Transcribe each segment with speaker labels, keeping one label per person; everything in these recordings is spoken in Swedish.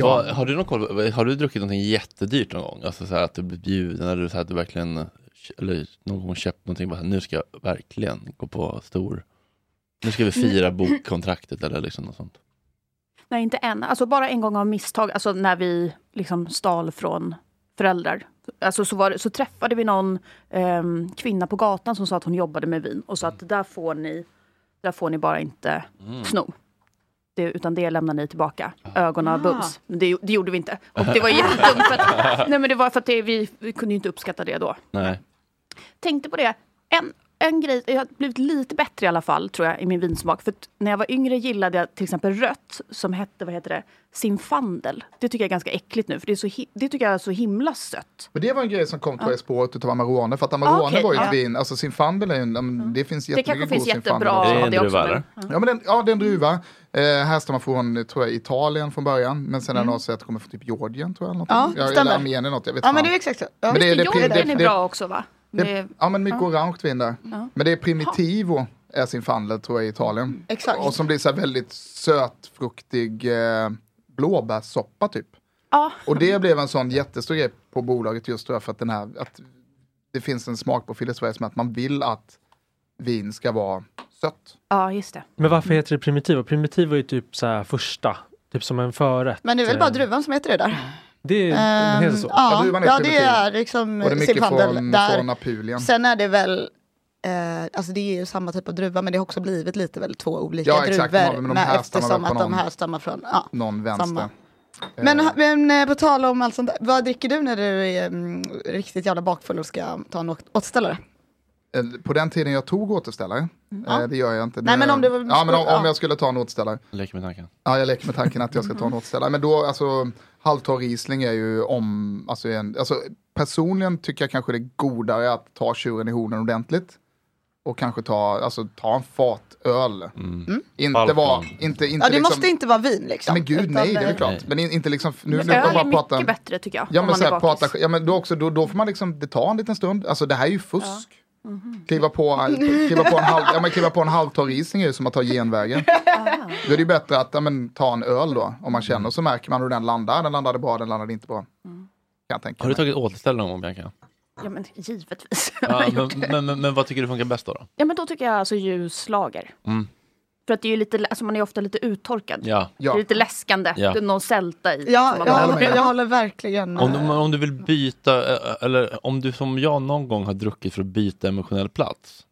Speaker 1: Vad- har du någon koll, på- har du druckit någonting jättedyrt någon gång? Alltså så här att du blir bjuden eller så här att du verkligen, eller någon gång köpt någonting bara så här, nu ska jag verkligen gå på stor, nu ska vi fira bokkontraktet eller liksom något sånt.
Speaker 2: Nej, inte än. Alltså bara en gång av misstag, alltså när vi liksom stal från föräldrar. Alltså så, var det, så träffade vi någon ehm, kvinna på gatan som sa att hon jobbade med vin och sa att det där får ni, där får ni bara inte sno. Det, utan det lämnar ni tillbaka. Ögonen bums. Men det, det gjorde vi inte. Och det var jättedumt. För att, nej men det var för att det, vi, vi kunde ju inte uppskatta det då
Speaker 1: Nej.
Speaker 2: tänkte på det. En, en grej, jag har blivit lite bättre i alla fall tror jag i min vinsmak. För att när jag var yngre gillade jag till exempel rött som hette, vad heter det, simfandel. Det tycker jag är ganska äckligt nu för det, är så hi- det tycker jag är så himla sött.
Speaker 3: Men det var en grej som kom tror jag i spåret utav Amarone. För att Amarone
Speaker 2: Ah, okej,
Speaker 3: var ju ett
Speaker 2: ja.
Speaker 3: vin, alltså Zinfandel är ju, en- ja, men det finns
Speaker 2: Det
Speaker 3: jättemycket
Speaker 2: kanske finns
Speaker 3: god Zinfandel
Speaker 2: jättebra
Speaker 3: också.
Speaker 1: Det är en
Speaker 2: det
Speaker 1: druva,
Speaker 2: men-
Speaker 1: eller?
Speaker 2: Ja.
Speaker 3: Ja, men den, ja, det är en druva. Eh, härstammar från, tror jag, Italien från början. Men sen har jag sett att det kommer från typ Georgien, tror jag. Eller,
Speaker 4: Ja,
Speaker 3: ja, ja, eller
Speaker 4: stämmer.
Speaker 3: Armenien, något. Jag vet
Speaker 4: Ja,
Speaker 3: fan.
Speaker 4: men det är exakt så. Ja.
Speaker 3: Men det
Speaker 2: Det,
Speaker 3: är- det-
Speaker 2: Jordan
Speaker 3: det-
Speaker 2: är
Speaker 3: det-
Speaker 2: bra också va? Det,
Speaker 3: Det, ja, men mycket orange vin där. Men det är Primitivo, är Zinfandel, tror jag, i Italien.
Speaker 4: Exakt.
Speaker 3: Och som blir så här väldigt söt, fruktig eh, blåbärssoppa, typ.
Speaker 2: ja,
Speaker 3: Och det blev en sån jättestor grej på bolaget just tror jag, för att, den här, att det finns en smakprofil i Sverige som är att man vill att vin ska vara sött.
Speaker 2: ja, just det.
Speaker 5: Men varför heter det primitivo? Primitivo är ju typ så här första, typ som en förrätt.
Speaker 4: Men det är väl bara
Speaker 5: Eh,
Speaker 4: druvan som heter det där?
Speaker 5: Det är,
Speaker 4: Ehm,
Speaker 5: det heter så.
Speaker 3: Ja,
Speaker 4: Ja,
Speaker 3: druvan
Speaker 4: ja,
Speaker 3: heter
Speaker 4: det
Speaker 3: Primitivo.
Speaker 4: är liksom
Speaker 3: Och det är mycket
Speaker 4: simfandel
Speaker 3: från, från
Speaker 4: där.
Speaker 3: Apulien.
Speaker 4: Sen är det väl, eh, alltså det är ju samma typ av druva men det har också blivit lite väl två olika
Speaker 3: Ja,
Speaker 4: druvor.
Speaker 3: exakt. Ja, men de
Speaker 4: med,
Speaker 3: härstammar väl
Speaker 4: eftersom
Speaker 3: på
Speaker 4: att de
Speaker 3: någon-
Speaker 4: här stammar från, ja.
Speaker 3: Någon
Speaker 4: Samma.
Speaker 3: vänster.
Speaker 4: Men, men eh, på tal om allt sånt där, vad dricker du när du är mm, riktigt jävla bakfull och ska ta en åt- återställare?
Speaker 3: Eh, På den tiden jag tog återställare, eh, det gör jag inte.
Speaker 4: Nej, men om det var-
Speaker 3: ja, men om, om
Speaker 4: ja.
Speaker 3: jag skulle ta en återställare.
Speaker 1: Leker med tanken.
Speaker 3: Ja, jag leker med tanken att jag ska ta en återställare. Men då, alltså, halvtorr Riesling är ju om, alltså, en, alltså, personligen tycker jag kanske det är godare att ta tjuren i hornen ordentligt. Och kanske ta, alltså, ta en fatöl. Inte
Speaker 1: Balkan.
Speaker 3: vara, inte, inte
Speaker 4: Ja, det
Speaker 3: liksom,
Speaker 4: måste inte vara vin liksom.
Speaker 3: Men gud,
Speaker 4: Utan,
Speaker 3: nej, det är
Speaker 4: eh,
Speaker 3: väl klart.
Speaker 1: Nej.
Speaker 3: Men in, inte liksom, nu,
Speaker 2: Men
Speaker 3: nu
Speaker 2: öl
Speaker 3: jag
Speaker 2: är
Speaker 3: bara
Speaker 2: mycket
Speaker 3: prata.
Speaker 2: bättre tycker jag.
Speaker 3: Ja
Speaker 2: om
Speaker 3: men,
Speaker 2: man
Speaker 3: så
Speaker 2: är
Speaker 3: här, prata,
Speaker 2: bakis.
Speaker 3: ja, men då, också, då, då får man liksom, det tar en liten stund. Alltså det här är ju fusk.
Speaker 2: Mm-hmm.
Speaker 3: Kliva på, kliva på en halv, ja, men kliva på en halvtorr Riesling är ju som att ta genvägen.
Speaker 2: Ah.
Speaker 3: Då är det ju bättre att ja, men, ta en öl då, om man känner. Så märker man hur den landar. Den landade bra, den landade inte bra.
Speaker 2: Mm.
Speaker 3: Kan jag tänka
Speaker 1: Har du
Speaker 3: mig.
Speaker 1: tagit återställare någon gång Bianca?
Speaker 2: Ja, men givetvis.
Speaker 1: Ja, men, men, men, men vad tycker du funkar bäst då? då?
Speaker 2: Ja, men då tycker jag alltså ljuslager.
Speaker 1: Mm.
Speaker 2: För att det är ju lite, alltså man är ofta lite uttorkad.
Speaker 1: Ja.
Speaker 2: Det är
Speaker 3: Ja.
Speaker 2: lite läskande.
Speaker 1: Ja.
Speaker 2: Det är någon sälta i.
Speaker 4: Ja,
Speaker 2: som man
Speaker 4: jag,
Speaker 2: bara-
Speaker 3: håller
Speaker 4: håller,
Speaker 3: med.
Speaker 4: jag håller verkligen
Speaker 1: Om
Speaker 4: eh,
Speaker 1: du, om du vill byta, eh, eller om du som jag någon gång har druckit för att byta emotionell plats.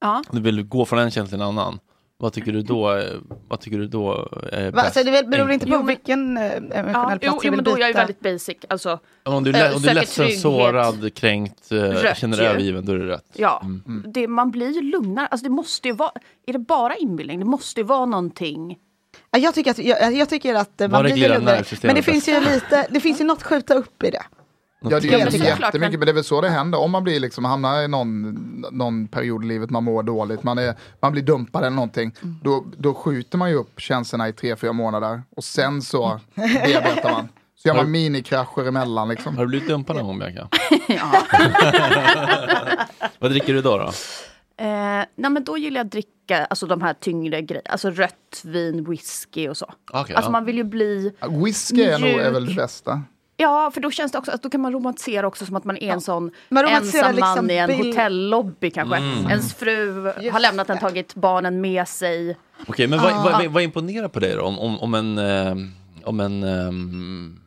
Speaker 2: Ja.
Speaker 1: Om du vill gå från en känsla till en annan. Vad tycker du då, är- vad tycker du då är
Speaker 4: Va, så
Speaker 2: alltså,
Speaker 1: bäst?
Speaker 4: det väl- beror inte på
Speaker 2: Jo, men-
Speaker 4: vilken eh, emotionell
Speaker 2: Ja,
Speaker 4: plats
Speaker 2: jo,
Speaker 4: du
Speaker 2: jo,
Speaker 4: vill
Speaker 2: men då är jag ju
Speaker 4: byta.
Speaker 2: väldigt basic. Alltså,
Speaker 1: Om du, är
Speaker 2: eh,
Speaker 1: le- om du är
Speaker 2: söker
Speaker 1: ledsen,
Speaker 2: trygghet.
Speaker 1: sårad, kränkt, eh,
Speaker 2: Rött
Speaker 1: känner
Speaker 2: ju.
Speaker 1: dig övergiven, då är det rätt.
Speaker 2: ja.
Speaker 1: Mm.
Speaker 2: Det, man blir ju lugnare. Alltså, det måste ju vara, är det bara inbildning? Det måste ju vara någonting.
Speaker 4: Ja, Jag tycker att, jag, jag tycker att eh,
Speaker 1: Vad
Speaker 4: man blir
Speaker 1: reglerar
Speaker 4: lugnare. Men
Speaker 1: nervsystemet
Speaker 4: det finns ju lite, det finns ju något skjuta upp i det.
Speaker 3: Ja, det
Speaker 2: Ja,
Speaker 3: är
Speaker 2: men
Speaker 3: inte
Speaker 2: såklart,
Speaker 3: jättemycket,
Speaker 2: men-
Speaker 3: men det är väl så det händer. Om man blir liksom, hamnar i någon, någon period i livet man mår dåligt, man, är, man blir dumpad eller någonting, då, då skjuter man ju upp känslorna i tre, fyra månader och sen
Speaker 2: Mm.
Speaker 3: så bearbetar man. Så gör man minikrascher emellan liksom.
Speaker 1: Har du blivit dumpad någon gång Bianca? vad dricker du då? då?
Speaker 2: Eh, nej, men då gillar jag att dricka alltså, de här tyngre grejerna. Alltså rött vin, whisky och så.
Speaker 1: Okej,
Speaker 2: alltså,
Speaker 1: ja.
Speaker 2: man vill ju bli...
Speaker 3: Whisky är, nog, är väl
Speaker 2: Mjuk.
Speaker 3: det bästa.
Speaker 2: Ja, för då känns det också att då kan man romantisera också som att man är en sån
Speaker 4: Man romantiserar
Speaker 2: ensam man
Speaker 4: liksom
Speaker 2: i en
Speaker 4: bild-
Speaker 2: hotellobby kanske.
Speaker 1: Mm.
Speaker 2: Ens fru har lämnat en, tagit barnen med sig.
Speaker 1: Okej, men
Speaker 4: Ah.
Speaker 1: vad, vad, vad, vad imponerar på dig då? Om, om, om en, eh, om en ehm,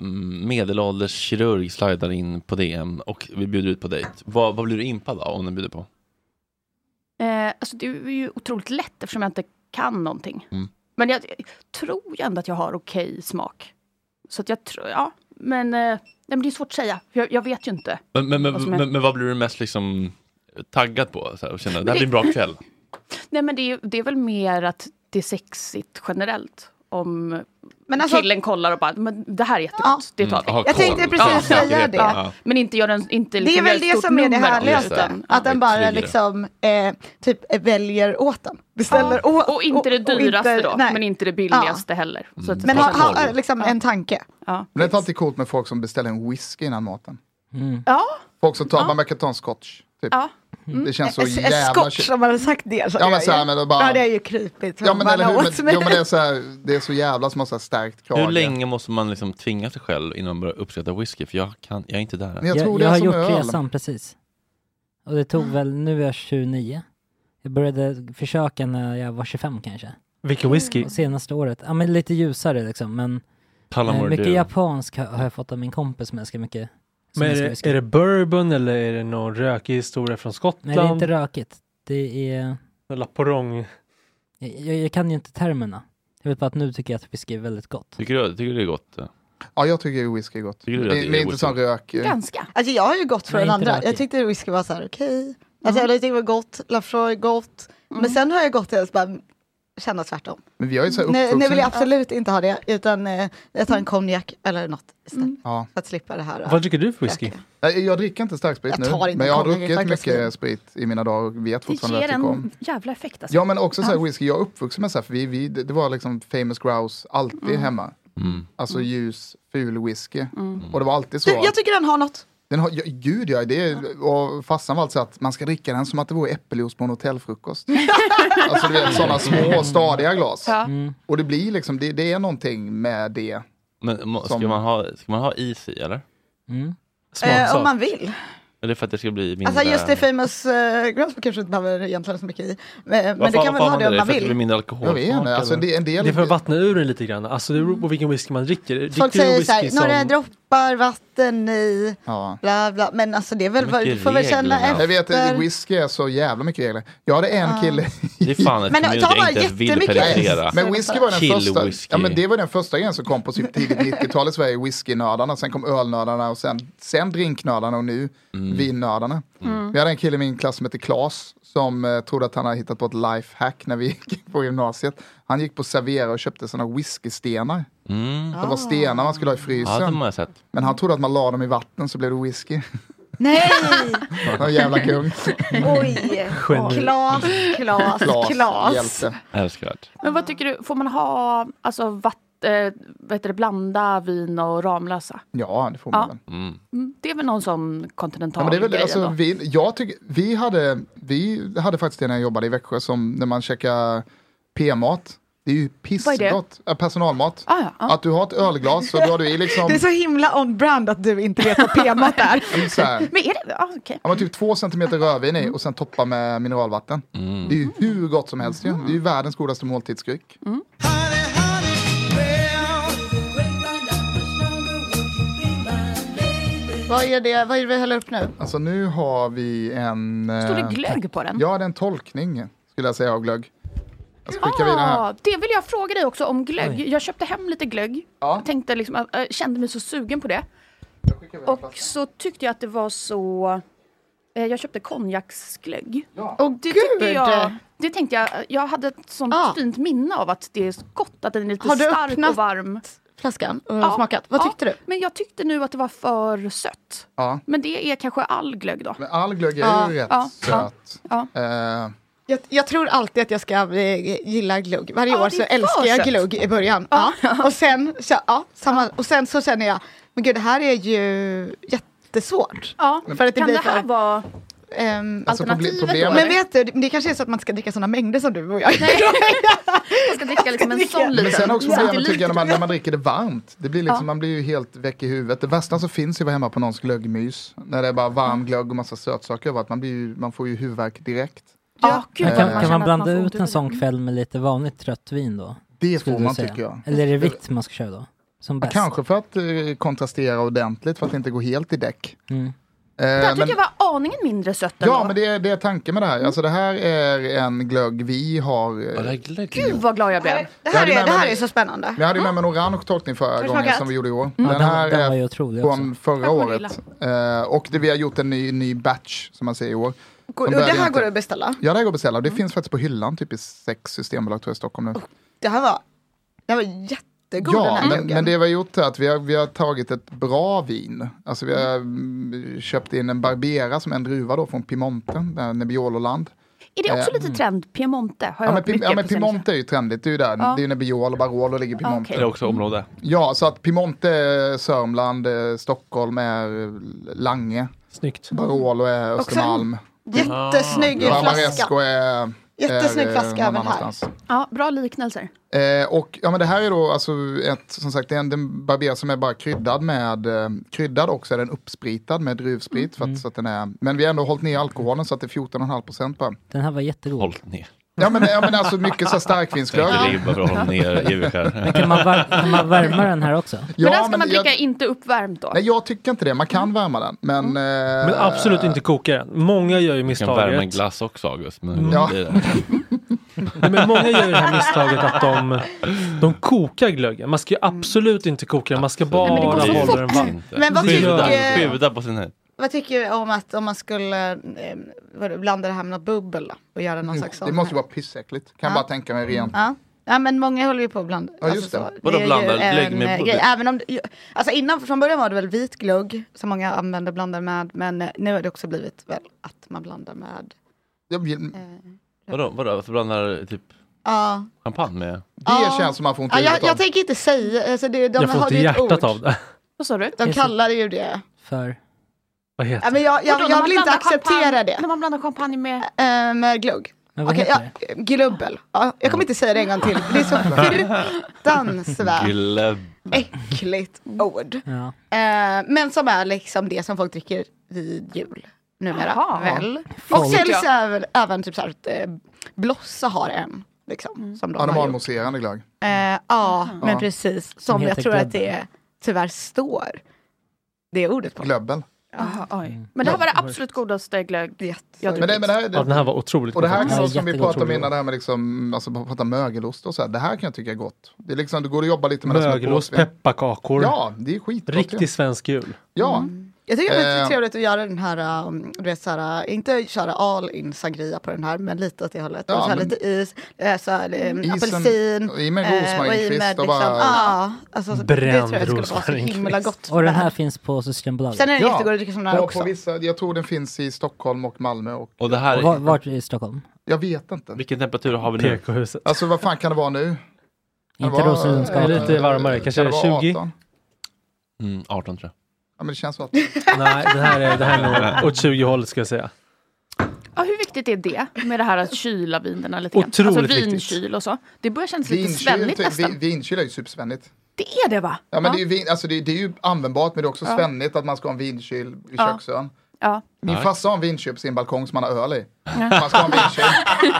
Speaker 1: mm, medelålders kirurg slidar in på DM och vi bjuder ut på dejt. Vad, vad blir du impad av om den bjuder på?
Speaker 2: Eh, alltså det är ju otroligt lätt eftersom jag inte kan någonting.
Speaker 1: Mm.
Speaker 2: Men jag, jag tror ju ändå att jag har okej smak. Så att jag tror, ja. Men, eh, nej, men det är svårt att säga. för Jag, jag vet ju inte.
Speaker 1: Men, men, men,
Speaker 2: Vad som är-
Speaker 1: men, men vad blir du mest liksom taggad på? Så här, och känner, det här
Speaker 2: det-
Speaker 1: blir en bra kväll.
Speaker 2: Nej men det är, ju- det är väl mer att det är sexigt generellt. Om
Speaker 4: Men alltså,
Speaker 2: killen kollar och bara, men det här är jättegott,
Speaker 4: Ja.
Speaker 2: det tar vi.
Speaker 1: Mm. ha
Speaker 4: Jag
Speaker 1: koll.
Speaker 4: tänkte precis
Speaker 1: Ja,
Speaker 4: säga
Speaker 1: säkerheten,
Speaker 4: det.
Speaker 1: ja.
Speaker 2: Men inte gör en, inte
Speaker 4: det är
Speaker 2: liksom
Speaker 4: väl
Speaker 2: gör ett
Speaker 4: det
Speaker 2: stort
Speaker 4: som är det
Speaker 2: nummer av
Speaker 1: Just
Speaker 4: härligaste.
Speaker 1: det.
Speaker 4: Att den
Speaker 1: Verkligen.
Speaker 4: bara liksom, eh, typ eh, väljer åt den. Beställer åt.
Speaker 2: Och inte det dyraste
Speaker 4: inte-
Speaker 2: då,
Speaker 4: nej.
Speaker 2: men inte det billigaste heller. Så att,
Speaker 4: Men
Speaker 1: Och
Speaker 4: ha,
Speaker 1: sen
Speaker 4: ha,
Speaker 1: håller.
Speaker 4: liksom en tanke.
Speaker 3: Men det är inte alltid coolt med folk som beställer en whisky innan maten.
Speaker 2: ja,
Speaker 3: Folk som tar, man verkar ta en scotch. Typ.
Speaker 2: ja. Mm.
Speaker 3: Det känns så
Speaker 4: Ett- Ett
Speaker 3: jävla...
Speaker 4: skott som hade sagt det. Så
Speaker 2: alltså.
Speaker 3: Ja, men så här, men då bara-
Speaker 4: Då hade jag ju krypit.
Speaker 3: Ja men
Speaker 4: Bara,
Speaker 3: eller hur,
Speaker 4: åt
Speaker 3: men,
Speaker 4: mig.
Speaker 3: jo, men det, är så här, det är så jävla som har så här starkt krage.
Speaker 1: Hur länge måste man liksom tvinga sig själv innan man börjar uppskatta whisky? För jag, kan, jag är inte där.
Speaker 3: Men jag, tror
Speaker 6: jag,
Speaker 3: det
Speaker 6: jag
Speaker 3: är
Speaker 6: har
Speaker 3: som
Speaker 6: gjort
Speaker 3: öl. Ah.
Speaker 6: resan precis. Och det tog väl, nu är jag 29. Jag började försöka när jag var 25 kanske.
Speaker 5: Vilken whisky?
Speaker 6: Och senaste året, ja men lite ljusare liksom men eh,
Speaker 1: Tullamore
Speaker 6: mycket
Speaker 1: Dew.
Speaker 6: japansk har, har jag fått av min kompis som älskar mycket. som
Speaker 5: Men är
Speaker 6: älskar
Speaker 5: det,
Speaker 6: whisky.
Speaker 5: är det bourbon eller är det någon rökig historia från
Speaker 6: Nej det är
Speaker 5: Skottland?
Speaker 6: inte rökigt. Det är,
Speaker 5: Eller porong?
Speaker 6: jag, jag, jag kan ju inte termerna. Jag vet bara att nu tycker jag att whisky är väldigt gott.
Speaker 1: Tycker du, tycker du det är gott? eh?
Speaker 3: Ja jag tycker whisky är gott.
Speaker 1: Tycker du
Speaker 3: Det,
Speaker 1: att
Speaker 3: det är inte sån rök. eh,
Speaker 2: Ganska.
Speaker 4: Alltså jag har ju gått för
Speaker 6: Nej,
Speaker 4: den
Speaker 6: inte
Speaker 4: andra.
Speaker 6: rökig.
Speaker 4: Jag tyckte whisky var så här okej. Alltså jag tyckte det var gott, Lafroy gott. Men sen har jag gått till att bara känna tvärtom.
Speaker 3: Men vi har ju så här
Speaker 4: Nu,
Speaker 3: uppvuxen...
Speaker 4: nu vill jag absolut inte ha det, utan eh, jag tar en konjak eller något istället.
Speaker 3: Ja.
Speaker 4: För att slippa det här.
Speaker 5: Vad tycker du för whisky?
Speaker 4: Röka.
Speaker 3: Jag, jag dricker inte starksprit
Speaker 4: Jag
Speaker 3: nu.
Speaker 4: tar inte
Speaker 3: men jag har
Speaker 4: konjak, jag
Speaker 3: druckit
Speaker 4: tar
Speaker 3: mycket
Speaker 4: glasvin.
Speaker 3: sprit i mina dagar och vet
Speaker 2: Det
Speaker 3: fortfarande
Speaker 2: ger
Speaker 3: att jag tycker om.
Speaker 2: en jävla effekt alltså.
Speaker 3: Ja men också så här whisky, jag är uppvuxen med så här, för vi, vi, det det var liksom famous grouse alltid hemma.
Speaker 1: Mm.
Speaker 3: Alltså ljus, ful whisky. Och det var alltid så.
Speaker 4: Du, jag tycker den har något.
Speaker 3: Den har, ja, gud ja, det är, och farsan var alltså att man ska dricka den som att det vore äppeljuice på en hotellfrukost. alltså du vet sådana
Speaker 5: Mm.
Speaker 3: små stadiga glas.
Speaker 2: Ja.
Speaker 3: Och det blir liksom, det, det är någonting med det.
Speaker 1: Men må- ska
Speaker 3: Som-
Speaker 1: man, ha, ska man ha is i eller?
Speaker 6: Mm.
Speaker 5: Smaksak.
Speaker 4: Eh, om man vill.
Speaker 1: Eller för att det ska bli mindre...
Speaker 4: Alltså just det famous eh, grouse kanske inte behöver egentligen så mycket i. Eh, men det
Speaker 1: Varför-
Speaker 4: kan
Speaker 1: varför
Speaker 4: väl
Speaker 1: har
Speaker 4: ha det om
Speaker 1: För
Speaker 4: man
Speaker 1: att det blir
Speaker 4: vill.
Speaker 1: mindre
Speaker 3: Jag
Speaker 1: alkoholsmak?
Speaker 3: vet inte, alltså, en
Speaker 1: eller?
Speaker 3: del- en del...
Speaker 5: Det är för att vattna ur den lite grann. Alltså det beror på vilken whisky man dricker. dricker
Speaker 4: Folk
Speaker 5: du en
Speaker 4: säger
Speaker 5: whisky
Speaker 4: så här, några
Speaker 5: som-
Speaker 4: droppar vatten i,
Speaker 3: ja.
Speaker 4: bla bla. Men alltså det är väl,
Speaker 1: Mycket
Speaker 4: du får väl känna
Speaker 1: regler, ja.
Speaker 4: efter.
Speaker 3: Jag vet, eh, whisky är så jävla mycket regler. Jag hade en kille
Speaker 1: Det är fan ett
Speaker 4: Men ta
Speaker 1: community jag
Speaker 4: bara
Speaker 1: inte ens vill
Speaker 4: jättemycket is.
Speaker 1: penetrera.
Speaker 3: Men whisky var den
Speaker 1: Chill
Speaker 3: första.
Speaker 1: whisky.
Speaker 3: Ja, men det var den första grejen som kom på typ tidigt 90-tal i Sverige. Whiskynördarna, sen kom ölnördarna och sen, sen drinknördarna och nu vinnördarna. Mm. Vi hade en kille i min klass som hette Klas som eh, trodde att han hade hittat på ett lifehack när vi gick på gymnasiet. Han gick på Servera och köpte sådana whiskystenar.
Speaker 1: Mm.
Speaker 3: Det var stenar man skulle ha i
Speaker 1: Ja, de
Speaker 3: frysen.
Speaker 1: har jag sett.
Speaker 3: Men han trodde att man la dem i vatten så blev det whisky.
Speaker 4: Nej!
Speaker 3: Han var en jävla kung.
Speaker 4: Oj!
Speaker 5: Geni.
Speaker 4: Klas, Klas,
Speaker 3: Klas,
Speaker 4: Klas.
Speaker 3: hjälte.
Speaker 1: Älskvärt.
Speaker 2: Men vad tycker du, får man ha, alltså vatt, eh, vad heter det, blanda vin och Ramlösa?
Speaker 3: Ja, det får man
Speaker 2: Ja.
Speaker 3: väl.
Speaker 1: Mm.
Speaker 2: Mm, Det är väl någon sån kontinental
Speaker 3: Ja, men det är väl,
Speaker 2: grej
Speaker 3: alltså,
Speaker 2: ändå?
Speaker 3: vi, jag tycker, vi, hade, vi hade faktiskt det när jag jobbade i Växjö, som när man käkar p-mat. Det är ju
Speaker 2: Vad är
Speaker 3: pissgott. Äh, personalmat.
Speaker 2: Ah, ja, ja.
Speaker 3: Att du har ett ölglas och då har du i liksom
Speaker 4: Det är så himla on-brand att du inte vet vad PMat är.
Speaker 3: så här,
Speaker 2: Men är det, ja, okej.
Speaker 3: ja, men typ två centimeter rödvin
Speaker 4: Mm.
Speaker 3: i och sen toppa med mineralvatten. Det är ju hur gott som helst. ju.
Speaker 4: Mm.
Speaker 3: Det är ju världens godaste måltidsdryck.
Speaker 4: Vad är det, vad är det vi häller upp nu?
Speaker 3: Alltså nu har vi en... eh,
Speaker 2: Står det glögg på den?
Speaker 3: Ja, det är en tolkning skulle jag säga av glögg. Jag ska skicka vidare här.
Speaker 2: Ah, det vill jag fråga dig också om glögg. Jag köpte hem lite glögg.
Speaker 3: Ja.
Speaker 2: Jag tänkte liksom, att- jag kände mig så sugen på det. Och så tyckte jag att det var så... eh, Jag köpte konjaksglögg.
Speaker 4: Åh
Speaker 2: Det,
Speaker 4: gud!
Speaker 2: tyckte jag, det tänkte jag, jag hade ett sånt
Speaker 4: Ah.
Speaker 2: fint minne av att det är så gott, att den är lite
Speaker 4: Har du
Speaker 2: stark
Speaker 4: öppnat?
Speaker 2: och varm.
Speaker 4: Flaskan och
Speaker 2: Ja.
Speaker 4: smakat. Vad
Speaker 2: Ja.
Speaker 4: tyckte du?
Speaker 2: Men jag tyckte nu att det var för sött.
Speaker 3: Ja.
Speaker 2: Men det är kanske all glögg då.
Speaker 3: Men all glögg är
Speaker 4: Ja,
Speaker 3: ju rätt
Speaker 2: ja,
Speaker 3: söt.
Speaker 2: ja.
Speaker 3: Eh,
Speaker 4: Jag, jag tror alltid att jag ska eh, gilla glugg. Varje
Speaker 2: Ja,
Speaker 4: år
Speaker 2: det
Speaker 4: så
Speaker 2: är för
Speaker 4: älskar jag
Speaker 2: sött.
Speaker 4: glugg i början. Ja. Och, sen, så, ja, samma, och sen så känner jag, men gud det här är ju jättesvårt.
Speaker 2: Ja.
Speaker 4: För att det
Speaker 2: kan
Speaker 4: blir
Speaker 2: det här
Speaker 4: för-
Speaker 2: vara
Speaker 4: Ehm,
Speaker 3: Alltså, proble-
Speaker 2: alternativet
Speaker 3: problemet-
Speaker 2: då?
Speaker 4: men
Speaker 2: Men
Speaker 4: vet du, det, det kanske är så att man ska dricka sådana mängder som du och jag.
Speaker 2: jag ska dricka liksom en
Speaker 4: dricka.
Speaker 2: sån liten.
Speaker 3: Men sen också
Speaker 2: Ja.
Speaker 3: problemet tycker jag när man, när man dricker det varmt. Det blir liksom,
Speaker 2: Ja.
Speaker 3: Man blir ju helt väck i huvudet. Det värsta som finns är att vara hemma på någons glöggmys. När det är bara varm glögg och massa sötsaker över. Att man, blir ju, man får ju huvudvärk direkt.
Speaker 2: Ja, gud,
Speaker 6: Men kan,
Speaker 3: Eh,
Speaker 6: kan
Speaker 2: känner
Speaker 6: man
Speaker 2: att
Speaker 6: blanda
Speaker 2: får typ- Eh, ont
Speaker 6: ut
Speaker 2: i
Speaker 6: en sån
Speaker 2: huvudet.
Speaker 6: kväll med lite vanligt rött vin då?
Speaker 3: Det
Speaker 6: skulle
Speaker 3: får
Speaker 6: du
Speaker 3: man
Speaker 6: säga?
Speaker 3: tycker jag.
Speaker 6: Eller är det vitt man ska köra då? Som bäst?
Speaker 3: Kanske för att eh, kontrastera ordentligt för att inte gå helt i däck.
Speaker 6: Mm.
Speaker 2: Det
Speaker 3: Eh,
Speaker 2: här tycker
Speaker 3: men-
Speaker 2: jag var aningen mindre sött
Speaker 3: Ja,
Speaker 2: ändå. Mm.
Speaker 3: men det är, det är tanken med det här. Alltså det här är en glögg vi har. eh,
Speaker 1: Ja, det här glögg.
Speaker 2: Gud vad glad jag blev.
Speaker 4: Det
Speaker 3: Jag
Speaker 4: här
Speaker 3: hade
Speaker 4: är,
Speaker 3: med
Speaker 4: det här
Speaker 3: mig-
Speaker 4: är så spännande.
Speaker 3: Vi hade ju med mig en orange tolkning
Speaker 4: Har
Speaker 3: förra
Speaker 4: du
Speaker 3: gången
Speaker 4: smakat?
Speaker 3: som vi gjorde i
Speaker 2: Mm.
Speaker 3: år.
Speaker 6: Ja,
Speaker 3: Den här
Speaker 6: den, den var
Speaker 3: är
Speaker 6: ju otrolig också.
Speaker 3: från förra
Speaker 2: kommer
Speaker 3: året. Eh, och det, vi har gjort en ny, ny batch som man säger i år.
Speaker 4: Går,
Speaker 3: De
Speaker 4: och det
Speaker 3: börjar
Speaker 4: här
Speaker 3: inte-
Speaker 4: går att beställa.
Speaker 3: Ja, det här går att beställa.
Speaker 2: Mm.
Speaker 3: Det finns faktiskt på hyllan, typ i sex systembolag tror jag i Stockholm nu.
Speaker 4: Det här var, det här var jättegod den
Speaker 3: ja,
Speaker 4: här
Speaker 3: men,
Speaker 4: glöggen.
Speaker 3: men det vi har gjort är att vi har, vi har tagit ett bra vin. Alltså vi har mm, köpt in en Barbera som är en druva då från Piemonte, där Nebiololand.
Speaker 2: Är det också
Speaker 3: Eh,
Speaker 2: lite trend? Piemonte har jag
Speaker 3: Ja men,
Speaker 2: hört
Speaker 3: Pim-
Speaker 2: mycket
Speaker 3: ja, men
Speaker 2: på senaste.
Speaker 3: Piemonte är ju trendigt, det är ju där.
Speaker 2: Ja.
Speaker 3: Det är ju Nebbiolo och Barolo ligger i
Speaker 2: Ja,
Speaker 3: Piemonte.
Speaker 2: okej.
Speaker 1: Är det också område?
Speaker 3: Ja, så att Piemonte är Sörmland, eh, Stockholm är Lange,
Speaker 5: Snyggt.
Speaker 3: Barolo är
Speaker 4: Och sen-
Speaker 3: Östermalm.
Speaker 4: Jättesnygg
Speaker 2: Ja,
Speaker 4: flaska.
Speaker 3: Barbaresco är...
Speaker 4: Jättesnygg
Speaker 3: är, eh,
Speaker 4: flaska
Speaker 3: någon
Speaker 4: även här.
Speaker 3: annanstans.
Speaker 2: Ja, bra liknelser.
Speaker 3: Eh, och ja, men det här är då alltså ett, som sagt, det är en, det är en barberare som är bara kryddad med, eh, kryddad också är den uppspritad med druvsprit. För
Speaker 4: Mm.
Speaker 3: att, så att den är, men vi har ändå hållit ner alkoholen så att det är 14,5 procent bara.
Speaker 6: Den här var jättegod.
Speaker 1: Håll ner.
Speaker 3: Ja men, ja, men alltså mycket så här
Speaker 1: Tänk
Speaker 3: starkvinsglögg.
Speaker 1: dig ribba för att hålla ner Ivy här.
Speaker 6: Kan man, var- kan man värma den här också?
Speaker 3: Ja,
Speaker 2: men den ska man dricka
Speaker 3: jag,
Speaker 2: inte uppvärmt då.
Speaker 3: Nej jag tycker inte det,
Speaker 4: Mm.
Speaker 3: man kan värma den. Men, eh,
Speaker 5: Men absolut inte koka den. Många gör ju
Speaker 1: Du kan värma en
Speaker 5: misstaget.
Speaker 1: glass också August. Men
Speaker 3: Ja.
Speaker 1: det är det.
Speaker 5: Nej, men många gör ju det här misstaget att de, de kokar glöggen. Man ska ju absolut inte koka den. Man ska bara
Speaker 2: men det går så
Speaker 5: hålla
Speaker 2: fort.
Speaker 5: den varm.
Speaker 1: Inte.
Speaker 4: Men vad
Speaker 1: Sjuda,
Speaker 4: tycker-
Speaker 1: sjuda på sin höjd.
Speaker 4: Vad tycker du om att om man skulle eh, vadå, blanda det här med något bubbel då, och göra någon slags sån
Speaker 3: Mm, det måste
Speaker 4: här?
Speaker 3: ju vara pissäckligt. Kan
Speaker 4: Ja.
Speaker 3: bara tänka mig rent.
Speaker 4: Ja. ja, men många håller ju på att blanda. Alltså
Speaker 3: Ja, just det.
Speaker 4: så,
Speaker 1: Vadå
Speaker 4: är ju
Speaker 1: blanda? Lägg
Speaker 4: en,
Speaker 1: med
Speaker 4: eh,
Speaker 1: bubbel.
Speaker 4: grej. Även om, det- alltså innan, från början var det väl vit glögg som många använde och blandade med. Men eh, nu har det också blivit väl att man blandar med.
Speaker 3: Jag vill-
Speaker 4: Eh,
Speaker 1: Vadå, vadå? Så blandar typ
Speaker 4: ja.
Speaker 1: champagne med?
Speaker 4: Ja.
Speaker 3: Det känns som man får ont i
Speaker 4: ja, jag,
Speaker 3: huvudet
Speaker 4: jag
Speaker 3: av.
Speaker 4: tänker inte säga. Alltså det, de
Speaker 5: Jag får
Speaker 4: har
Speaker 5: inte
Speaker 4: ju ett
Speaker 5: hjärtat
Speaker 4: ord.
Speaker 5: av det.
Speaker 2: Vad sa du?
Speaker 4: De
Speaker 6: Just det.
Speaker 4: kallar det ju det.
Speaker 6: För
Speaker 5: Vad
Speaker 4: Ja,
Speaker 5: heter det?
Speaker 4: men jag,
Speaker 2: Vadå,
Speaker 4: jag,
Speaker 2: när
Speaker 4: jag
Speaker 2: man
Speaker 4: vill inte
Speaker 2: blandar
Speaker 4: acceptera
Speaker 2: champagne-
Speaker 4: det.
Speaker 2: När man blandar champagne med...
Speaker 4: Eh, med glögg.
Speaker 6: men vad
Speaker 4: Okej,
Speaker 6: heter
Speaker 4: ja,
Speaker 6: det?
Speaker 4: glubbel. Ja, jag kommer inte säga det en gång till. Det är så fruktansvärt
Speaker 1: Glögg.
Speaker 4: äckligt ord.
Speaker 6: Ja.
Speaker 4: Eh, men som är liksom det som folk dricker vid jul numera.
Speaker 2: Jaha.
Speaker 4: Väl? Och
Speaker 6: Folk,
Speaker 4: säljs även, även typ så här att eh, Blossa har en. Liksom, som de
Speaker 3: Ja, de
Speaker 4: har
Speaker 3: har
Speaker 4: gjort.
Speaker 3: mousserande glögg.
Speaker 4: Eh, ja, men
Speaker 3: Ja.
Speaker 4: precis. Som jag
Speaker 6: heter
Speaker 4: tror att
Speaker 6: glögg.
Speaker 4: det tyvärr står. Det ordet på.
Speaker 3: Glöbbel.
Speaker 2: Aha, oj. Men det här var det absolut godaste glögg.
Speaker 4: Jättesöt.
Speaker 2: Men
Speaker 3: Men det, men det här,
Speaker 5: Ja, den
Speaker 3: det,
Speaker 5: här var otroligt
Speaker 3: och det här
Speaker 5: god.
Speaker 6: Ja,
Speaker 3: kan som vi
Speaker 6: jättegott.
Speaker 3: pratade om innan, det här med liksom, alltså, prata mögelost och så här. Det här kan jag tycka är gott. Det är liksom, du går och jobbar lite med det som är
Speaker 5: Mögelost,
Speaker 3: påsvin.
Speaker 5: pepparkakor.
Speaker 3: Ja, det är skitgott. ju.
Speaker 5: Riktig svensk jul.
Speaker 3: Ja,
Speaker 4: Jag tycker det är lite
Speaker 3: Eh.
Speaker 4: trevligt att göra den här, um, du vet, så här inte köra all in sangria på den här, men lite åt det hålet.
Speaker 3: Ja,
Speaker 4: och så här
Speaker 3: men- Mm,
Speaker 4: lite is, eh, så här, um,
Speaker 3: Isen-
Speaker 4: apelsin.
Speaker 3: i med
Speaker 4: eh,
Speaker 3: rosmarinkvist och bara...
Speaker 4: ja, alltså, det tror jag
Speaker 5: Bränd
Speaker 4: skulle vara så himla
Speaker 5: rosmarinkvist.
Speaker 4: gott.
Speaker 6: Och den här
Speaker 4: med.
Speaker 6: finns på Systembolaget.
Speaker 4: Sen är den
Speaker 3: Ja,
Speaker 4: jättegod att dricka som den här
Speaker 3: På,
Speaker 4: också.
Speaker 3: på vissa, jag tror den finns i Stockholm och Malmö. Och,
Speaker 1: Och det
Speaker 6: Och var-
Speaker 1: här,
Speaker 6: Vart i Stockholm?
Speaker 3: jag vet inte.
Speaker 1: vilken temperatur har vi nu?
Speaker 5: PK-huset.
Speaker 3: Alltså vad fan kan det vara nu? Kan
Speaker 6: Inte
Speaker 3: det vara-
Speaker 6: Rosengårdsgatan.
Speaker 5: Eller- Lite varmare, kanske
Speaker 3: kan det vara
Speaker 5: 20?
Speaker 3: 18?
Speaker 1: Mm, 18 tror jag.
Speaker 3: Ja men det känns 18.
Speaker 5: Nej, det här är, det här är nog åt 20-hållet ska jag säga.
Speaker 2: Ja, hur viktigt är det med det här att kyla vinerna lite grann?
Speaker 5: Otroligt
Speaker 2: alltså
Speaker 5: viktigt.
Speaker 2: vinkyl och så. Det börjar kännas lite
Speaker 3: Vinkyl,
Speaker 2: svennigt
Speaker 3: ty-
Speaker 2: nästan.
Speaker 3: vin, vinkyl är ju supersvennigt.
Speaker 2: Det är det va?
Speaker 3: Ja men det är ju, vin, alltså, det, det är ju användbart men det är också
Speaker 2: Ja.
Speaker 3: svennigt att man ska ha en vinkyl i
Speaker 2: Ja.
Speaker 3: köksön.
Speaker 2: Ja.
Speaker 3: Min
Speaker 1: Tack.
Speaker 3: farsa har en vinkyl på sin balkong som han har öl i. Han ska ha en vinkyl. Så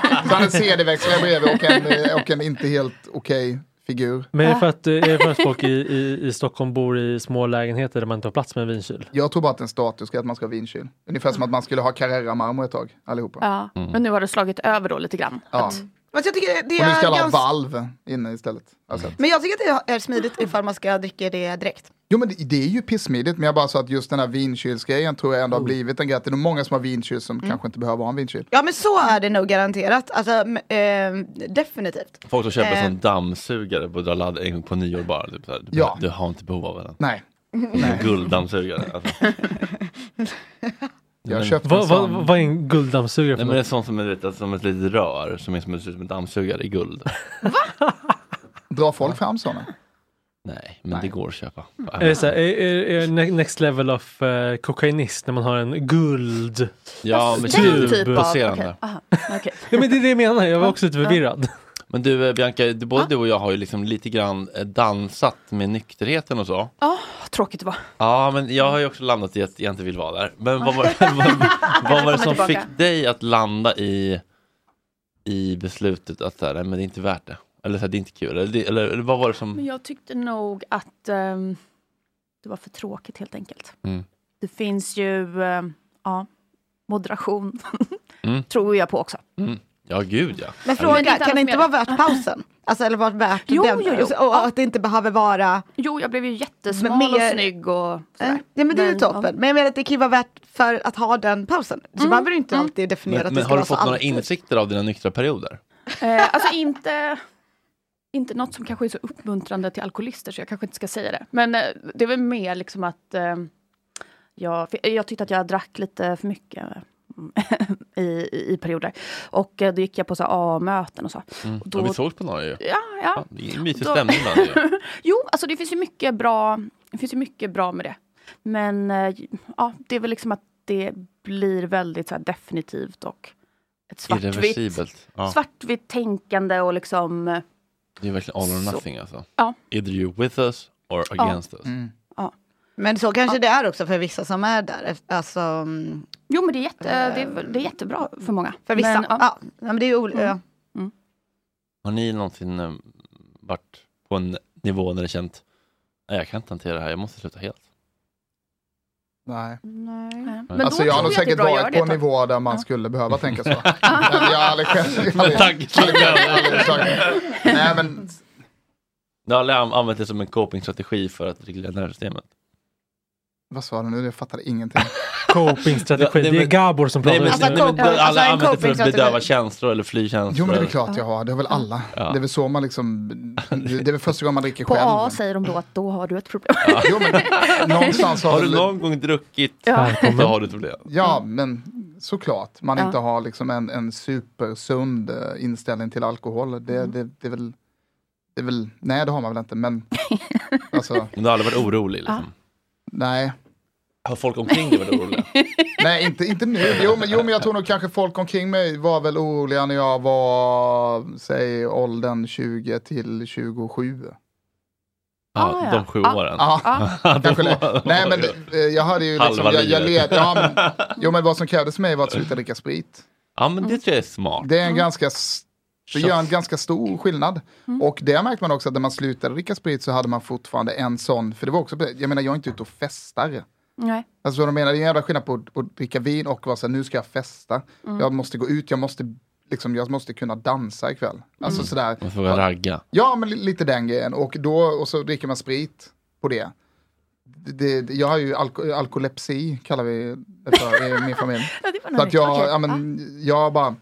Speaker 3: han har en CD-växlare bredvid och en, eh, och en inte helt okej figur.
Speaker 5: Men är det för att, eh, är det för att folk i, i, i Stockholm bor i små lägenheter där man inte har plats med en vinkyl?
Speaker 3: Jag tror bara att en status är att man ska ha vinkyl. Ungefär som att man skulle ha Carrera-marmor ett tag, allihopa.
Speaker 2: ja.
Speaker 1: Mm.
Speaker 2: Men nu har det slagit över då lite grann.
Speaker 3: Ja.
Speaker 4: Men jag tycker det
Speaker 3: Och nu
Speaker 4: är
Speaker 3: ska alla ha
Speaker 4: ganska...
Speaker 3: valv inne istället. Alltså.
Speaker 5: Mm.
Speaker 4: Men jag tycker att det är smidigt ifall man ska dricka det direkt.
Speaker 3: Jo men det, det är ju pissmidigt, men jag bara sa att just den här vinkylsgrejen tror jag ändå
Speaker 5: Oh.
Speaker 3: har blivit en grej. Att Det är nog många som har vinkyl som
Speaker 2: Mm.
Speaker 3: kanske inte behöver ha en vinkyl.
Speaker 4: Ja men så är det nog garanterat. Alltså, m- ehm, definitivt.
Speaker 1: Folk som köper
Speaker 4: Eh.
Speaker 1: sån dammsugare på Dalad en gång på nyår bara. Typ så här. Du,
Speaker 3: Ja.
Speaker 1: du har inte behov av den.
Speaker 3: Nej,
Speaker 1: En gulddammsugare. Alltså.
Speaker 3: jag har
Speaker 1: Men-
Speaker 3: köpt en
Speaker 5: Vad vad-
Speaker 3: sån.
Speaker 5: vad är en gulddammsugare
Speaker 1: Nej
Speaker 5: för
Speaker 1: men det är
Speaker 5: något?
Speaker 1: sånt som är vet, alltså, som ett litet rör som är som, som en dammsugare i guld.
Speaker 3: Drar folk fram såna?
Speaker 1: Nej, men det går att köpa.
Speaker 5: Är det så här, är, är, är ne- next level of eh, kokainist när man har en guld?
Speaker 1: Ja, men
Speaker 2: Den
Speaker 5: tub-
Speaker 2: typ av...
Speaker 1: tubbaserande.
Speaker 2: okej. Aha, okej.
Speaker 5: Ja, men det är det jag menar, jag var också lite förvirrad.
Speaker 1: Men du eh, Bianca, du, både du och jag har ju liksom lite grann eh, dansat med nykterheten och så.
Speaker 2: Ja, vad tråkigt det var.
Speaker 1: Ja, men jag har ju också landat i att jag inte vill vara där. Men vad var, vad, vad var det som
Speaker 2: tillbaka.
Speaker 1: fick dig att landa i, i beslutet att så här, nej, men det är inte värt det? Eller så här, det är inte kul? Eller, det- eller, eller vad var det
Speaker 2: Men
Speaker 1: som...
Speaker 2: jag tyckte nog att ehm, det var för tråkigt helt enkelt.
Speaker 1: Mm.
Speaker 2: Det finns ju, ehm, ja, moderation.
Speaker 1: Mm.
Speaker 2: Tror jag på också.
Speaker 1: Ja, gud
Speaker 4: Men
Speaker 1: ja.
Speaker 2: Men det är
Speaker 4: fråga,
Speaker 2: inte
Speaker 4: kan det
Speaker 2: annat
Speaker 4: inte
Speaker 2: mer.
Speaker 4: vara värt pausen? Alltså eller vara värt
Speaker 2: Jo,
Speaker 4: den?
Speaker 2: jo, jo.
Speaker 4: Och, och att det inte behöver vara...
Speaker 2: Jo, jag blev ju jättesmal
Speaker 4: Men mer-
Speaker 2: och snygg och sådär.
Speaker 4: Ja men det är ju
Speaker 2: Men,
Speaker 4: toppen.
Speaker 2: ja.
Speaker 4: Men jag menar att det kan ju vara värt för att ha den pausen. Så behöver du inte alltid definiera
Speaker 1: Men,
Speaker 4: att det
Speaker 1: men
Speaker 4: ska
Speaker 1: har du
Speaker 4: vara så
Speaker 1: fått några
Speaker 4: alltid.
Speaker 1: insikter av dina nyktra perioder?
Speaker 2: Eh, alltså inte, inte något som kanske är så uppmuntrande till alkoholister, så jag kanske inte ska säga det. Men eh, det var mer liksom att eh, jag, för jag tyckte att jag drack lite för mycket eh, i, i, i perioder. Och eh, då gick jag på så här A-möten och så. Och
Speaker 1: Ja,
Speaker 2: då,
Speaker 1: vi sågs på några ju.
Speaker 2: ja, ja.
Speaker 1: Ja, det är en mysig
Speaker 2: Då-
Speaker 1: stämning bland er ju.
Speaker 2: Jo, alltså det finns ju mycket bra, det finns ju mycket bra med det. Men eh, ja, det är väl liksom att det blir väldigt så här, definitivt och ett svartvitt,
Speaker 1: Irreversibelt. Ja,
Speaker 2: svartvitt tänkande och liksom... eh,
Speaker 1: det är verkligen all or
Speaker 2: Så.
Speaker 1: nothing alltså.
Speaker 2: Ja.
Speaker 1: Either you're with us or against us.
Speaker 3: Mm.
Speaker 4: Men så kanske det är också för vissa som är där. Alltså, mm,
Speaker 2: Jo, men det är, jätte,
Speaker 3: Eh,
Speaker 2: det, är, det är jättebra för många.
Speaker 4: för vissa.
Speaker 2: Men,
Speaker 4: ja.
Speaker 2: ja.
Speaker 4: Ja, men det är ju ol- ja.
Speaker 1: Har ni någonsin eh, varit på en nivå när ni känt nej, jag kan inte hantera det här, jag måste sluta helt?
Speaker 3: Nej.
Speaker 4: Nej.
Speaker 2: Men
Speaker 3: alltså
Speaker 2: då
Speaker 3: jag har
Speaker 2: tror
Speaker 3: nog
Speaker 2: jag att det är
Speaker 3: säkert
Speaker 2: bra att göra
Speaker 3: varit på en
Speaker 2: det.
Speaker 3: nivå där man skulle behöva tänka så. Men jag har aldrig själv... jag har aldrig-
Speaker 1: Tack!
Speaker 3: aldrig försökt. Nej men
Speaker 1: Ni har aldrig an- använt det som en copingstrategi för att reglera nervsystemet?
Speaker 3: vad sa du nu? Jag fattade ingenting.
Speaker 5: Copingstrategi.
Speaker 1: Nej,
Speaker 5: Det är
Speaker 1: men-
Speaker 5: Gabor som
Speaker 1: Nej
Speaker 5: pratar
Speaker 1: men,
Speaker 5: just
Speaker 4: Alltså,
Speaker 1: nej,
Speaker 5: nu.
Speaker 1: men
Speaker 4: coping-
Speaker 1: alla
Speaker 4: alltså, en
Speaker 1: använder det för att
Speaker 4: copingstrategi.
Speaker 1: bedöva känslor eller fly känslor.
Speaker 3: Jo men det är väl klart jag har, det har väl alla.
Speaker 1: Ja.
Speaker 3: Det är väl så man liksom, det det är väl första gången man dricker
Speaker 2: På
Speaker 3: själv.
Speaker 2: A säger de då att då har du ett problem.
Speaker 3: Jo, men, någonstans har,
Speaker 1: Har du
Speaker 3: väl-
Speaker 1: någon gång druckit?
Speaker 5: Välkommen.
Speaker 1: Då har du ett problem.
Speaker 3: Ja, men såklart. Man
Speaker 2: Ja.
Speaker 3: inte har liksom en, en supersund eh, inställning till alkohol. Det,
Speaker 2: Mm.
Speaker 3: det, det, är väl, det är väl... Nej, det har man väl inte, men... alltså,
Speaker 1: Men du har aldrig varit orolig liksom?
Speaker 3: nej.
Speaker 1: Har folk omkring dig varit oroliga?
Speaker 3: Nej, inte, inte nu. Jo men, jo, men jag tror nog kanske folk omkring mig var väl oroliga när jag var, säg, åldern 20 till 27.
Speaker 1: Ja,
Speaker 2: Ah, ja.
Speaker 1: de sju
Speaker 2: Ah,
Speaker 1: åren.
Speaker 3: Ja,
Speaker 2: Ja,
Speaker 1: De
Speaker 3: kanske
Speaker 1: var-
Speaker 3: det. Nej, men eh, jag hade ju liksom...
Speaker 1: Halva
Speaker 3: Jag, jag led,
Speaker 1: livet.
Speaker 3: ja, men, jo, men vad som krävdes för mig var att sluta dricka sprit.
Speaker 1: Ja, men det tror jag är smart.
Speaker 3: Det är en ganska s- Det gör en ganska stor skillnad. Och det märkte man också att när man slutade dricka sprit så hade man fortfarande en sån, för det var också, jag menar jag är inte ute och festar.
Speaker 2: nej.
Speaker 3: Alltså vad de menar, det är en jävla skillnad på att, att dricka vin och vara så här, nu ska jag festa.
Speaker 2: Mm.
Speaker 3: Jag måste gå ut, jag måste, liksom, jag måste kunna dansa ikväll. Alltså
Speaker 2: Mm.
Speaker 3: sådär.
Speaker 1: Man får börja ragga.
Speaker 3: Ja, men li- lite den grejen. Och, då, och så dricker man sprit på det. det, det jag har ju alko, alkolepsi, kallar vi det för i min familj.
Speaker 2: Ja, det var något
Speaker 3: Så att
Speaker 2: nytt.
Speaker 3: jag,
Speaker 2: Okej. Ah.
Speaker 3: ja, men, jag bara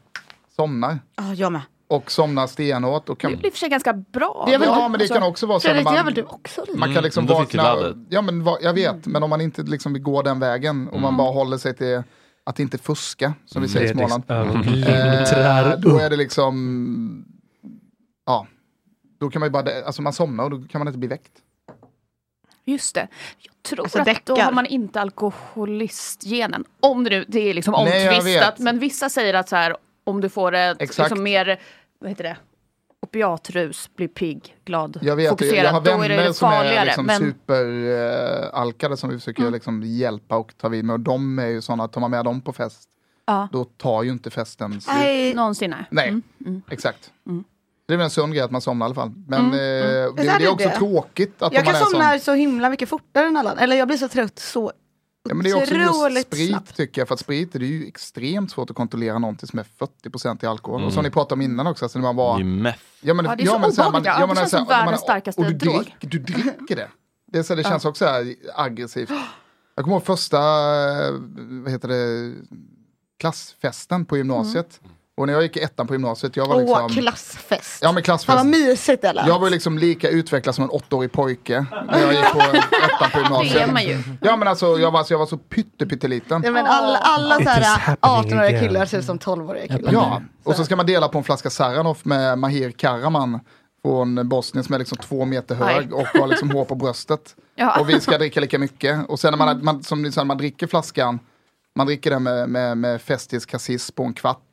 Speaker 3: somnar.
Speaker 4: Ja, jag med.
Speaker 3: Och somnar stenhårt. Och kan,
Speaker 2: Det blir i och för sig ganska bra.
Speaker 3: Ja,
Speaker 2: då.
Speaker 3: men,
Speaker 2: Alltså,
Speaker 3: ja, men det kan också vara så
Speaker 4: Fredrik,
Speaker 3: att
Speaker 4: det är väl
Speaker 2: typ
Speaker 3: man,
Speaker 4: du också? Lina?
Speaker 3: man kan liksom
Speaker 1: Mm, då finns det
Speaker 3: vakna.
Speaker 1: laddet.
Speaker 3: Ja, men va, jag vet, men om man inte liksom går den vägen och
Speaker 1: Mm.
Speaker 3: man bara håller sig till att inte fuska, som vi säger i Småland.
Speaker 5: Fredriks ögon glitrar
Speaker 3: Eh, då
Speaker 5: upp.
Speaker 3: är det liksom, ja, då kan man ju bara, alltså man somnar och då kan man inte bli väckt.
Speaker 2: Just det. Jag tror
Speaker 4: Alltså,
Speaker 2: att då
Speaker 4: däckar.
Speaker 2: har man inte alkoholistgenen. Om det nu, det är liksom
Speaker 3: Nej, jag
Speaker 2: omtvistat.
Speaker 3: vet.
Speaker 2: Men vissa säger att så här, om du får ett
Speaker 3: Exakt.
Speaker 2: liksom mer, vad heter det? opiatrus, blir pigg, glad,
Speaker 3: Jag vet,
Speaker 2: fokuserad.
Speaker 3: jag har
Speaker 2: då är
Speaker 3: vänner
Speaker 2: det
Speaker 3: som är
Speaker 2: farligare.
Speaker 3: liksom
Speaker 2: men Mm.
Speaker 3: superalkade som vi försöker liksom hjälpa och ta vid med. Och de är ju sådana, tar man med dem på fest,
Speaker 2: Ja.
Speaker 3: då tar ju inte festen slut.
Speaker 4: Nej.
Speaker 2: någonsin Mm. nej.
Speaker 3: Nej, exakt.
Speaker 2: Mm.
Speaker 3: Det är väl en sund grej att man somnar i alla fall. Men eh, det, det
Speaker 4: är
Speaker 3: är
Speaker 4: det
Speaker 3: också
Speaker 4: det.
Speaker 3: tråkigt att
Speaker 4: Jag kan
Speaker 3: om man är en sån.
Speaker 4: somna så himla mycket fortare än alla. Eller jag blir så trött så
Speaker 3: Ja, men det är också just
Speaker 4: otroligt
Speaker 3: sprit
Speaker 4: snabbt.
Speaker 3: tycker jag. För att sprit är det ju extremt svårt att kontrollera någonting som är 40% i alkohol. Och som ni pratade om innan också, alltså när man
Speaker 1: Det
Speaker 3: var...
Speaker 1: är meth.
Speaker 3: Ja, men,
Speaker 2: Ja, det är så
Speaker 3: här,
Speaker 2: obehagligt. Ja,
Speaker 3: ja,
Speaker 2: det känns
Speaker 3: så
Speaker 2: som
Speaker 3: här, när man-
Speaker 2: världens starkaste
Speaker 3: och du
Speaker 2: drog.
Speaker 3: drick- Du dricker det. Det, är så här, det känns också så här aggressivt. Jag kommer ihåg första, eh, vad heter det, klassfesten på gymnasiet.
Speaker 2: Mm.
Speaker 3: Och när jag gick i ettan på gymnasiet, jag var liksom...
Speaker 4: Åh, klassfest.
Speaker 3: Ja men
Speaker 4: Fan
Speaker 3: klassfest.
Speaker 4: vad mysigt eller?
Speaker 3: Jag var ju liksom lika utvecklad som en åttaårig pojke när jag gick på ettan på
Speaker 2: Det är man
Speaker 3: gymnasiet.
Speaker 2: ju.
Speaker 3: Ja men alltså jag var, alltså, jag var så pytte-
Speaker 4: Ja,
Speaker 3: pytteliten.
Speaker 4: men alla, alla
Speaker 5: It
Speaker 4: så
Speaker 5: is
Speaker 4: här
Speaker 5: happening
Speaker 4: 18-åriga
Speaker 5: again.
Speaker 4: killar ser ut som 12-åriga killar.
Speaker 3: Ja, och så ska man dela på en flaska Saranoff med Mahir Karaman från Bosnien som är liksom två meter hög och har liksom hår på bröstet.
Speaker 2: Ja.
Speaker 3: Och vi ska dricka lika mycket. Och sen när man, man, som ni sa, man dricker flaskan, man dricker den med, med, med Festis Cassis på en kvart.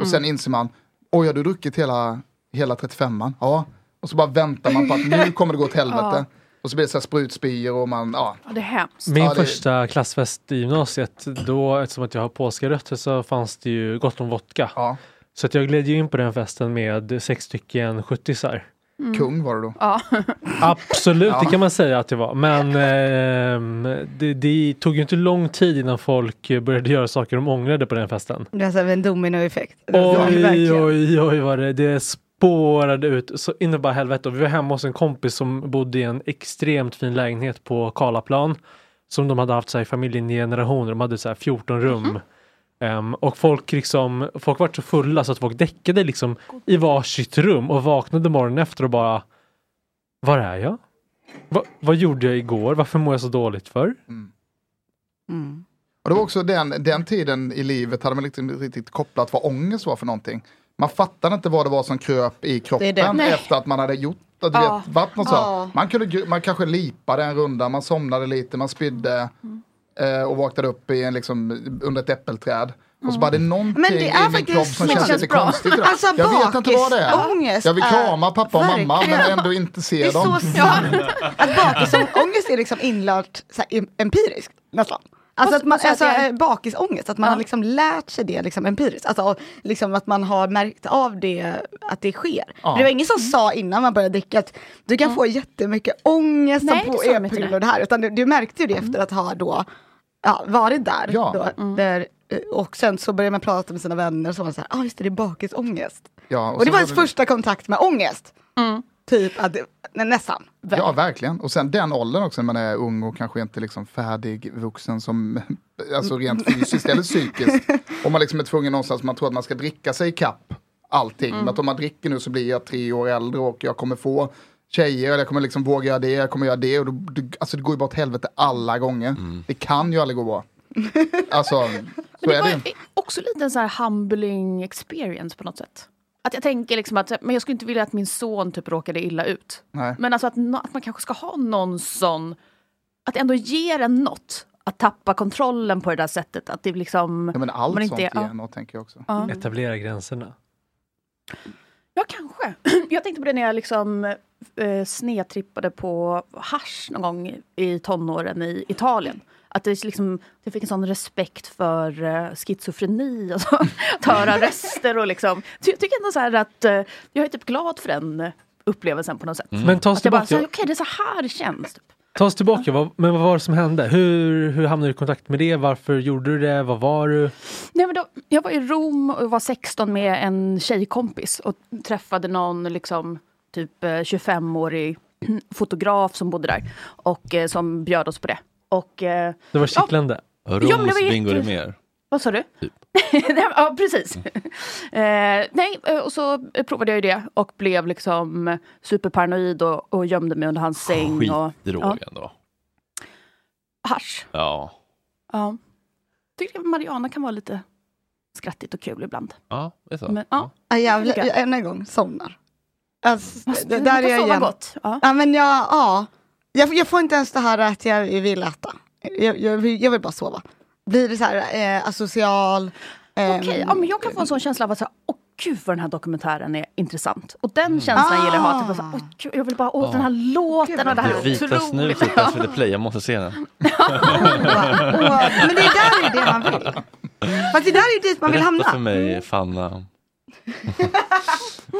Speaker 3: Och sen inser man, oj har du druckit hela, hela 35an? Ja. Och så bara väntar man på att nu kommer det gå åt helvete. Och så blir det så här sprutspyor och man, ja.
Speaker 2: Ja, det är hemskt.
Speaker 5: Min
Speaker 3: Ja, det-
Speaker 5: första klassfest i gymnasiet, då eftersom att jag har polska rötter så fanns det ju gott om vodka.
Speaker 3: ja.
Speaker 5: Så att jag gled ju in på den festen med sex stycken 70
Speaker 3: Kung var du då.
Speaker 5: Absolut, det
Speaker 3: Ja.
Speaker 5: kan man säga att det var. Men ehm, det, det tog ju inte lång tid innan folk började göra saker de ångrade på den festen.
Speaker 4: Det är så här en dominoeffekt.
Speaker 5: Oj,
Speaker 4: verkligen.
Speaker 5: oj, oj vad det, det spårade ut så in i bara helvete. Och vi var hemma hos en kompis som bodde i en extremt fin lägenhet på Karlaplan. Som de hade haft så här i familjen i generationer. De hade så här 14 rum. Ehm, och folk liksom, folk var så fulla så att folk däckade liksom i varsitt rum och vaknade morgonen efter och bara Var är jag? Va, vad gjorde jag igår? Varför mår jag så dåligt för?
Speaker 4: Mm.
Speaker 3: Och det var också den, den tiden i livet hade man liksom inte riktigt kopplat vad ångest var för någonting. Man fattade inte vad det var som kröp i
Speaker 4: Det är det.
Speaker 3: kroppen
Speaker 4: Nej.
Speaker 3: efter att man hade gjort att du
Speaker 2: Ja.
Speaker 3: vet, vatten och så.
Speaker 4: Ja.
Speaker 3: Man, kunde, gr- man kanske lipade en runda, man somnade lite, man spydde. eh, och vaknade upp i en, liksom, under ett äppelträd. Och så bara, det är någonting
Speaker 4: Mm. Men det är
Speaker 3: i min kropp
Speaker 4: faktiskt
Speaker 3: som känns lite konstigt idag.
Speaker 4: Alltså
Speaker 3: Jag vet inte vad det är.
Speaker 4: bakisångest
Speaker 3: Jag vill
Speaker 4: är-
Speaker 3: krama pappa och mamma men
Speaker 4: Verkligen.
Speaker 3: ändå inte
Speaker 4: Det
Speaker 3: se
Speaker 4: är
Speaker 3: dem.
Speaker 4: så sant att bakisångest är liksom inlärt så här, em- empiriskt nästan. Alltså,
Speaker 2: Vad-
Speaker 4: att man,
Speaker 2: vad sa
Speaker 4: alltså
Speaker 2: jag att jag-
Speaker 4: eh, bakisångest, att man
Speaker 2: Ja.
Speaker 4: har liksom lärt sig det liksom empiriskt. Alltså, och liksom att man har märkt av det, att det sker.
Speaker 3: Ja.
Speaker 4: Det var ingen som
Speaker 2: Mm.
Speaker 4: sa innan man började dricka att du kan få jättemycket ångest
Speaker 2: Nej,
Speaker 4: av
Speaker 2: det
Speaker 4: på
Speaker 2: sa de inte Mm.
Speaker 4: e-piller
Speaker 2: det.
Speaker 4: och det här. Utan du, du märkte ju det efter att ha då, ja, varit där.
Speaker 3: Ja.
Speaker 4: Då,
Speaker 2: Mm.
Speaker 4: där eh, och sen så började man prata med sina vänner och så var det så här, ja ah, just det, det är bakisångest.
Speaker 3: Ja,
Speaker 4: Och det
Speaker 3: sen
Speaker 4: var ens första kontakt med ångest.
Speaker 2: Mm.
Speaker 4: Typ att, nej, nästan.
Speaker 3: Ja, verkligen. Och sen den åldern också, när man är ung och kanske inte liksom färdig vuxen som, alltså rent fysiskt eller psykiskt. Om man liksom är tvungen någonstans, man tror att man ska dricka sig i kapp allting.
Speaker 2: Mm.
Speaker 3: Men att om man dricker nu så blir jag tre år äldre och jag kommer få tjejer, eller jag kommer liksom våga göra det, jag kommer göra det. Och då, det alltså det går ju bara åt helvete alla gånger. Det kan ju aldrig gå bra. Alltså, så
Speaker 2: Men det
Speaker 3: är
Speaker 2: var
Speaker 3: det ju.
Speaker 2: också lite en så här humbling experience på något sätt. Att jag tänker liksom att men jag skulle inte vilja att min son typ råkade illa ut.
Speaker 3: Nej.
Speaker 2: Men alltså att, nå- att man kanske ska ha någon sån, att det ändå ger en något. Att tappa kontrollen på det där sättet. Att det liksom,
Speaker 3: Ja, men allt
Speaker 2: Men inte-
Speaker 3: sånt
Speaker 2: ja.
Speaker 3: ger något, tänker jag också.
Speaker 2: ja.
Speaker 5: Etablera gränserna.
Speaker 2: Ja, kanske. Jag tänkte på det när jag liksom eh, snedtrippade på hasch någon gång i tonåren i Italien. Att det liksom, jag fick en sån respekt för eh, schizofreni och så. Att höra rester och liksom. Så jag tycker ändå så här att eh, jag är typ glad för den eh, upplevelsen på något sätt.
Speaker 5: Mm. Men ta oss
Speaker 2: Att jag bara,
Speaker 5: tillbaka,
Speaker 2: så här, okej det är så här det känns. Typ.
Speaker 5: ta oss tillbaka. Vad, men vad var det som hände? Hur, hur hamnade du i kontakt med det? Varför gjorde du det? Vad var du?
Speaker 2: Nej, men då, jag var i Rom och var 16 med en tjejkompis och träffade någon liksom, typ eh, 25-årig fotograf som bodde där och eh, som bjöd oss på det. Och eh,
Speaker 5: Det var kittlande.
Speaker 2: men det var
Speaker 1: Ros, bingo
Speaker 2: jätte-
Speaker 1: det mer.
Speaker 2: vad sa du?
Speaker 1: Typ. Mm.
Speaker 2: Nej, ja, precis. Eh, nej, eh, och så provade jag ju det och blev liksom superparanoid och, och gömde mig under hans säng. och
Speaker 1: Skitdrog
Speaker 2: ja.
Speaker 1: ändå.
Speaker 2: Hasch.
Speaker 1: Ja.
Speaker 2: Ja. Tycker att Mariana kan vara lite skrattigt och kul ibland.
Speaker 1: Ja, det är så.
Speaker 2: Men, ja.
Speaker 4: Ja, jävla,
Speaker 2: Olika.
Speaker 4: jag, än en gång, somnar. Alltså,
Speaker 2: Fast
Speaker 4: det,
Speaker 2: man
Speaker 4: där
Speaker 2: kan
Speaker 4: är jag
Speaker 2: sova
Speaker 4: igen.
Speaker 2: gott. Ja.
Speaker 4: Ja, men jag, ja. Jag, jag får inte ens det här att jag vill äta. Jag, jag, vill- jag vill bara sova. Blir det så här eh, asocial? ehm,
Speaker 2: Okej, ja, men jag kan få en sån känsla av att säga, åh gud vad den här dokumentären är intressant. Och den känslan gillar jag att ha. Typ, bara så här, åh, gud, jag vill bara, åh den här låten och det här
Speaker 1: Det vita
Speaker 2: otroliga.
Speaker 1: snuset på SVT Play, jag måste se den.
Speaker 4: bara, åh, men det där är det man vill. Fast det där är dit man vill
Speaker 1: Berätta för
Speaker 4: hamna.
Speaker 1: mig, Fanna.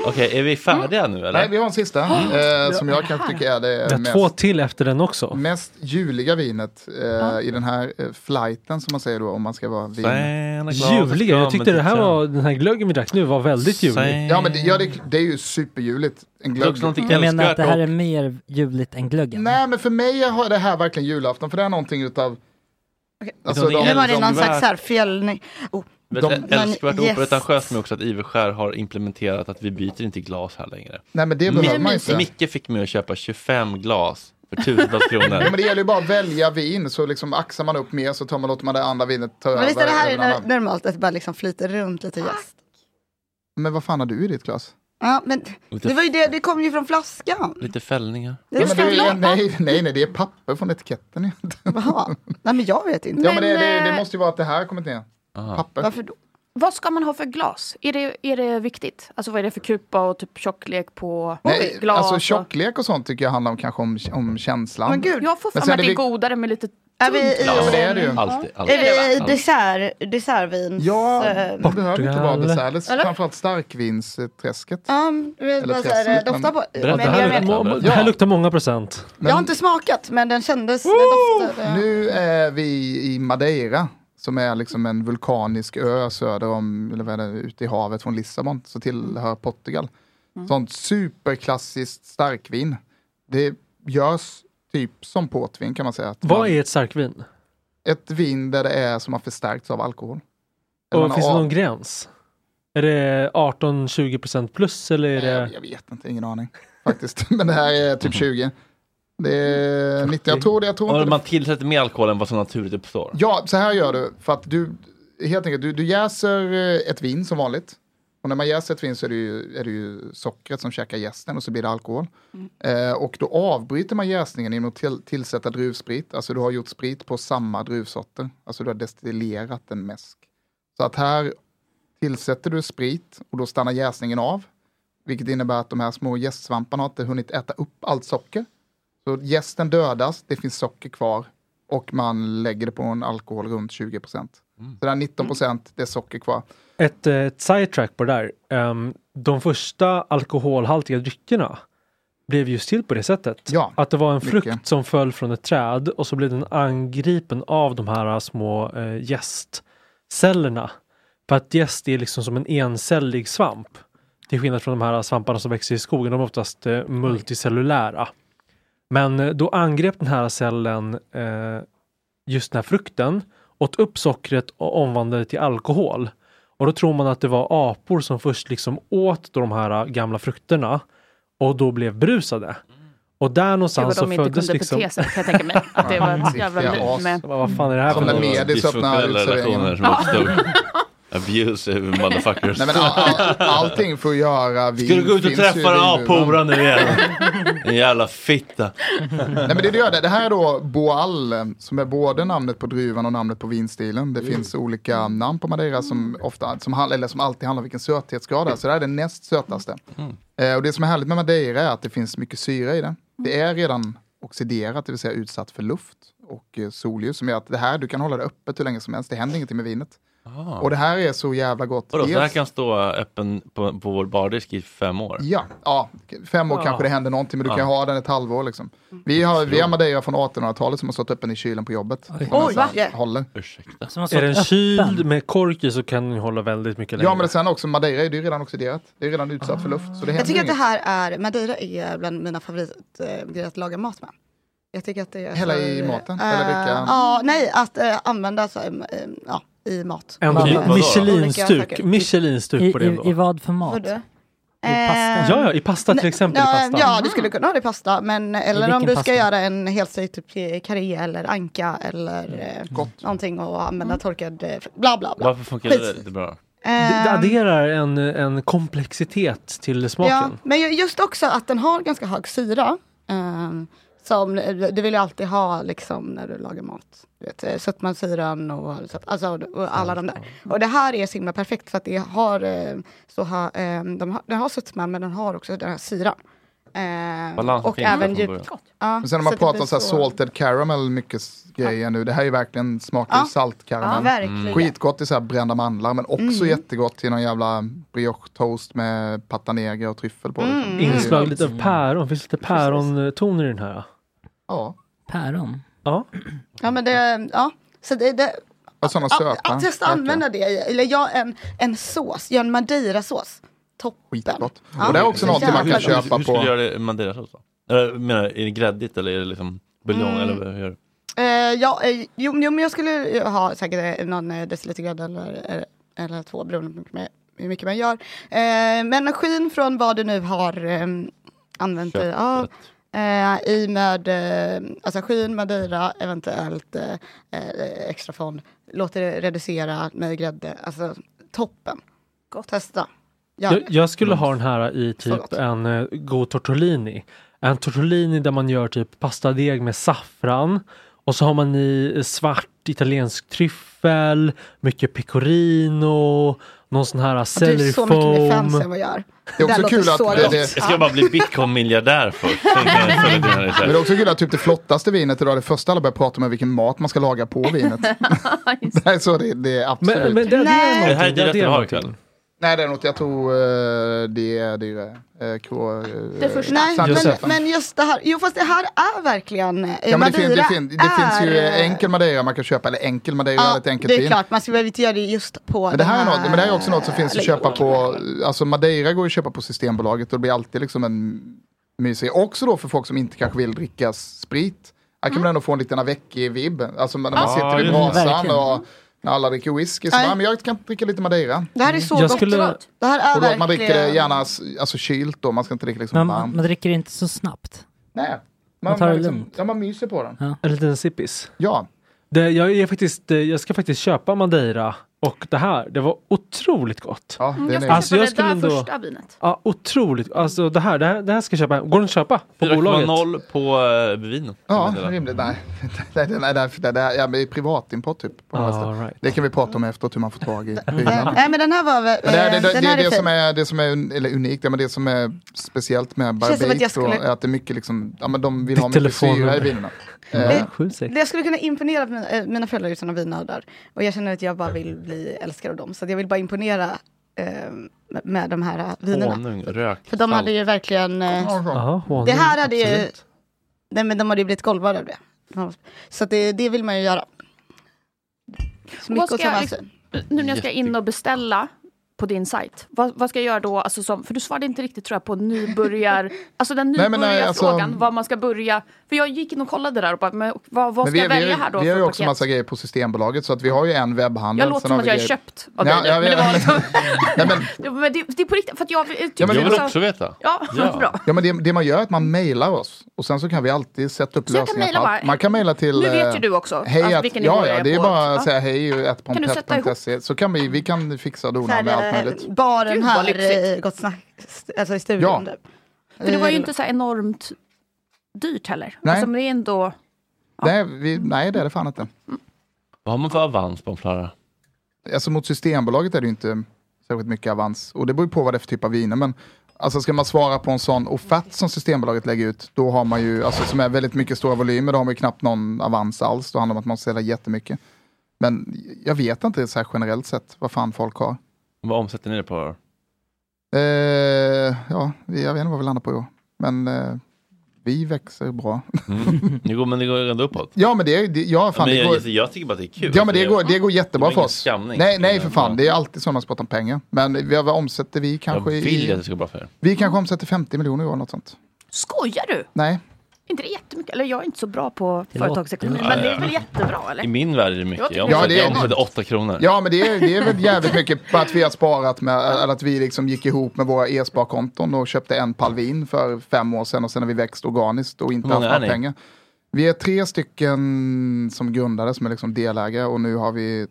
Speaker 1: Okej, är vi färdiga nu eller?
Speaker 3: Nej, vi har en sista eh, som jag kan tycka är
Speaker 5: Vi
Speaker 3: det
Speaker 5: har två
Speaker 3: mest
Speaker 5: till efter den
Speaker 4: Mm.
Speaker 5: också.
Speaker 3: mest juliga vinet eh, i den här eh, flighten som man säger då om man ska vara vin.
Speaker 1: Santa Claus
Speaker 5: Juliga. Jag
Speaker 1: kommer
Speaker 5: tyckte det här
Speaker 1: till
Speaker 5: var, den här glöggen vi drack nu var väldigt julig.
Speaker 1: Santa-
Speaker 3: Ja men det, ja, det, det är ju superjuligt. En
Speaker 1: Det är
Speaker 3: glögg.
Speaker 1: också någonting
Speaker 6: Jag menar att
Speaker 1: älskvärt
Speaker 6: det här
Speaker 1: och
Speaker 6: är mer ljuvligt än glöggen.
Speaker 3: Nej men för mig har det här verkligen julafton för det är någonting utav Alltså,
Speaker 1: Någonting
Speaker 4: Nu var det
Speaker 1: Som
Speaker 4: någon slags
Speaker 1: värld.
Speaker 4: så här fjällning. Oh,
Speaker 1: Vet
Speaker 3: De-
Speaker 1: du, älskvärt
Speaker 4: men- yes.
Speaker 1: yes. operetentiöst men också att Iverskär har implementerat att vi byter inte glas här längre.
Speaker 3: Nej men det behöver man inte.
Speaker 1: Micke fick mig att köpa 25 glas för tusentals kronor.
Speaker 3: Ja, men det gäller ju bara att välja vin så liksom axar man upp mer så tar man, låter man det andra vinet ta över.
Speaker 4: men visst är det här
Speaker 3: över
Speaker 4: är
Speaker 3: den
Speaker 4: nor-
Speaker 3: andra.
Speaker 4: normalt att det bara liksom flyter runt lite
Speaker 2: Ah.
Speaker 4: gäst?
Speaker 3: Men vad fan har du i ditt glas?
Speaker 4: Ja, men
Speaker 1: Lite-
Speaker 4: det, var ju det, det kom ju från flaskan.
Speaker 1: Lite fällningar.
Speaker 4: Det
Speaker 3: Ja, men det är,
Speaker 4: var-
Speaker 3: ju- nej, nej nej det är papper från etiketten. ju.
Speaker 4: Jaha. Nej men jag vet inte.
Speaker 3: Ja men det, det,
Speaker 2: Men,
Speaker 3: det
Speaker 2: eh,
Speaker 3: måste ju vara att det här har kommit ner.
Speaker 1: Aha.
Speaker 3: Papper.
Speaker 4: Varför då?
Speaker 2: Vad ska man ha för glas? Är det, är det viktigt? Alltså vad är det för kupa och typ tjocklek på
Speaker 3: Nej,
Speaker 2: glas?
Speaker 3: alltså
Speaker 2: och-
Speaker 3: tjocklek och sånt tycker jag handlar om kanske om, om känslan.
Speaker 4: Men gud.
Speaker 2: Jag får för
Speaker 3: Men sen
Speaker 2: mig att
Speaker 3: är
Speaker 2: det är
Speaker 3: vi-
Speaker 2: godare med lite
Speaker 4: Är vi i,
Speaker 3: Ja, men det är det ju.
Speaker 1: Alltid, alltid.
Speaker 4: är vi i
Speaker 1: va?
Speaker 4: dessert, dessertvins...
Speaker 3: Ja,
Speaker 2: Ehm.
Speaker 4: eh,
Speaker 3: det behöver inte vara
Speaker 5: Portugal.
Speaker 3: dessert. Det är Framförallt starkvinsträsket.
Speaker 4: Ja, vi
Speaker 3: Eller
Speaker 4: bara så här, eh,
Speaker 3: testet,
Speaker 4: dofta på.
Speaker 1: Berätta,
Speaker 4: Men
Speaker 5: Det
Speaker 4: jag,
Speaker 5: här,
Speaker 1: vet.
Speaker 4: vet-
Speaker 5: må- må- det här luktar många procent.
Speaker 4: jag har inte smakat men den kändes, den doftade.
Speaker 2: Ehm.
Speaker 3: Nu är vi i Madeira som är liksom en vulkanisk ö söder om, eller vad är det, ute i havet från Lissabon, så tillhör Portugal.
Speaker 2: Mm.
Speaker 3: Sånt superklassiskt starkvin. Det görs typ som portvin kan man säga. Att
Speaker 5: Vad
Speaker 3: man,
Speaker 5: är ett starkvin?
Speaker 3: Ett vin där det är som har förstärkts av alkohol. Eller man
Speaker 5: Och
Speaker 3: har
Speaker 5: finns det
Speaker 3: av-
Speaker 5: någon gräns? Är det 18-20 procent plus eller är
Speaker 3: Jag,
Speaker 5: det...
Speaker 3: jag vet inte, ingen aning faktiskt. Men det här är typ 20. Det är 90, jag tror det, jag tror inte
Speaker 1: Och
Speaker 3: det
Speaker 1: man tillsätter mer alkohol än vad som naturligt uppstår.
Speaker 3: Ja, så här gör du. För att du, helt enkelt, du, du jäser eh, ett vin som vanligt. Och när man jäser ett vin så är det, ju, är det ju sockret som käkar jästen och så blir det alkohol. Eh, och då avbryter man jäsningen genom att till, tillsätta druvsprit. Alltså du har gjort sprit på samma druvsorter. Alltså du har destillerat en mäsk. Så att här tillsätter du sprit och då stannar jäsningen av. Vilket innebär att de här små jästsvamparna har inte hunnit äta upp allt socker. Så jästen dödas, det finns socker kvar och man lägger det på en alkohol runt 20 procent.
Speaker 1: Mm.
Speaker 3: Så där 19 procent, det är socker kvar.
Speaker 5: Ett, eh, ett sidetrack på det där. Ehm, de första alkoholhaltiga dryckerna blev just till på det sättet.
Speaker 3: Ja,
Speaker 5: att det var en frukt
Speaker 3: mycket.
Speaker 5: som föll från ett träd och så blev den angripen av de här eh, små eh, gästcellerna. För att gäst är liksom som en encellig svamp. Till skillnad från de här svamparna som växer i skogen, de är oftast eh, multicellulära. Men eh, då angrep den här cellen eh, just den här frukten, åt upp sockret och omvandlade det till alkohol. Och då tror man att det var apor som först liksom åt de här äh, gamla frukterna och då blev brusade. Och där
Speaker 2: Det var
Speaker 5: någonstans så
Speaker 2: de inte
Speaker 5: Alltså, föddes
Speaker 2: kunde
Speaker 5: liksom...
Speaker 2: bete sig, kan jag tänka mig. Att det var ett jävla
Speaker 3: Ja,
Speaker 2: liv
Speaker 3: as.
Speaker 2: med...
Speaker 5: Vad vad fan är det här för
Speaker 3: Som när
Speaker 1: Mm.
Speaker 5: något?
Speaker 3: med- medis öppnar
Speaker 1: Dysfunktionella
Speaker 3: uteserveringen.
Speaker 1: relationer som uppstod. Abusive motherfuckers.
Speaker 3: Nej, men all, all, allting får göra vin.
Speaker 1: Ska du gå ut och
Speaker 3: finns ju i
Speaker 1: träffa en
Speaker 3: vinburen.
Speaker 1: apora nu igen? En jävla fitta.
Speaker 3: Nej men det är det, jag gör. det här är då Boal eh, som är både namnet på druvan och namnet på vinstilen.
Speaker 1: Mm.
Speaker 3: Det finns olika namn på Madeira som, ofta, som, handlar- eller som alltid handlar om vilken söthetsgrad det är. Så det här är den näst sötaste.
Speaker 1: Mm.
Speaker 3: Eh, och det som är härligt med Madeira är att det finns mycket syre i det. Det är redan oxiderat, det vill säga utsatt för luft och eh, solljus som gör att det här, du kan hålla det öppet hur länge som helst. Det händer ingenting med vinet. Och det här är så jävla gott.
Speaker 1: Ah. Vadå, så här
Speaker 3: Dels-
Speaker 1: kan stå öppen på, på vår bardisk i fem år?
Speaker 3: Ja, ja, fem år
Speaker 5: Ja.
Speaker 3: kanske det händer någonting, men du kan
Speaker 1: Ja.
Speaker 3: ju ha den ett halvår. Liksom. Vi har, vi har Madeira från 1800-talet som har stått öppen i kylen på jobbet.
Speaker 6: Oj.
Speaker 3: Som
Speaker 4: Oj,
Speaker 3: nästan
Speaker 4: va?
Speaker 3: håller.
Speaker 1: Ursäkta.
Speaker 6: Som har
Speaker 5: Är den
Speaker 6: stått öppen.
Speaker 5: kyld med kork i så kan den hålla väldigt mycket längre.
Speaker 3: Ja, men sen också Madeira är det ju redan oxiderat. Det är redan utsatt för luft. Så
Speaker 4: Jag
Speaker 3: det händer
Speaker 4: tycker att det
Speaker 3: inget.
Speaker 4: här är, Madeira är bland mina favoritgrejer att laga mat med. Jag tycker att det är
Speaker 3: Hälla
Speaker 4: så-
Speaker 3: i maten?
Speaker 4: Eh,
Speaker 3: Eller dricka?
Speaker 4: Ja, nej, att eh, använda så, em, em, ja, i mat.
Speaker 5: En
Speaker 6: Vadå?
Speaker 5: Mi-
Speaker 6: Vadå?
Speaker 4: Olika
Speaker 5: Michelinstuk,
Speaker 4: saker.
Speaker 5: Michelinstuk på
Speaker 6: I,
Speaker 5: det
Speaker 6: i, I
Speaker 5: då.
Speaker 6: vad för mat?
Speaker 4: Vadå? Eh,
Speaker 6: pasta.
Speaker 5: Ja, ja, i pasta till exempel. i
Speaker 4: Ja,
Speaker 5: pasta.
Speaker 4: ja, du skulle kunna ha det i pasta, men eller
Speaker 6: vilken
Speaker 4: om du ska
Speaker 6: pasta?
Speaker 4: göra en helstekt typ karré eller anka
Speaker 5: Mm.
Speaker 4: eller eh,
Speaker 3: Gott.
Speaker 4: någonting och använda torkad, eh, bla bla bla.
Speaker 1: Varför funkar det inte bra?
Speaker 5: Det, det
Speaker 4: Ehm,
Speaker 5: adderar en, en komplexitet till
Speaker 4: Ja,
Speaker 5: smaken.
Speaker 4: men ju- just också att den har ganska hög syra. ehm, som du vill ju alltid ha liksom, när du lagar mat. Du vet, eh, sötmansyran och, så att- alltså, och alla de där. Och det här är så himla perfekt för att det har, eh, så ha, ehm, de har, den har sötman men den har också den här syran. Ehm,
Speaker 1: Balansen
Speaker 4: och
Speaker 1: finns
Speaker 4: även
Speaker 1: där från
Speaker 4: djup...
Speaker 1: början.
Speaker 4: Ja,
Speaker 3: Men sen när
Speaker 4: så
Speaker 3: man
Speaker 4: det
Speaker 3: pratar
Speaker 4: blir
Speaker 3: om så här salted caramel, mycket s- grejer nu. Det här är ju verkligen smakar
Speaker 4: Ja.
Speaker 3: ju saltkaramell.
Speaker 4: Ja, Mm. verkligen. Mm.
Speaker 3: Skitgott i så här brända mandlar, men också jättegott till någon jävla brioche-toast med pata negra och tryffel på. Liksom.
Speaker 4: Mm.
Speaker 2: Mm.
Speaker 3: Det är ju-
Speaker 5: Inslag lite av päron, finns lite pärontoner i den här.
Speaker 3: Ja,
Speaker 6: Päron.
Speaker 5: Ja.
Speaker 4: Ja, men det, ja. Så det, det,
Speaker 3: och sådana
Speaker 4: ja,
Speaker 3: söta.
Speaker 4: ja, testa att
Speaker 3: verkligen.
Speaker 4: använda det i, eller ja, en, en sås, gör en madeirasås. Toppen.
Speaker 3: Skitgott.
Speaker 4: Ja.
Speaker 3: Och det är också
Speaker 4: Så
Speaker 3: någonting man
Speaker 4: jävla
Speaker 3: kan
Speaker 4: gott.
Speaker 1: hur,
Speaker 3: köpa
Speaker 1: hur skulle du
Speaker 3: på.
Speaker 1: göra det med deras sås då? Eller menar, är det gräddigt eller är det liksom buljong
Speaker 4: Mm.
Speaker 1: eller hur gör du?
Speaker 4: Eh, ja, eh, jo, jo, men jag skulle ju ha säkert eh, någon eh, deciliter grädde eller, eller, eller två beroende på hur mycket man- hur mycket man gör. Eh, men skinn från vad du nu har eh, använt dig av. Eh, I med eh, alltså skinn, madeira, eventuellt eh, eh, extra fond. Låter det reducera med grädde. Alltså toppen.
Speaker 2: Gott.
Speaker 4: Testa. Gör
Speaker 5: Jag,
Speaker 4: det.
Speaker 5: jag skulle ha
Speaker 1: Mm.
Speaker 5: den här i typ
Speaker 4: gott.
Speaker 5: en eh, god tortellini. En tortellini där man gör typ pastadeg med saffran och så har man i eh, svart italiensk tryffel, mycket pecorino, någon sån här
Speaker 4: Du är så mycket mer fancy än
Speaker 5: sellerifom.
Speaker 4: vad jag är.
Speaker 3: Det är
Speaker 4: där
Speaker 3: också
Speaker 4: låter
Speaker 3: kul att
Speaker 4: så
Speaker 3: det,
Speaker 4: gott.
Speaker 3: det,
Speaker 1: Jag ska bara bli bitcoin-miljardär först. Sen kan jag följa dina
Speaker 3: Men det är
Speaker 1: recept.
Speaker 3: också kul att typ det flottaste vinet idag, det första alla börjar prata om är vilken mat man ska laga på vinet. det här är så det, det är absolut.
Speaker 5: Men, men det, det
Speaker 4: Nej.
Speaker 5: är
Speaker 4: Det
Speaker 1: här är
Speaker 5: någonting.
Speaker 1: det vi har
Speaker 5: någonting.
Speaker 1: ikväll.
Speaker 3: Nej, det är något jag tror eh, det är dyrare. Eh, K, eh,
Speaker 2: Det första.
Speaker 4: Nej,
Speaker 3: San
Speaker 4: men,
Speaker 3: Josefan.
Speaker 4: men just det här. Jo, fast det här är verkligen... eh,
Speaker 3: Ja, men det, fin, det,
Speaker 4: Madeira
Speaker 3: fin, det finns ju
Speaker 4: är-
Speaker 3: eh, enkel madeira man kan köpa, eller enkel madeira, eller ett enkelt
Speaker 4: det är
Speaker 3: vin.
Speaker 4: klart. Man ska väl inte göra det just på
Speaker 3: Men det, här är något, men det här är också något som finns att
Speaker 4: Lägg på.
Speaker 3: köpa på, alltså Madeira går ju att köpa på Systembolaget och det blir alltid liksom en mysig, också då för folk som inte kanske vill dricka sprit. Här kan man ändå få en liten väckig vibb, alltså när man
Speaker 1: Ja,
Speaker 3: sitter vid
Speaker 1: just
Speaker 6: det.
Speaker 3: brasan
Speaker 6: Verkligen.
Speaker 3: och när alla dricker whisky, så
Speaker 4: Nej.
Speaker 3: bara, men jag kan dricka lite Madeira.
Speaker 4: Det här är så
Speaker 5: Mm. Jag
Speaker 4: gott.
Speaker 5: skulle-
Speaker 4: Gott. Det här är
Speaker 3: Och då
Speaker 4: verkligen...
Speaker 3: att man dricker det gärna s- alltså, kylt då, man ska inte dricka liksom
Speaker 6: Men man,
Speaker 3: varmt.
Speaker 6: man dricker inte så snabbt.
Speaker 3: Nej. Man,
Speaker 6: man tar det
Speaker 3: liksom-
Speaker 6: lugnt.
Speaker 3: Ja, man myser på den.
Speaker 5: En liten sippis.
Speaker 3: Ja,
Speaker 5: Det, jag, är faktiskt, eh, jag ska faktiskt köpa Madeira Och det här, det var otroligt gott.
Speaker 3: Ja,
Speaker 2: Mm,
Speaker 3: den
Speaker 2: jag
Speaker 3: är...
Speaker 2: skulle
Speaker 5: Alltså,
Speaker 2: alltså,
Speaker 5: jag
Speaker 2: det
Speaker 5: skulle
Speaker 2: där
Speaker 5: ändå-
Speaker 2: första vinet.
Speaker 5: Ja, otroligt. Alltså det här, det här, det här ska jag köpa. Går den att köpa på bolaget?
Speaker 1: 4,0 på eh, vin.
Speaker 3: Ja, rimligt. Nej, nej, nej, nej, nej, nej, nej ja, men det är privatimport typ. På de här ställena.
Speaker 5: All Ah, right.
Speaker 3: Det kan vi prata om efteråt hur man får tag i
Speaker 2: Mm.
Speaker 4: Eh,
Speaker 3: prylarna.
Speaker 4: Nej men den här var väl,
Speaker 3: Men det, här, det,
Speaker 4: eh,
Speaker 3: det,
Speaker 4: den
Speaker 3: det,
Speaker 4: här
Speaker 3: det,
Speaker 4: är
Speaker 3: som
Speaker 4: fin.
Speaker 3: är, det som är un- eller unikt, ja, men det som är speciellt med
Speaker 4: Känns som att
Speaker 3: Barbaik
Speaker 4: jag skulle-
Speaker 3: är att det är mycket liksom, ja men de vill
Speaker 5: Ditt
Speaker 3: ha mycket syra
Speaker 5: telefonnummer.
Speaker 3: i vinerna. Eh,
Speaker 2: Mm.
Speaker 5: Ja, sju, sex.
Speaker 4: Det Jag skulle kunna imponera mina, eh, mina föräldrar utan att vinnördar. Och jag känner att jag bara vill bli älskad av dem. Så att jag vill bara imponera eh, med- med de här eh, vinerna.
Speaker 1: Honung, rök,
Speaker 4: För de hade
Speaker 1: salt.
Speaker 4: ju verkligen... Eh,
Speaker 5: Ja, honung,
Speaker 4: Det här hade ju-
Speaker 5: absolut.
Speaker 4: nej men de hade ju blivit golvade av det. Så att det, det vill man ju göra. Så
Speaker 2: Vad
Speaker 4: mycket
Speaker 2: ska
Speaker 4: och samma
Speaker 2: jag- liksom Nu när jag ska in och beställa på din sajt, vad, vad ska jag göra då? Alltså som, för du svarade inte riktigt tror jag på nybörjar... Alltså den
Speaker 3: Nej, men,
Speaker 2: nybörjarfrågan,
Speaker 3: nej, alltså-
Speaker 2: vad man ska börja... För jag gick in och kollade där och bara, men, vad, vad
Speaker 3: Men
Speaker 2: ska
Speaker 3: vi,
Speaker 2: jag välja
Speaker 3: vi,
Speaker 2: här då
Speaker 3: vi har
Speaker 2: för
Speaker 3: ju också
Speaker 2: paket?
Speaker 3: massa grejer på Systembolaget så att vi har ju en webbhandel.
Speaker 2: Jag låter
Speaker 3: sen
Speaker 2: som
Speaker 3: har
Speaker 2: att
Speaker 3: vi
Speaker 2: jag är
Speaker 3: grejer-
Speaker 2: köpt av
Speaker 3: Ja,
Speaker 2: dig
Speaker 3: jag
Speaker 2: nu. Men det
Speaker 3: vet.
Speaker 2: var liksom...
Speaker 3: Nej, men,
Speaker 2: Ja, men det, det är på riktigt, för att jag tycker...
Speaker 3: men
Speaker 1: Jag vill
Speaker 2: alltså-
Speaker 1: också veta.
Speaker 2: Ja,
Speaker 1: Ja.
Speaker 2: bra.
Speaker 3: ja, men det, det man gör är att man mejlar oss och sen så kan vi alltid sätta upp
Speaker 2: Så jag kan
Speaker 3: lösningar. på
Speaker 2: mejla
Speaker 3: allt.
Speaker 2: bara-
Speaker 3: Man kan mejla till...
Speaker 2: Nu vet ju
Speaker 3: eh,
Speaker 2: du också
Speaker 3: Hej
Speaker 2: alltså,
Speaker 3: att-
Speaker 2: vilken nivå
Speaker 3: ja,
Speaker 2: jag
Speaker 3: ja, det är bara att
Speaker 2: Ja.
Speaker 3: säga hej ett
Speaker 2: Kan du sätta ihop? eh,
Speaker 3: pompettse så kan vi, vi kan fixa och dona med allt
Speaker 4: grejer.
Speaker 3: möjligt.
Speaker 4: Baren
Speaker 2: Gud, vad
Speaker 4: här,
Speaker 2: lyxigt.
Speaker 4: eh, Gott Snack, alltså i studion.
Speaker 3: Ja.
Speaker 4: typ.
Speaker 2: För det var ju
Speaker 4: Eh,
Speaker 2: inte så här enormt dyrt heller.
Speaker 3: Nej.
Speaker 2: Alltså, men det är ändå...
Speaker 3: Nej, vi, nej, det är det fan inte.
Speaker 1: Vad har man för avans på en Klara?
Speaker 3: Alltså mot Systembolaget är det ju inte särskilt mycket avans. Och det beror ju på vad det är för typ av viner. Men alltså ska man svara på en sån offert som Systembolaget lägger ut, då har man ju, alltså som är väldigt mycket stora volymer, då har man ju knappt någon avans alls. Då handlar det om att man säljer jättemycket. Men jag vet inte så här generellt sett vad fan folk har.
Speaker 1: Vad omsätter ni det på?
Speaker 3: Eh, ja, vi- jag vet inte vad vi landar på i år. Men eh, vi växer bra.
Speaker 1: Mm. det går, men det går ändå uppåt.
Speaker 3: Ja, men det, det, ja, fan,
Speaker 1: men
Speaker 3: det
Speaker 1: jag,
Speaker 3: går...
Speaker 1: jag, jag tycker bara att det är kul.
Speaker 3: Ja men
Speaker 1: För
Speaker 3: det går, det går
Speaker 1: var
Speaker 3: jättebra för
Speaker 1: ingen
Speaker 3: oss.
Speaker 1: skamning.
Speaker 3: Nej, nej för
Speaker 1: Men-
Speaker 3: fan. Det är alltid så när man pratar om pengar. Men vi, vad omsätter vi
Speaker 1: Jag
Speaker 3: kanske
Speaker 1: vill att
Speaker 3: i...
Speaker 1: det ska gå bra för er.
Speaker 3: Vi kanske omsätter 50 miljoner i år, något sånt.
Speaker 2: Skojar du?
Speaker 3: Nej,
Speaker 2: Inte det jättemycket? Eller jag är inte så bra på
Speaker 6: Det låter-
Speaker 2: företagsekonomi,
Speaker 6: det
Speaker 1: låter-
Speaker 2: men det är väl jättebra?
Speaker 1: I
Speaker 2: Eller?
Speaker 1: min värld är det mycket. Jag
Speaker 2: Ja,
Speaker 1: omsätter,
Speaker 3: det är
Speaker 1: jag omsätter 8 kronor.
Speaker 3: ja men det är, det är väl jävligt mycket på att vi har sparat med, eller att vi liksom gick ihop med våra e-sparkonton och köpte en palvin för fem år sedan och sen har vi växt organiskt och inte
Speaker 1: Hur
Speaker 3: haft
Speaker 1: många
Speaker 3: några
Speaker 1: är ni?
Speaker 3: pengar. Vi är tre stycken som grundade, som är liksom delägare och nu har vi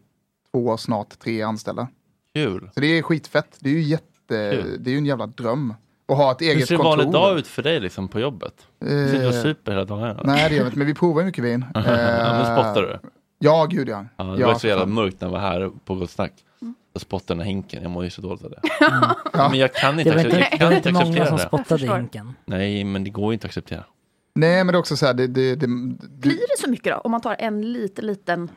Speaker 3: två, snart tre anställda.
Speaker 1: Kul.
Speaker 3: Så det är skitfett. Det är ju jätte,
Speaker 1: Kul.
Speaker 3: det är ju en jävla dröm. Att ha ett
Speaker 1: Hur
Speaker 3: eget
Speaker 1: ser en
Speaker 3: kontor.
Speaker 1: vanlig dag ut för dig liksom, på jobbet?
Speaker 3: Eh,
Speaker 1: Sitter du och super hela dagarna?
Speaker 3: Nej, det gör vi inte, men vi provar ju mycket vin. Eh,
Speaker 1: ja, men spottar du?
Speaker 3: Ja, gud ja.
Speaker 1: Ja, det
Speaker 3: Ja,
Speaker 1: var ju så jävla
Speaker 3: fan.
Speaker 1: mörkt när jag var här på Gott Snack. Jag spottade den här hinken, jag mår ju så dåligt av det. Men jag kan inte,
Speaker 6: Det var
Speaker 1: accep-
Speaker 6: inte,
Speaker 1: jag
Speaker 6: det
Speaker 1: kan
Speaker 6: var
Speaker 1: inte
Speaker 6: inte många
Speaker 1: acceptera
Speaker 6: som
Speaker 1: det.
Speaker 6: spottade i
Speaker 2: förstår.
Speaker 6: hinken.
Speaker 1: Nej, men det går ju inte att acceptera.
Speaker 3: Nej, men det är också så här, det, det, det,
Speaker 2: Blir
Speaker 3: du,
Speaker 2: det så mycket då? Om man tar en liten, liten...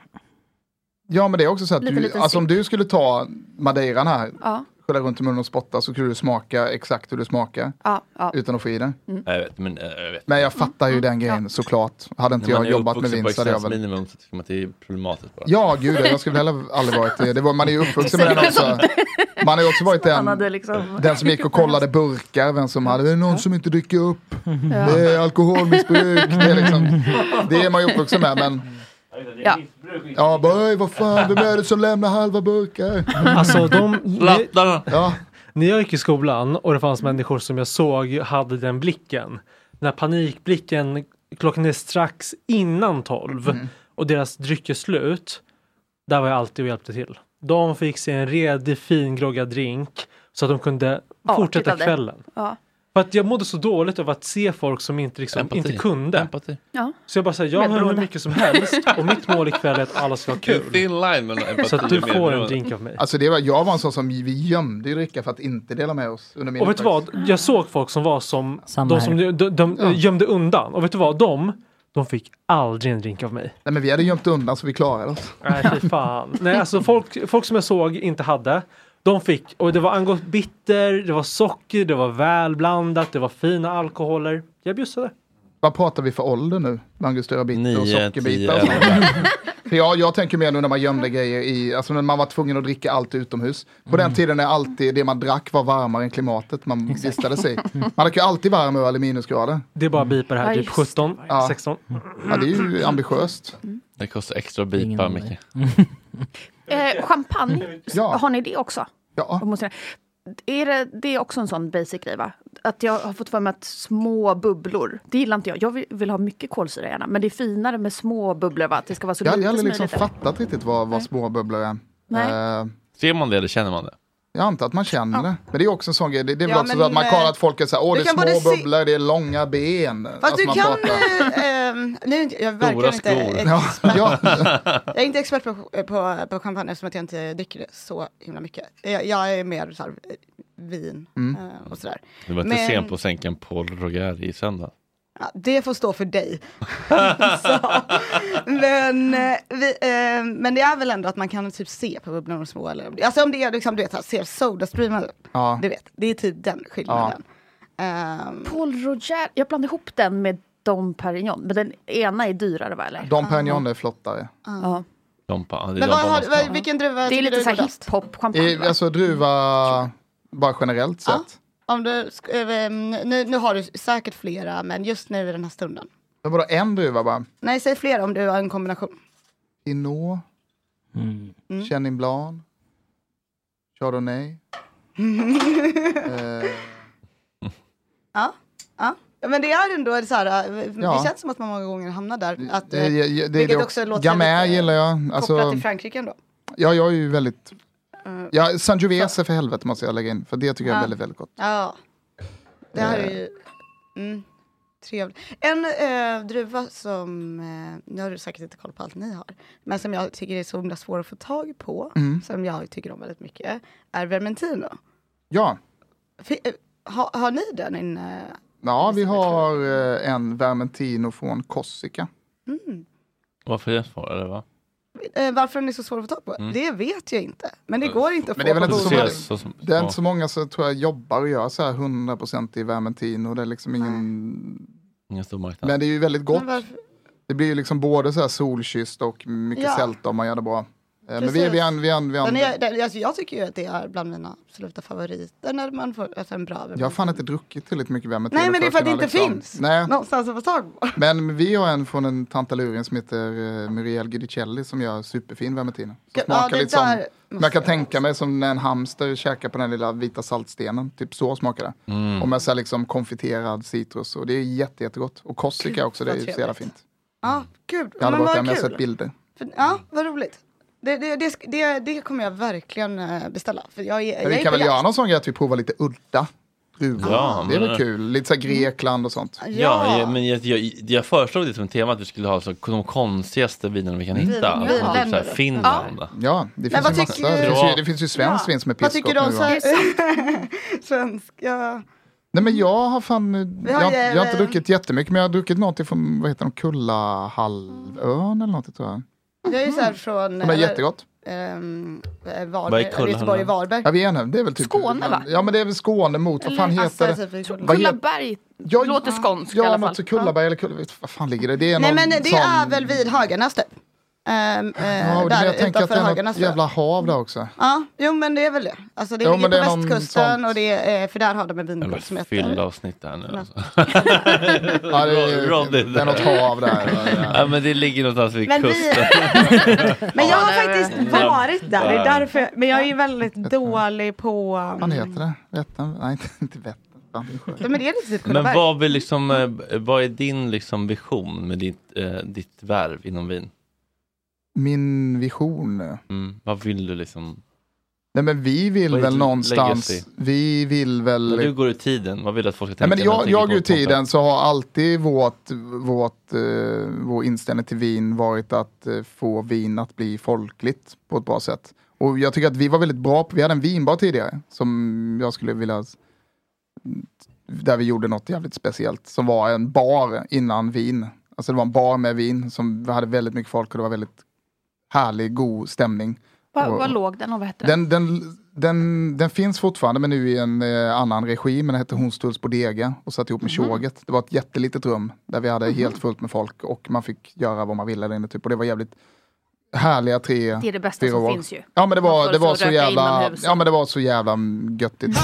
Speaker 3: ja men det är också så att
Speaker 2: Lite,
Speaker 3: du,
Speaker 2: liten
Speaker 3: alltså om du skulle ta madeiran här,
Speaker 2: Ja,
Speaker 3: skälla runt i munnen och spotta så skulle du smaka exakt hur du smakar
Speaker 2: ja, ja.
Speaker 3: utan att få i det.
Speaker 1: Nej, Jag vet, men eh, jag vet.
Speaker 3: Men jag fattar ju den grejen såklart. Hade inte
Speaker 1: När man
Speaker 3: jag
Speaker 1: är
Speaker 3: jobbat med
Speaker 1: uppvuxen
Speaker 3: vin
Speaker 1: på
Speaker 3: så hade jag väl...
Speaker 1: existensminimum så tycker man att det är problematiskt bara.
Speaker 3: Ja, gud ja, jag skulle heller aldrig varit det. det var, man är ju uppvuxen med den också. Man har ju också varit
Speaker 2: Han
Speaker 3: den,
Speaker 2: hade liksom...
Speaker 3: den som gick och kollade burkar, vem som hade, det är någon som inte dricker upp. Det är alkoholmissbruk. Det är, liksom, det är man ju uppvuxen med. Men
Speaker 2: Ja.
Speaker 3: ja, bara, "Oj, vad fan, vem är det som lämnar halva burkar?
Speaker 5: Alltså de... ni-
Speaker 1: Plattarna!
Speaker 3: Ja,
Speaker 5: När jag gick i skolan och det fanns människor som jag såg hade den blicken. Den här panikblicken, klockan är strax innan tolv
Speaker 2: Mm.
Speaker 5: och deras dryck är slut. Där var jag alltid och hjälpte till. De fick sig en redig fin groggad drink så att de kunde
Speaker 2: Ja,
Speaker 5: fortsätta
Speaker 2: tittade.
Speaker 5: kvällen.
Speaker 2: Ja.
Speaker 5: För att jag mådde så dåligt av att se folk som inte, liksom,
Speaker 1: Empati.
Speaker 5: inte kunde.
Speaker 1: Empati.
Speaker 2: ja.
Speaker 5: Så jag bara säger, jag har hur
Speaker 2: Medberoende.
Speaker 5: mycket som helst och mitt mål ikväll är att alla ska ha kul.
Speaker 1: Thin line mellan empati
Speaker 5: Så att du
Speaker 1: och
Speaker 5: får en
Speaker 1: medberoende.
Speaker 5: drink av mig.
Speaker 3: alltså det var, jag var en sån som vi gömde ju dricka för att inte dela med oss. Under min
Speaker 5: Och vet du
Speaker 3: uppväxt.
Speaker 5: vad? Jag såg folk som var som
Speaker 6: Samma
Speaker 5: de
Speaker 6: här.
Speaker 5: som de, de, de
Speaker 3: Ja.
Speaker 5: gömde undan. Och vet du vad? De, de fick aldrig en drink av mig.
Speaker 3: Nej, men vi hade gömt undan så vi klarade oss.
Speaker 5: Nej, fy fan. Nej, alltså folk, folk som jag såg inte hade. De fick, och det var angått bitter, det var socker, det var välblandat, det var fina alkoholer. Jag bjussade.
Speaker 3: Vad pratar vi för ålder nu? Bland Angostura bitter och
Speaker 1: Nio, tio,
Speaker 3: sockerbitar. och sånt.
Speaker 1: elva.
Speaker 3: För jag, jag tänker mer nu när man gömde grejer i, alltså när man var tvungen att dricka allt utomhus. På
Speaker 4: Mm.
Speaker 3: den tiden när alltid det man drack var varmare än klimatet man vistades i.
Speaker 4: Mm.
Speaker 3: Man drack ju alltid varm öl i minusgrader.
Speaker 5: Det är bara att bipa det här,
Speaker 2: Ja,
Speaker 5: typ
Speaker 2: just det.
Speaker 5: 17,
Speaker 3: Ja.
Speaker 5: 16.
Speaker 3: Ja, det är ju
Speaker 4: Mm.
Speaker 3: ambitiöst.
Speaker 1: Det kostar extra att
Speaker 6: Ingen
Speaker 1: bipa,
Speaker 6: aning.
Speaker 1: Micke.
Speaker 2: Eh, champagne,
Speaker 3: Ja.
Speaker 2: har ni det också?
Speaker 3: Ja.
Speaker 2: Och måste- Är det, det är också en sån basic grej, va? Att jag har fått för mig att små bubblor, det gillar inte jag. Jag vill, vill ha mycket kolsyra gärna, men det är finare med små bubblor, va? Att det ska vara så
Speaker 3: Jag
Speaker 2: lite
Speaker 3: hade
Speaker 2: som
Speaker 3: aldrig liksom
Speaker 2: möjligt.
Speaker 3: fattat riktigt vad, vad småbubblor är.
Speaker 2: Nej.
Speaker 3: Eh,
Speaker 1: Ser man det eller känner man det?
Speaker 3: jag antar att man känner det. Men det är också en sån grej. Det, det är väl
Speaker 4: Ja,
Speaker 3: också
Speaker 4: men,
Speaker 3: så att man
Speaker 4: eh,
Speaker 3: kollar att folk är så här, åh
Speaker 4: du
Speaker 3: det är
Speaker 4: kan både
Speaker 3: små
Speaker 4: se-
Speaker 3: bubblor, det är långa ben.
Speaker 4: Fast
Speaker 3: Alltså,
Speaker 4: du
Speaker 3: man
Speaker 4: kan...
Speaker 3: pratar-
Speaker 4: eh, ehm, nu, är inte- jag är
Speaker 1: Stora
Speaker 4: verkligen inte
Speaker 1: skor.
Speaker 4: expert.
Speaker 3: Ja, ja.
Speaker 4: Jag är inte expert på, på, på champagne eftersom att jag inte dricker det så himla mycket. Jag, jag är mer så här, eh, vin
Speaker 3: Mm.
Speaker 4: eh, och sådär.
Speaker 1: Du var inte
Speaker 4: Men-
Speaker 1: sen på att sänka en Paul Roger i söndag.
Speaker 4: Ja, det får stå för dig. så. Men, eh, vi, eh, men det är väl ändå att man kan typ se på bubblor och små. Eller, alltså om det är liksom, du vet, så här, ser Sodastreamen,
Speaker 3: ja.
Speaker 4: du vet, det är typ den skillnaden. Ehm,
Speaker 2: Paul Roger, jag blandar ihop den med Dom Perignon. Men den ena är dyrare va eller?
Speaker 3: De Perignon är flottare.
Speaker 2: Ja.
Speaker 1: Dompa. Ja, det är
Speaker 4: men vad
Speaker 1: Dompa
Speaker 4: har,
Speaker 1: man ska
Speaker 4: vad,
Speaker 1: ha.
Speaker 4: vilken druva
Speaker 2: Det är
Speaker 4: tycker
Speaker 2: lite
Speaker 4: du
Speaker 2: så här
Speaker 4: bäst?
Speaker 2: hiphop-champagne
Speaker 3: I,
Speaker 2: va?
Speaker 3: alltså druva, bara generellt
Speaker 4: Ja.
Speaker 3: sett.
Speaker 4: Om du, sk- eh, nu, nu har du säkert flera, men just nu i den här stunden.
Speaker 3: Men vadå en druva bara?
Speaker 4: Nej, säg flera om du har en kombination.
Speaker 3: Pinot,
Speaker 6: Mm.
Speaker 3: Chenin Blanc, Chardonnay. eh,
Speaker 4: Ja, ja. Ja, Men det är ändå så här, eh,
Speaker 3: Ja. Mm,
Speaker 4: det känns som att man många gånger hamnar där. Att,
Speaker 3: det,
Speaker 4: eh,
Speaker 3: det, det,
Speaker 4: vilket
Speaker 3: det,
Speaker 4: också låter
Speaker 3: Gamay
Speaker 4: lite
Speaker 3: gillar jag.
Speaker 4: kopplat
Speaker 3: Alltså,
Speaker 4: till Frankrike ändå.
Speaker 3: ja, jag är ju väldigt...
Speaker 4: Mm.
Speaker 3: Ja, Sangiovese för helvete måste jag lägga in, för det tycker jag är
Speaker 4: Ja.
Speaker 3: väldigt, väldigt gott.
Speaker 4: Ja. Det här är ju mm, trevligt. En eh, druva som, eh, nu har du säkert inte koll på allt ni har, men som jag tycker är så himla svår att få tag på,
Speaker 3: Mm.
Speaker 4: som jag tycker om väldigt mycket, är Vermentino.
Speaker 3: Ja,
Speaker 4: Fi- eh, ha, har ni den inne?
Speaker 3: ja vi har eh, en Vermentino från Korsika.
Speaker 4: Mm.
Speaker 1: Varför är det svårare eller va?
Speaker 4: Eh, varför den är så svår att få tag på?
Speaker 1: Mm.
Speaker 4: Det vet jag inte. Men det
Speaker 1: Ja,
Speaker 4: går inte att
Speaker 3: Eh, men
Speaker 4: få
Speaker 3: det är väl
Speaker 4: på
Speaker 3: inte så
Speaker 1: Det
Speaker 4: bolaget.
Speaker 1: ses så som-
Speaker 3: Det är
Speaker 1: ja.
Speaker 3: inte så många som tror jag jobbar och gör så här 100% i Vermentino. Det är liksom ingen...
Speaker 1: Ingen stor marknad.
Speaker 3: Men det är ju väldigt gott.
Speaker 4: Men varför-
Speaker 3: Det blir ju liksom både så här solkysst och mycket
Speaker 4: Ja.
Speaker 3: sälta om man gör det bra. Eh, Men vi,
Speaker 4: Precis.
Speaker 3: vi, an, vi, an, vi an,
Speaker 4: Den är, den, alltså jag tycker ju att det är bland mina absoluta favoriter när man får alltså en bra
Speaker 3: Jag har fan
Speaker 4: Vermentino.
Speaker 3: inte druckit tillräckligt mycket Vermentino.
Speaker 4: Nej men det är för att det
Speaker 3: kunna
Speaker 4: inte
Speaker 3: liksom-
Speaker 4: finns
Speaker 3: Nej,
Speaker 4: någonstans att få tag på.
Speaker 3: men vi har en från en tantalurin som heter eh, Muriel Guidicelli som gör superfin Vermentino. Som smakar lite som, men jag kan tänka mig som när en hamster käkar på den lilla vita saltstenen. Typ så smakar det.
Speaker 1: Mm.
Speaker 3: Och med så här liksom konfiterad citrus och det är jätte, jättegott. Och korsika också, det är
Speaker 4: vad
Speaker 3: ju så jävla
Speaker 4: trevligt.
Speaker 3: fint.
Speaker 4: Ja, gud.
Speaker 3: Jag hade
Speaker 4: men
Speaker 3: varit där
Speaker 4: vad
Speaker 3: men jag har
Speaker 4: kul.
Speaker 3: sett bilder.
Speaker 4: För, ja, vad roligt. Det, det, det, sk- det, det kommer jag verkligen eh, beställa. För jag, är-
Speaker 3: Men
Speaker 4: jag
Speaker 3: vi
Speaker 4: är
Speaker 3: kan väl
Speaker 4: beläst.
Speaker 3: göra någon sån grej att vi provar lite udda druvor.
Speaker 1: Ja,
Speaker 3: det är
Speaker 1: men-
Speaker 3: väl kul. Lite så här Grekland och sånt.
Speaker 1: Ja, jag- men jag, jag, jag föreslog det som tema att vi skulle ha så, de konstigaste vinerna vi kan hitta.
Speaker 4: Vin-
Speaker 1: Alltså, typ så här,
Speaker 2: vinländer.
Speaker 1: Finland.
Speaker 3: Ja, det finns,
Speaker 4: vad
Speaker 3: ju massa,
Speaker 4: tycker-
Speaker 3: det, finns ju, det finns ju svenskt
Speaker 4: Ja.
Speaker 3: vin som är
Speaker 4: Vad
Speaker 3: pissgott
Speaker 4: tycker
Speaker 3: nu.
Speaker 4: du om så
Speaker 3: va?
Speaker 4: här, svenska...
Speaker 3: Nej men jag har fan, jag,
Speaker 4: har
Speaker 3: har, jag har
Speaker 4: ju- eh,
Speaker 3: inte druckit jättemycket men jag har druckit något ifrån, vad heter de, Kullahalvön eller något tror jag.
Speaker 4: Jag är ju så här från...
Speaker 3: Mm. De är jättegott.
Speaker 4: ehm, eh,
Speaker 1: Vad
Speaker 4: Varberg,
Speaker 1: är Kulla?
Speaker 4: eller Göteborg, Varberg.
Speaker 3: Jag vet inte, det är väl typ.
Speaker 2: Skåne, va?
Speaker 3: Ja men det är väl Skåne mot, vad fan heter det?
Speaker 4: Alltså, typ-
Speaker 3: Vad heter-
Speaker 2: Kullaberg
Speaker 3: Ja,
Speaker 2: låter skånskt i
Speaker 3: Ja,
Speaker 2: alla
Speaker 3: något så
Speaker 2: fall.
Speaker 3: Kullaberg eller Kulla, vad fan ligger det? Det är
Speaker 4: Nej
Speaker 3: någon
Speaker 4: men det
Speaker 3: sån...
Speaker 4: är väl vid Höganäs typ. Ehm, eh,
Speaker 3: Ja, och det, jag
Speaker 4: där
Speaker 3: tänker att det
Speaker 4: utanför
Speaker 3: är något
Speaker 4: Höganäs. tror jag.
Speaker 3: jävla hav där också.
Speaker 4: Ja, jo men det är väl det. Alltså det
Speaker 3: Jo,
Speaker 4: ligger
Speaker 3: men
Speaker 4: på
Speaker 3: det är någon
Speaker 4: västkusten
Speaker 3: sånt.
Speaker 4: och det är, eh, för där har de en
Speaker 1: Eller
Speaker 4: vingård som heter...
Speaker 1: fyllavsnitt här nu. Alltså.
Speaker 3: Ja, det, är,
Speaker 1: Roddy.
Speaker 3: det är något hav där. Ja, ja.
Speaker 1: Ja, men det ligger någonstans vid
Speaker 4: Men vi-
Speaker 1: kusten.
Speaker 4: Men jag har
Speaker 2: Ja, det är-
Speaker 4: faktiskt varit där, det är därför, men jag är ju väldigt dålig på...
Speaker 3: Vad
Speaker 4: Mm.
Speaker 3: fan heter det? Vättern? Nej, inte, inte Vättern. Fan, det är skönt.
Speaker 4: Men det är lite typ
Speaker 1: Men
Speaker 4: Kullaberg.
Speaker 1: vad, vill liksom, eh, vad är din liksom vision med ditt, eh, ditt värv inom vin?
Speaker 3: Min vision.
Speaker 1: Mm. Vad vill du liksom?
Speaker 3: Nej, men vi vill
Speaker 1: Vad är
Speaker 3: väl
Speaker 1: ditt
Speaker 3: någonstans.
Speaker 1: legacy?
Speaker 3: Vi vill väl.
Speaker 1: När du går ur tiden, vad vill du att folk ska
Speaker 3: Nej,
Speaker 1: tänka?
Speaker 3: men
Speaker 1: när
Speaker 3: jag,
Speaker 1: de
Speaker 3: jag
Speaker 1: tänker
Speaker 3: ur
Speaker 1: på Pompe?
Speaker 3: tiden så har alltid vårt, vårt, eh, vår inställning till vin varit att eh, få vin att bli folkligt på ett bra sätt. Och jag tycker att vi var väldigt bra på, vi hade en vinbar tidigare som jag skulle vilja, där vi gjorde något jävligt speciellt som var en bar innan vin. Alltså det var en bar med vin som vi hade väldigt mycket folk och det var väldigt härlig, god stämning.
Speaker 2: Vad vad låg den och vad hette den?
Speaker 3: Den, den, den, den finns fortfarande men nu i en eh, annan regi. Men den hette Hornstulls Bodega och satt ihop med
Speaker 2: Mm-hmm.
Speaker 3: Tjoget. Det var ett jättelitet rum där vi hade helt fullt med folk och man fick göra vad man ville där inne. Typ. Och det var jävligt härliga tre,
Speaker 2: Det är det bästa
Speaker 3: fyra
Speaker 2: som
Speaker 3: år.
Speaker 2: finns ju.
Speaker 3: Ja men det
Speaker 2: Man
Speaker 3: var,
Speaker 2: får
Speaker 3: det var
Speaker 2: stå och
Speaker 3: så
Speaker 2: röka
Speaker 3: jävla,
Speaker 2: inomhus.
Speaker 3: ja men det var så jävla göttigt.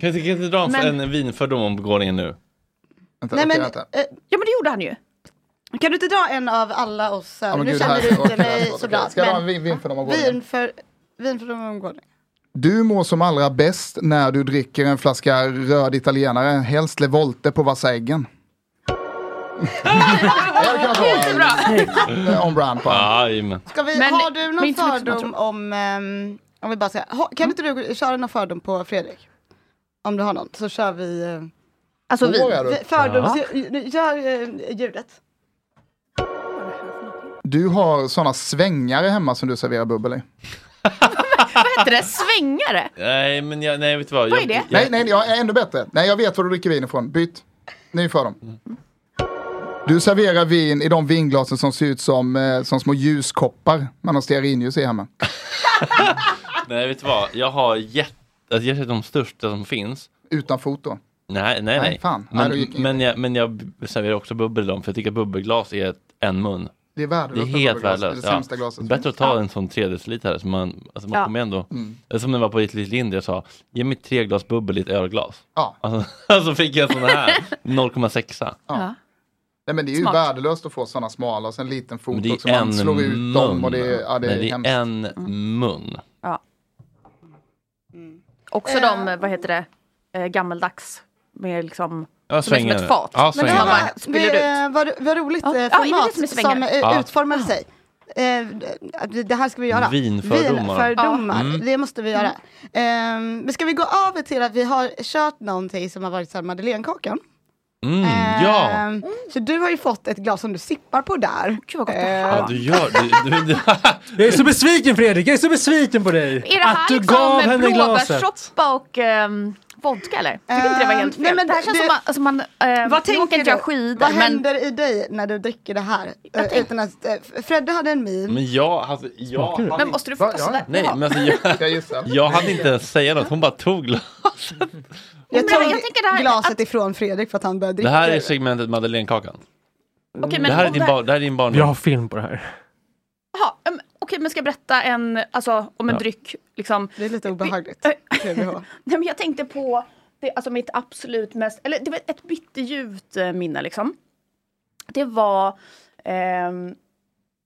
Speaker 1: Kan jag- kan jag inte dra en,
Speaker 2: Men-
Speaker 1: en vinfördom om begåvningen nu?
Speaker 3: Vänta,
Speaker 4: Nej
Speaker 3: okej,
Speaker 4: men,
Speaker 3: vänta.
Speaker 4: eh,
Speaker 2: Ja men det gjorde han ju.
Speaker 4: kan du inte dra en av alla oss? här?
Speaker 3: Ja, men
Speaker 4: nu
Speaker 3: gud,
Speaker 4: känner
Speaker 3: här-
Speaker 4: du inte
Speaker 3: okej,
Speaker 4: mig
Speaker 3: förlåt,
Speaker 4: så
Speaker 3: okej.
Speaker 4: bra.
Speaker 3: Ska jag ha en
Speaker 4: Men
Speaker 3: vin, vin för dem att gå
Speaker 4: vin för, vin för de omgående.
Speaker 3: Du mår som allra bäst när du dricker en flaska röd italienare, helst Levolte på vassa äggen. Det hade kunnat vara
Speaker 2: Jättebra.
Speaker 3: en- on brand på honom.
Speaker 1: Jajamän.
Speaker 4: Ska vi,
Speaker 2: Men-
Speaker 4: har du
Speaker 2: men
Speaker 4: någon
Speaker 2: inte så mycket som jag
Speaker 4: fördom om, ehm, om vi bara säger, ha- kan inte du köra någon fördom på Fredrik? Om du har någon, så kör vi. eh,
Speaker 2: Alltså vi.
Speaker 3: Vågar du?
Speaker 4: vi- Fördoms, gör, eh, ljudet.
Speaker 3: Du har sådana svängare hemma som du serverar bubbel i.
Speaker 2: Vad heter det? Svängare?
Speaker 1: Nej, men jag, nej, vet du vad?
Speaker 2: Vad är
Speaker 1: jag,
Speaker 2: det?
Speaker 1: Jag,
Speaker 3: Nej, nej, jag är ännu bättre. Nej, jag vet var du dricker vin ifrån. Byt. Ny för dem. Du serverar vin i de vinglasen som ser ut som, eh, som små ljuskoppar man har stearinljus i hemma.
Speaker 1: nej, vet du vad? Jag har jätte... Alltså, jag ser de största som finns.
Speaker 3: Utan foto.
Speaker 1: Nej, nej, nej.
Speaker 3: fan. Nej,
Speaker 1: Men,
Speaker 3: då gick jag
Speaker 1: men, jag, men jag serverar också bubbel i dem, för jag tycker att bubbelglas är ett, en mun.
Speaker 3: Det är
Speaker 1: Det är
Speaker 3: värdelöst. med
Speaker 1: helt
Speaker 3: bubbelglas. Det är
Speaker 1: värdelöst.
Speaker 3: det sämsta glaset.
Speaker 1: Bättre att ta en sån tredjedelslitrare. Så man, alltså man
Speaker 2: Ja.
Speaker 1: kommer ändå...
Speaker 3: Mm.
Speaker 1: Som när jag var på Little Lindy och sa, ge mig tre glas bubbel i ett ölglas.
Speaker 3: Ja.
Speaker 1: Alltså, alltså fick jag en sån här 0,6.
Speaker 3: Nej, men det är ju
Speaker 2: Smart.
Speaker 3: värdelöst att få sådana smala och sen en liten
Speaker 1: Men
Speaker 3: fot
Speaker 1: det
Speaker 3: också.
Speaker 1: är en
Speaker 3: Man slår
Speaker 1: mun.
Speaker 3: ut dem och det är, ja, det är,
Speaker 1: Nej, det
Speaker 3: hemskt. Mm.
Speaker 1: är en mun.
Speaker 2: Ja. Också de, vad heter det, eh, gammeldags. Med liksom,
Speaker 1: Ja,
Speaker 2: som är som
Speaker 1: svängare.
Speaker 2: ett fat.
Speaker 1: Ja,
Speaker 2: men det
Speaker 1: svängare.
Speaker 2: här
Speaker 1: Som man
Speaker 2: var,
Speaker 4: var,
Speaker 2: spiller ut.
Speaker 4: var, var roligt
Speaker 2: Ja.
Speaker 4: eh,
Speaker 2: Ja, är det
Speaker 4: format
Speaker 2: det som är
Speaker 4: som
Speaker 2: svängare?
Speaker 4: eh,
Speaker 1: Ja.
Speaker 4: utformade sig. Eh, d- det här ska vi göra.
Speaker 1: Vinfördomar.
Speaker 4: Vinfördomar,
Speaker 1: Ja. Mm.
Speaker 4: det måste vi göra. Eh, men ska vi gå över till att vi har kört någonting som har varit så här madeleinekakan?
Speaker 1: Mm,
Speaker 2: Eh,
Speaker 1: ja!
Speaker 4: Ehm, Så du har ju fått ett glas som du sippar på där.
Speaker 2: Gud vad gott det
Speaker 4: Ehm,
Speaker 2: här
Speaker 1: ja,
Speaker 2: var.
Speaker 1: du gör du, du, du,
Speaker 5: Jag är så besviken Fredrik, jag är så besviken på dig!
Speaker 2: Är det här
Speaker 5: att du
Speaker 2: liksom
Speaker 5: gav
Speaker 2: eh,
Speaker 5: henne glaset.
Speaker 2: blåbärssoppa och ehm, vodka eller? Tycker inte det var helt
Speaker 4: Ehm,
Speaker 2: fel?
Speaker 4: nej, men
Speaker 2: det här känns
Speaker 4: det-
Speaker 2: som att alltså, man, eh,
Speaker 4: Vad
Speaker 2: nu
Speaker 4: tänker
Speaker 2: åker inte jag
Speaker 4: du?
Speaker 2: skidor
Speaker 4: Vad
Speaker 2: men
Speaker 4: händer i dig när du dricker det här? Eh,
Speaker 2: tänk-
Speaker 4: Utan att, eh, Fredde hade en min.
Speaker 1: Men jag hade... Jag
Speaker 5: Smakar det?
Speaker 1: hade
Speaker 2: men måste du
Speaker 3: Va?
Speaker 2: få ta
Speaker 3: Ja.
Speaker 2: sådär?
Speaker 1: nej, men alltså, jag,
Speaker 3: Ska jag gissa?
Speaker 1: jag hade inte ens säga något, hon bara tog glaset.
Speaker 4: Jag
Speaker 2: men
Speaker 4: tog
Speaker 2: jag tänker det här-
Speaker 4: glaset ifrån Fredrik för att han började
Speaker 1: Det
Speaker 4: dricka.
Speaker 1: här är segmentet Madeleinekakan.
Speaker 2: Okej,
Speaker 1: Det
Speaker 2: men,
Speaker 1: här är
Speaker 2: om
Speaker 1: din, bar, det här är din barndom.
Speaker 5: Jag har film på det här.
Speaker 2: Jaha, ehm, okej, men ska jag berätta en, alltså, om en
Speaker 1: Ja.
Speaker 2: dryck? Liksom.
Speaker 4: Det är lite obehagligt. TBH.
Speaker 2: Nej, men jag tänkte på det, alltså mitt absolut mest, eller det var ett bitterljuvt eh, minne liksom. Det var, ehm,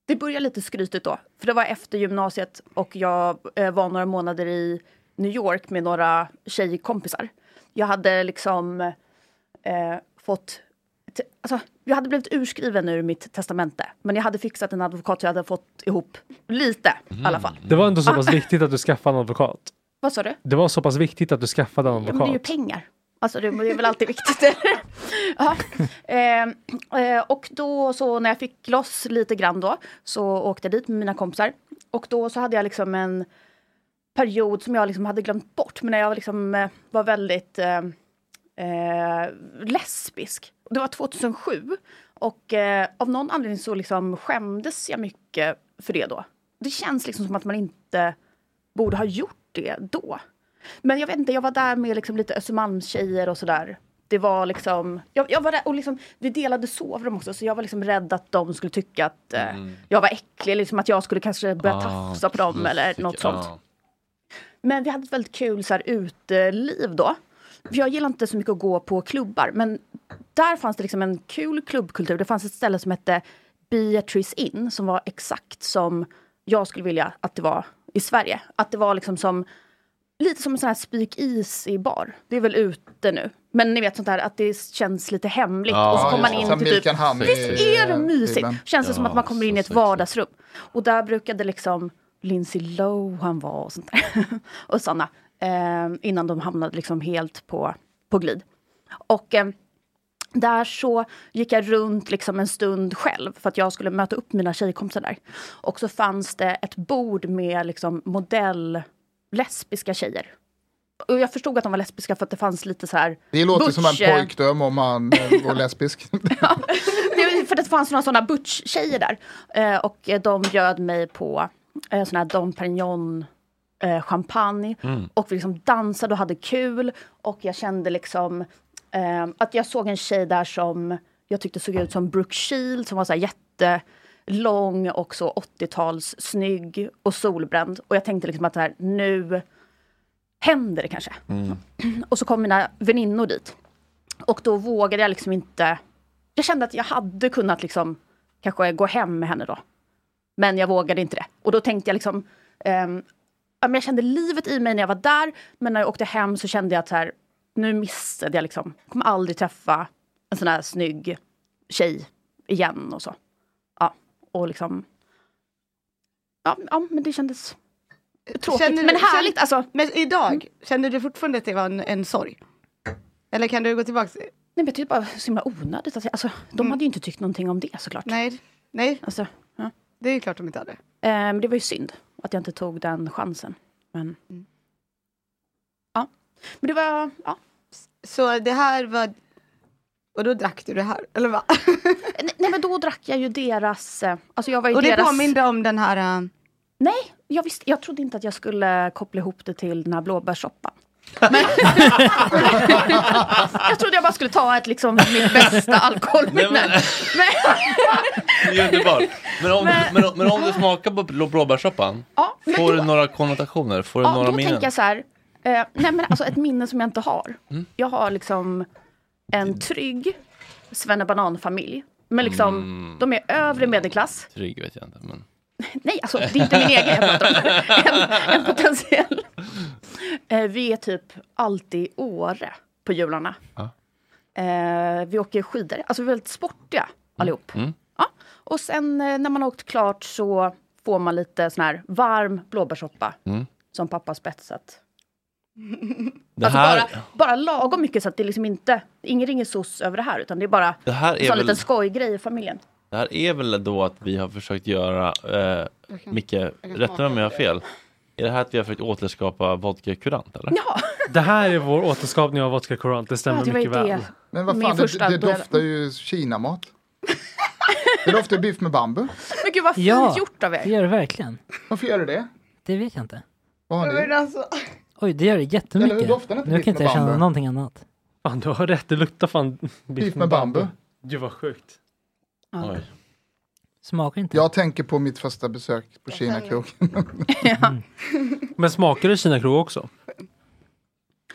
Speaker 2: det började lite skrytigt då, för det var efter gymnasiet och jag eh, var några månader i New York med några tjejkompisar. Jag hade liksom eh, fått t- Alltså, jag hade blivit urskriven ur mitt testamente, men jag hade fixat en advokat så jag hade fått ihop lite i alla fall.
Speaker 5: Det var ändå så
Speaker 2: Mm.
Speaker 5: pass viktigt att du skaffade en advokat.
Speaker 2: Vad sa du?
Speaker 5: Det var så pass viktigt att du skaffade en
Speaker 2: Ja, men det är ju
Speaker 5: advokat.
Speaker 2: pengar. Alltså det det är väl alltid viktigt. ja. eh, eh, och då så när jag fick loss lite grann då så åkte jag dit med mina kompisar. Och då så hade jag liksom en period som jag liksom hade glömt bort. Men när jag liksom eh, var väldigt eh, eh, lesbisk. Det var 2007. Och eh, av någon anledning så liksom skämdes jag mycket för det då. Det känns liksom som att man inte borde ha gjort det då. Men jag vet inte, jag var där med liksom lite Östermalmstjejer och sådär. Det var liksom, jag, jag var där och liksom, vi delade sovrum också så jag var liksom rädd att de skulle tycka att eh, jag var äcklig, liksom att jag skulle kanske börja
Speaker 1: Ah,
Speaker 2: tafsa på dem eller något sånt. Men vi hade ett väldigt kul så här, uteliv då. För jag gillar inte så mycket att gå på klubbar, men där fanns det liksom en kul klubbkultur. Det fanns ett ställe som hette Beatrice Inn som var exakt som jag skulle vilja att det var i Sverige. Att det var liksom som lite som en sån här spikis i bar. Det är väl ute nu. Men ni vet sånt där att det känns lite hemligt.
Speaker 1: Ja,
Speaker 2: och så
Speaker 1: ja,
Speaker 2: kommer man
Speaker 1: ja.
Speaker 2: in
Speaker 3: Sen
Speaker 2: till typ
Speaker 3: Milkan Hamn i-
Speaker 2: Visst är det
Speaker 3: eh,
Speaker 2: mysigt?
Speaker 3: filmen.
Speaker 2: Känns det som
Speaker 1: Ja,
Speaker 2: att man kommer in
Speaker 1: så
Speaker 2: i ett
Speaker 1: sexigt.
Speaker 2: vardagsrum. Och där brukade liksom Lindsay Lohan vara och sånt där. och såna. Eh, innan de hamnade liksom helt på, på glid. Och eh, där så gick jag runt liksom en stund själv för att jag skulle möta upp mina tjejkompisar där. Och så fanns det ett bord med liksom modell lesbiska tjejer. Och jag förstod att de var lesbiska för att det fanns lite så här
Speaker 3: Det låter som en
Speaker 2: Butch, eh,
Speaker 3: pojkdröm om man eh, var lesbisk.
Speaker 2: Det var ju för att det fanns några sådana butch-tjejer där. Eh, och eh, de bjöd mig på eh, sån här Dom Perignon eh, champagne. Och vi liksom dansade och hade kul. Och jag kände liksom eh, att jag såg en tjej där som jag tyckte såg ut som Brooke Shield som var så här jättelång och så 80-tals snygg och solbränd. Och jag tänkte liksom att det här, nu händer det kanske. Och så kom mina väninnor dit. Och då vågade jag liksom inte jag kände att jag hade kunnat liksom, kanske gå hem med henne då. Men jag vågade inte det. Och då tänkte jag liksom... ehm, ja, men jag kände livet i mig när jag var där, men när jag åkte hem så kände jag att så här, nu missade jag liksom... Jag kommer aldrig träffa en sån här snygg tjej igen och så. Ja, och liksom. Ja, ja men det kändes tråkigt.
Speaker 4: Känner du-
Speaker 2: men härligt
Speaker 4: känner-
Speaker 2: alltså.
Speaker 4: Men idag, känner du fortfarande att det var en, en sorg? Eller kan du gå tillbaka?
Speaker 2: Nej, men jag tyckte bara det var så himla onödigt. Alltså, alltså, de
Speaker 4: Mm.
Speaker 2: hade ju inte tyckt någonting om det såklart.
Speaker 4: Nej, nej,
Speaker 2: Alltså, ja.
Speaker 4: det är ju klart de inte hade.
Speaker 2: Eh, Men det var ju synd att jag inte tog den chansen. Men,
Speaker 4: Mm.
Speaker 2: ja. men det var... Ja.
Speaker 4: Så det här var... Och då drack du det här, eller va?
Speaker 2: Nej, nej, men då drack jag ju deras... eh, Alltså jag var ju
Speaker 4: Och det
Speaker 2: deras...
Speaker 4: påminde om den här... äh,
Speaker 2: Nej, jag, visste, jag trodde inte att jag skulle koppla ihop det till den här blåbärssoppan. Men... jag trodde jag bara skulle ta ett liksom mitt bästa alkoholminne.
Speaker 1: Nej, men-
Speaker 2: Men-
Speaker 1: Det är underbart. Men om,
Speaker 2: Men-
Speaker 1: men, men om du smakar på blå- blåbärssoppan,
Speaker 2: ja, men
Speaker 1: får du
Speaker 2: då-
Speaker 1: några konnotationer? Får du
Speaker 2: Ja,
Speaker 1: några
Speaker 2: då
Speaker 1: minnen?
Speaker 2: tänker jag så här. Eh, nej men alltså ett minne som jag inte har.
Speaker 1: Mm.
Speaker 2: Jag har liksom en trygg svennebananfamilj. Men liksom,
Speaker 1: Mm.
Speaker 2: de är övre medelklass.
Speaker 1: Trygg vet jag inte. Men...
Speaker 2: Nej, alltså det är inte min egen jag pratar om. En, en potentiell. Eh, vi är typ alltid i Åre på jularna.
Speaker 1: Ja.
Speaker 2: Eh, vi åker skidor. Alltså vi är väldigt sportiga allihop.
Speaker 1: Mm.
Speaker 2: Ja. Och sen eh, när man har åkt klart så får man lite sån här varm blåbärssoppa.
Speaker 1: Mm.
Speaker 2: Som pappa har spetsat.
Speaker 1: Det,
Speaker 2: alltså
Speaker 1: här,
Speaker 2: bara, bara lagom mycket så att det liksom inte, ingen ringer sos över det här utan det är bara
Speaker 1: det, här
Speaker 2: en
Speaker 1: är
Speaker 2: sån
Speaker 1: väl,
Speaker 2: liten skojgrej i familjen.
Speaker 1: det här är väl då att vi har försökt göra, eh, Micke, rätta mig om jag har fel. Är det här att vi har försökt återskapa vodka kurant eller?
Speaker 2: Ja,
Speaker 5: Det här är vår återskapning av Vodka Courant, det stämmer
Speaker 2: ja Ah, det var ju
Speaker 5: mycket väl.
Speaker 2: det.
Speaker 3: Men vad
Speaker 2: Min
Speaker 3: fan, det,
Speaker 2: första
Speaker 3: det
Speaker 2: duell.
Speaker 3: doftar ju kinamat. Det doftar biff med bambu.
Speaker 2: Men gud vad fint
Speaker 6: Ja.
Speaker 2: gjort av er.
Speaker 6: Det gör det verkligen.
Speaker 3: Varför gör du det?
Speaker 6: Det vet jag inte.
Speaker 3: Vad har
Speaker 4: Men
Speaker 3: ni?
Speaker 4: alltså,
Speaker 6: Oj, det gör det
Speaker 3: Eller hur
Speaker 6: jättemycket.
Speaker 3: doftar det inte
Speaker 6: Nu
Speaker 3: biff
Speaker 6: kan inte
Speaker 3: med
Speaker 6: jag känna
Speaker 3: bambu?
Speaker 6: någonting annat.
Speaker 5: Fan, du har rätt, det luktar fan
Speaker 3: Biff med bambu.
Speaker 5: Gud vad sjukt.
Speaker 2: Ja.
Speaker 1: Oj.
Speaker 6: Smakar inte.
Speaker 3: Jag tänker på mitt första besök på Kina-krogen.
Speaker 5: Men smakar det kinakrog också?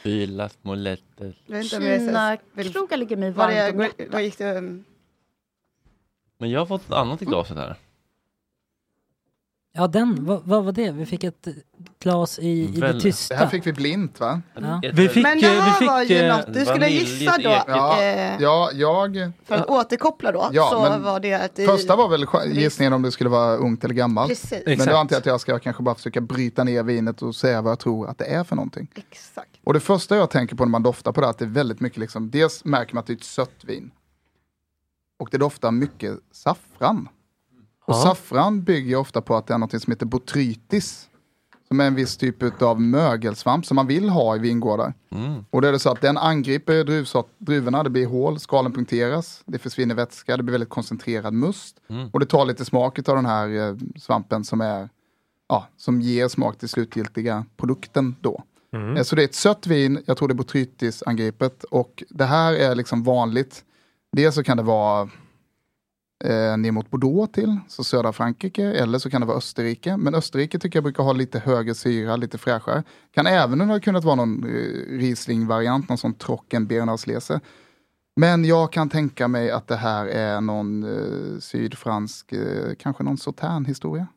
Speaker 1: Fyra små lätter.
Speaker 4: jag vet inte om jag är så- vill-
Speaker 2: Kina-krogar ligger mig
Speaker 4: Var
Speaker 2: varmt om hjärtat.
Speaker 4: det, vad gick det? um,
Speaker 1: Men jag har fått ett annat i glaset här.
Speaker 6: Ja, den. Vad, vad var det? Vi fick ett glas i, i det
Speaker 1: Väl-
Speaker 3: Det
Speaker 6: tysta.
Speaker 3: här fick vi blint va?
Speaker 6: Ja.
Speaker 1: Ett-
Speaker 5: Vi fick,
Speaker 4: Men det
Speaker 5: eh, vi
Speaker 4: här
Speaker 5: fick,
Speaker 4: var ju
Speaker 5: eh,
Speaker 4: något, du skulle
Speaker 1: vanilj,
Speaker 4: gissa
Speaker 1: lite
Speaker 4: då,
Speaker 1: ekigt.
Speaker 3: Ja,
Speaker 4: eh,
Speaker 3: ja jag...
Speaker 4: för att återkoppla då,
Speaker 3: Ja,
Speaker 4: så
Speaker 3: men
Speaker 4: var det att i,
Speaker 3: Första var väl sk- gissningen om det skulle vara ungt eller gammalt.
Speaker 4: Precis,
Speaker 5: Exakt.
Speaker 3: Men då antar jag att jag ska kanske bara försöka bryta ner vinet och säga vad jag tror att det är för någonting.
Speaker 4: exakt.
Speaker 3: Och det första jag tänker på när man doftar på det är att det är väldigt mycket liksom, dels märker man att det är ett sött vin. Och det doftar mycket saffran. Och
Speaker 5: Ja.
Speaker 3: saffran bygger ju ofta på att det är något som heter botrytis. Som är en viss typ av mögelsvamp som man vill ha i vingårdar.
Speaker 1: Mm.
Speaker 3: Och då är det så att den angriper druvsort, druvorna, det blir hål, skalen punkteras, det försvinner vätska, det blir väldigt koncentrerad must.
Speaker 1: Mm.
Speaker 3: Och det tar lite smak av den här eh, svampen som, är, ja, som ger smak till slutgiltiga produkten då. Eh, Så det är ett sött vin, jag tror det är botrytis-angripet. Och det här är liksom vanligt. Dels så kan det vara eh, ner mot Bordeaux till, så södra Frankrike, eller så kan det vara Österrike. Men Österrike tycker jag brukar ha lite högre syra, lite fräschare. Kan även ha kunnat vara någon eh, Riesling-variant, någon sån Trockenbirnerslese. Men jag kan tänka mig att det här är någon eh, sydfransk, eh, kanske någon Sauternes-historia.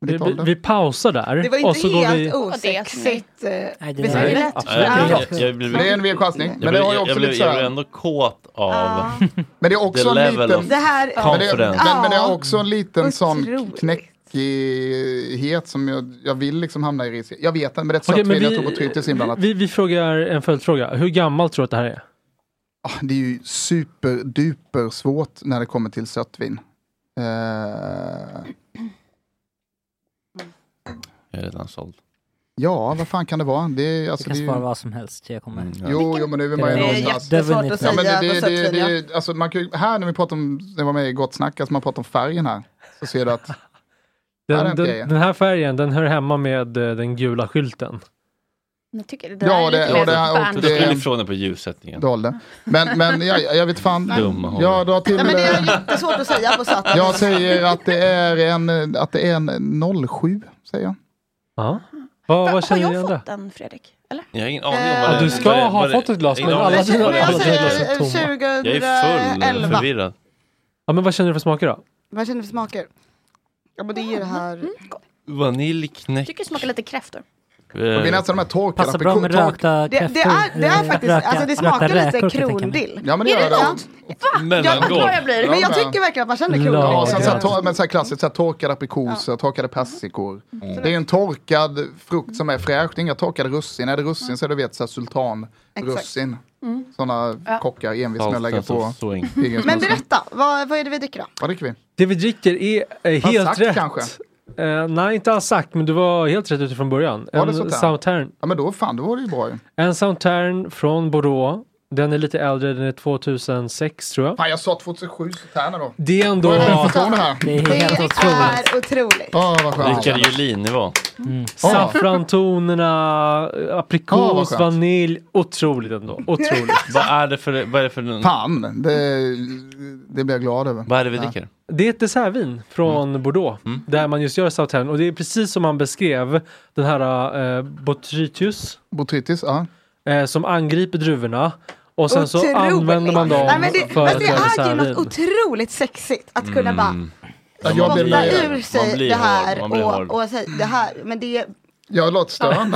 Speaker 3: Med
Speaker 5: vi,
Speaker 3: lite ålder.
Speaker 5: vi, vi pausar där.
Speaker 4: Det var
Speaker 5: och
Speaker 4: inte
Speaker 5: så går
Speaker 4: helt
Speaker 5: vi...
Speaker 4: osexigt. eh,
Speaker 6: Nej, det
Speaker 4: visst är
Speaker 6: där
Speaker 5: Nej,
Speaker 4: det
Speaker 6: är
Speaker 4: lätt?
Speaker 1: Ja, jag-
Speaker 4: Ja.
Speaker 1: jag- jag blev-
Speaker 3: Men det är en vild chansning.
Speaker 1: Jag
Speaker 3: Men det
Speaker 1: blev,
Speaker 3: har ju
Speaker 1: jag,
Speaker 3: också
Speaker 1: blev,
Speaker 3: lite så
Speaker 1: jag blev
Speaker 3: här,
Speaker 1: ändå kåt av
Speaker 4: Ja.
Speaker 3: Men det är
Speaker 1: the
Speaker 3: också en
Speaker 1: level of
Speaker 3: liten...
Speaker 4: Det här,
Speaker 3: Men det,
Speaker 1: Confidence.
Speaker 3: men, men det är
Speaker 4: Ja.
Speaker 3: också en liten sån
Speaker 4: Otroligt.
Speaker 3: knäckighet som jag, jag vill liksom hamna i risk. Jag vet inte, men det är ett
Speaker 5: Okej,
Speaker 3: sött
Speaker 5: men
Speaker 3: vin. Jag tror på
Speaker 5: vi,
Speaker 3: trytis inblandat.
Speaker 5: vi, vi frågar en följdfråga. Hur gammalt tror du att det här är?
Speaker 3: Ah, det är ju superduper svårt när det kommer till sött vin. Eh,
Speaker 1: Jag är redan såld.
Speaker 3: ja, vad fan kan det vara? Det, är- alltså,
Speaker 6: Du kan
Speaker 3: det är
Speaker 6: svara
Speaker 3: ju,
Speaker 6: vad som helst. Jag kommer.
Speaker 1: Mm, ja.
Speaker 3: jo, jo, men nu är man
Speaker 6: Det
Speaker 3: ju
Speaker 6: är
Speaker 4: Det är
Speaker 3: någonstans.
Speaker 4: jättesvårt att
Speaker 3: Ja,
Speaker 4: säga
Speaker 3: men det, det,
Speaker 4: vad
Speaker 3: det,
Speaker 4: sött vin är.
Speaker 3: det, alltså, man kan, ju- här när vi pratar om, när jag var med i Gott Snack, alltså man pratar om färgen här, så ser du att Ja,
Speaker 5: Den,
Speaker 3: den
Speaker 5: den,
Speaker 3: grejen.
Speaker 5: den här färgen, den hör hemma med eh, den gula skylten.
Speaker 2: Jag tycker det där
Speaker 3: Ja,
Speaker 2: är
Speaker 3: det-
Speaker 2: lite
Speaker 3: och det
Speaker 2: mer
Speaker 3: här
Speaker 2: Bernt-
Speaker 1: Du
Speaker 3: också- Det-
Speaker 1: skulle ifrån dig på ljussättningen.
Speaker 3: dolde. Men, men jag, jag vet fan.
Speaker 1: Dumma Holger.
Speaker 3: Jag drar till...
Speaker 4: Nej, men det
Speaker 3: eh,
Speaker 4: är jättesvårt att säga på Zlatan.
Speaker 3: Jag säger att det är en, att det är en 07, säger jag.
Speaker 5: Ja. Vad, vad
Speaker 2: Mm. Har
Speaker 5: känner
Speaker 2: jag
Speaker 5: du
Speaker 2: fått
Speaker 5: det?
Speaker 2: den Fredrik? Eller?
Speaker 1: Jag har ingen aning
Speaker 4: Eh,
Speaker 1: om vad
Speaker 4: Ja,
Speaker 1: det
Speaker 5: du ska
Speaker 1: vad det-
Speaker 5: ha
Speaker 1: vad det-
Speaker 5: fått ett glas,
Speaker 1: ingen
Speaker 5: men
Speaker 1: aning.
Speaker 5: alla dina-
Speaker 4: Men
Speaker 5: alla
Speaker 4: jag
Speaker 5: dina glas
Speaker 4: säger
Speaker 5: är tomma.
Speaker 1: Jag är full eh,
Speaker 4: 2011.
Speaker 1: förvirrad.
Speaker 5: Ja, men vad känner du för smaker då?
Speaker 4: Vad känner du för smaker? Ja men det är ju det här.
Speaker 1: Vanilj, knäck,
Speaker 2: Tycker det smakar lite kräftor.
Speaker 3: Det
Speaker 1: Eh,
Speaker 3: blir nästan de här torkade
Speaker 6: Passar bra med
Speaker 3: apriko- tork-
Speaker 6: rökta eh,
Speaker 4: Det, det, är, det är faktiskt, alltså det smakar lite krondill.
Speaker 3: Ja men det
Speaker 2: Är
Speaker 3: gör
Speaker 2: det
Speaker 3: det.
Speaker 2: gott? Vad
Speaker 1: Mellangård.
Speaker 2: glad jag blir.
Speaker 4: Men jag
Speaker 3: Ja, Alltså, men-
Speaker 4: tycker verkligen att man känner
Speaker 5: Ja,
Speaker 3: Ja,
Speaker 4: krondill.
Speaker 3: sen
Speaker 5: det
Speaker 3: så
Speaker 5: är
Speaker 3: här, tor- men så här klassiskt, så här torkade aprikoser, torkade persikor.
Speaker 4: Mm.
Speaker 3: Det är en torkad frukt som är fräsch, det är inga torkade russin. Är det russin så är det vet, så här sultanrussin. Sådana kockar envis med att lägga på.
Speaker 1: alltså, så enkelt.
Speaker 4: Mm. Men
Speaker 3: pilgrimsmust.
Speaker 4: berätta, vad, vad är det vi dricker då?
Speaker 3: Vad dricker vi?
Speaker 5: Det vi dricker är, eh,
Speaker 3: Har
Speaker 5: helt
Speaker 3: sagt
Speaker 5: rätt.
Speaker 3: kanske?
Speaker 5: Eh, nej, inte alls sagt, men du var helt rätt utifrån början.
Speaker 3: Var det
Speaker 5: en
Speaker 3: sånt här?
Speaker 5: Sauternes
Speaker 3: Ja men då fan, då var det ju bra ju.
Speaker 5: En Sauternes från Bordeaux. Den är lite äldre, den är 2006 tror jag.
Speaker 3: Fan jag sa 2007 Saterna då.
Speaker 5: Det är ändå
Speaker 3: Vad är det för ton här?
Speaker 6: Det är
Speaker 4: Det
Speaker 6: helt otroligt.
Speaker 4: är otroligt.
Speaker 3: Åh vad skönt.
Speaker 1: Rickard Julin-nivå.
Speaker 5: saffrantonerna,
Speaker 3: Ja, vad
Speaker 5: aprikos,
Speaker 3: skönt.
Speaker 5: vanilj. Otroligt ändå. Otroligt.
Speaker 1: Vad är det för... Vad är det, för,
Speaker 3: Fan, det, det blir jag glad över.
Speaker 1: vad är det vi dricker?
Speaker 5: Det är ett dessertvin från
Speaker 4: Mm.
Speaker 5: Bordeaux där man just gör Sauternes och det är precis som man beskrev den här eh, Botrytius
Speaker 3: Botrytis, ja.
Speaker 5: eh, som angriper druvorna och sen så
Speaker 4: Otroligt.
Speaker 5: använder man dem
Speaker 4: Nej, men det,
Speaker 5: för
Speaker 4: fast
Speaker 5: att
Speaker 4: det
Speaker 5: göra
Speaker 4: är ju något
Speaker 5: dessertvin.
Speaker 4: otroligt sexigt att kunna
Speaker 1: Mm.
Speaker 4: bara
Speaker 3: Ja,
Speaker 1: Man
Speaker 3: Jag
Speaker 1: blir-
Speaker 4: spotta
Speaker 3: blir,
Speaker 4: ur
Speaker 1: man
Speaker 4: sig
Speaker 1: blir
Speaker 4: det här
Speaker 1: hård, man blir hård.
Speaker 4: och, och säga det här. Men det är
Speaker 3: jag låter störd.
Speaker 5: Kan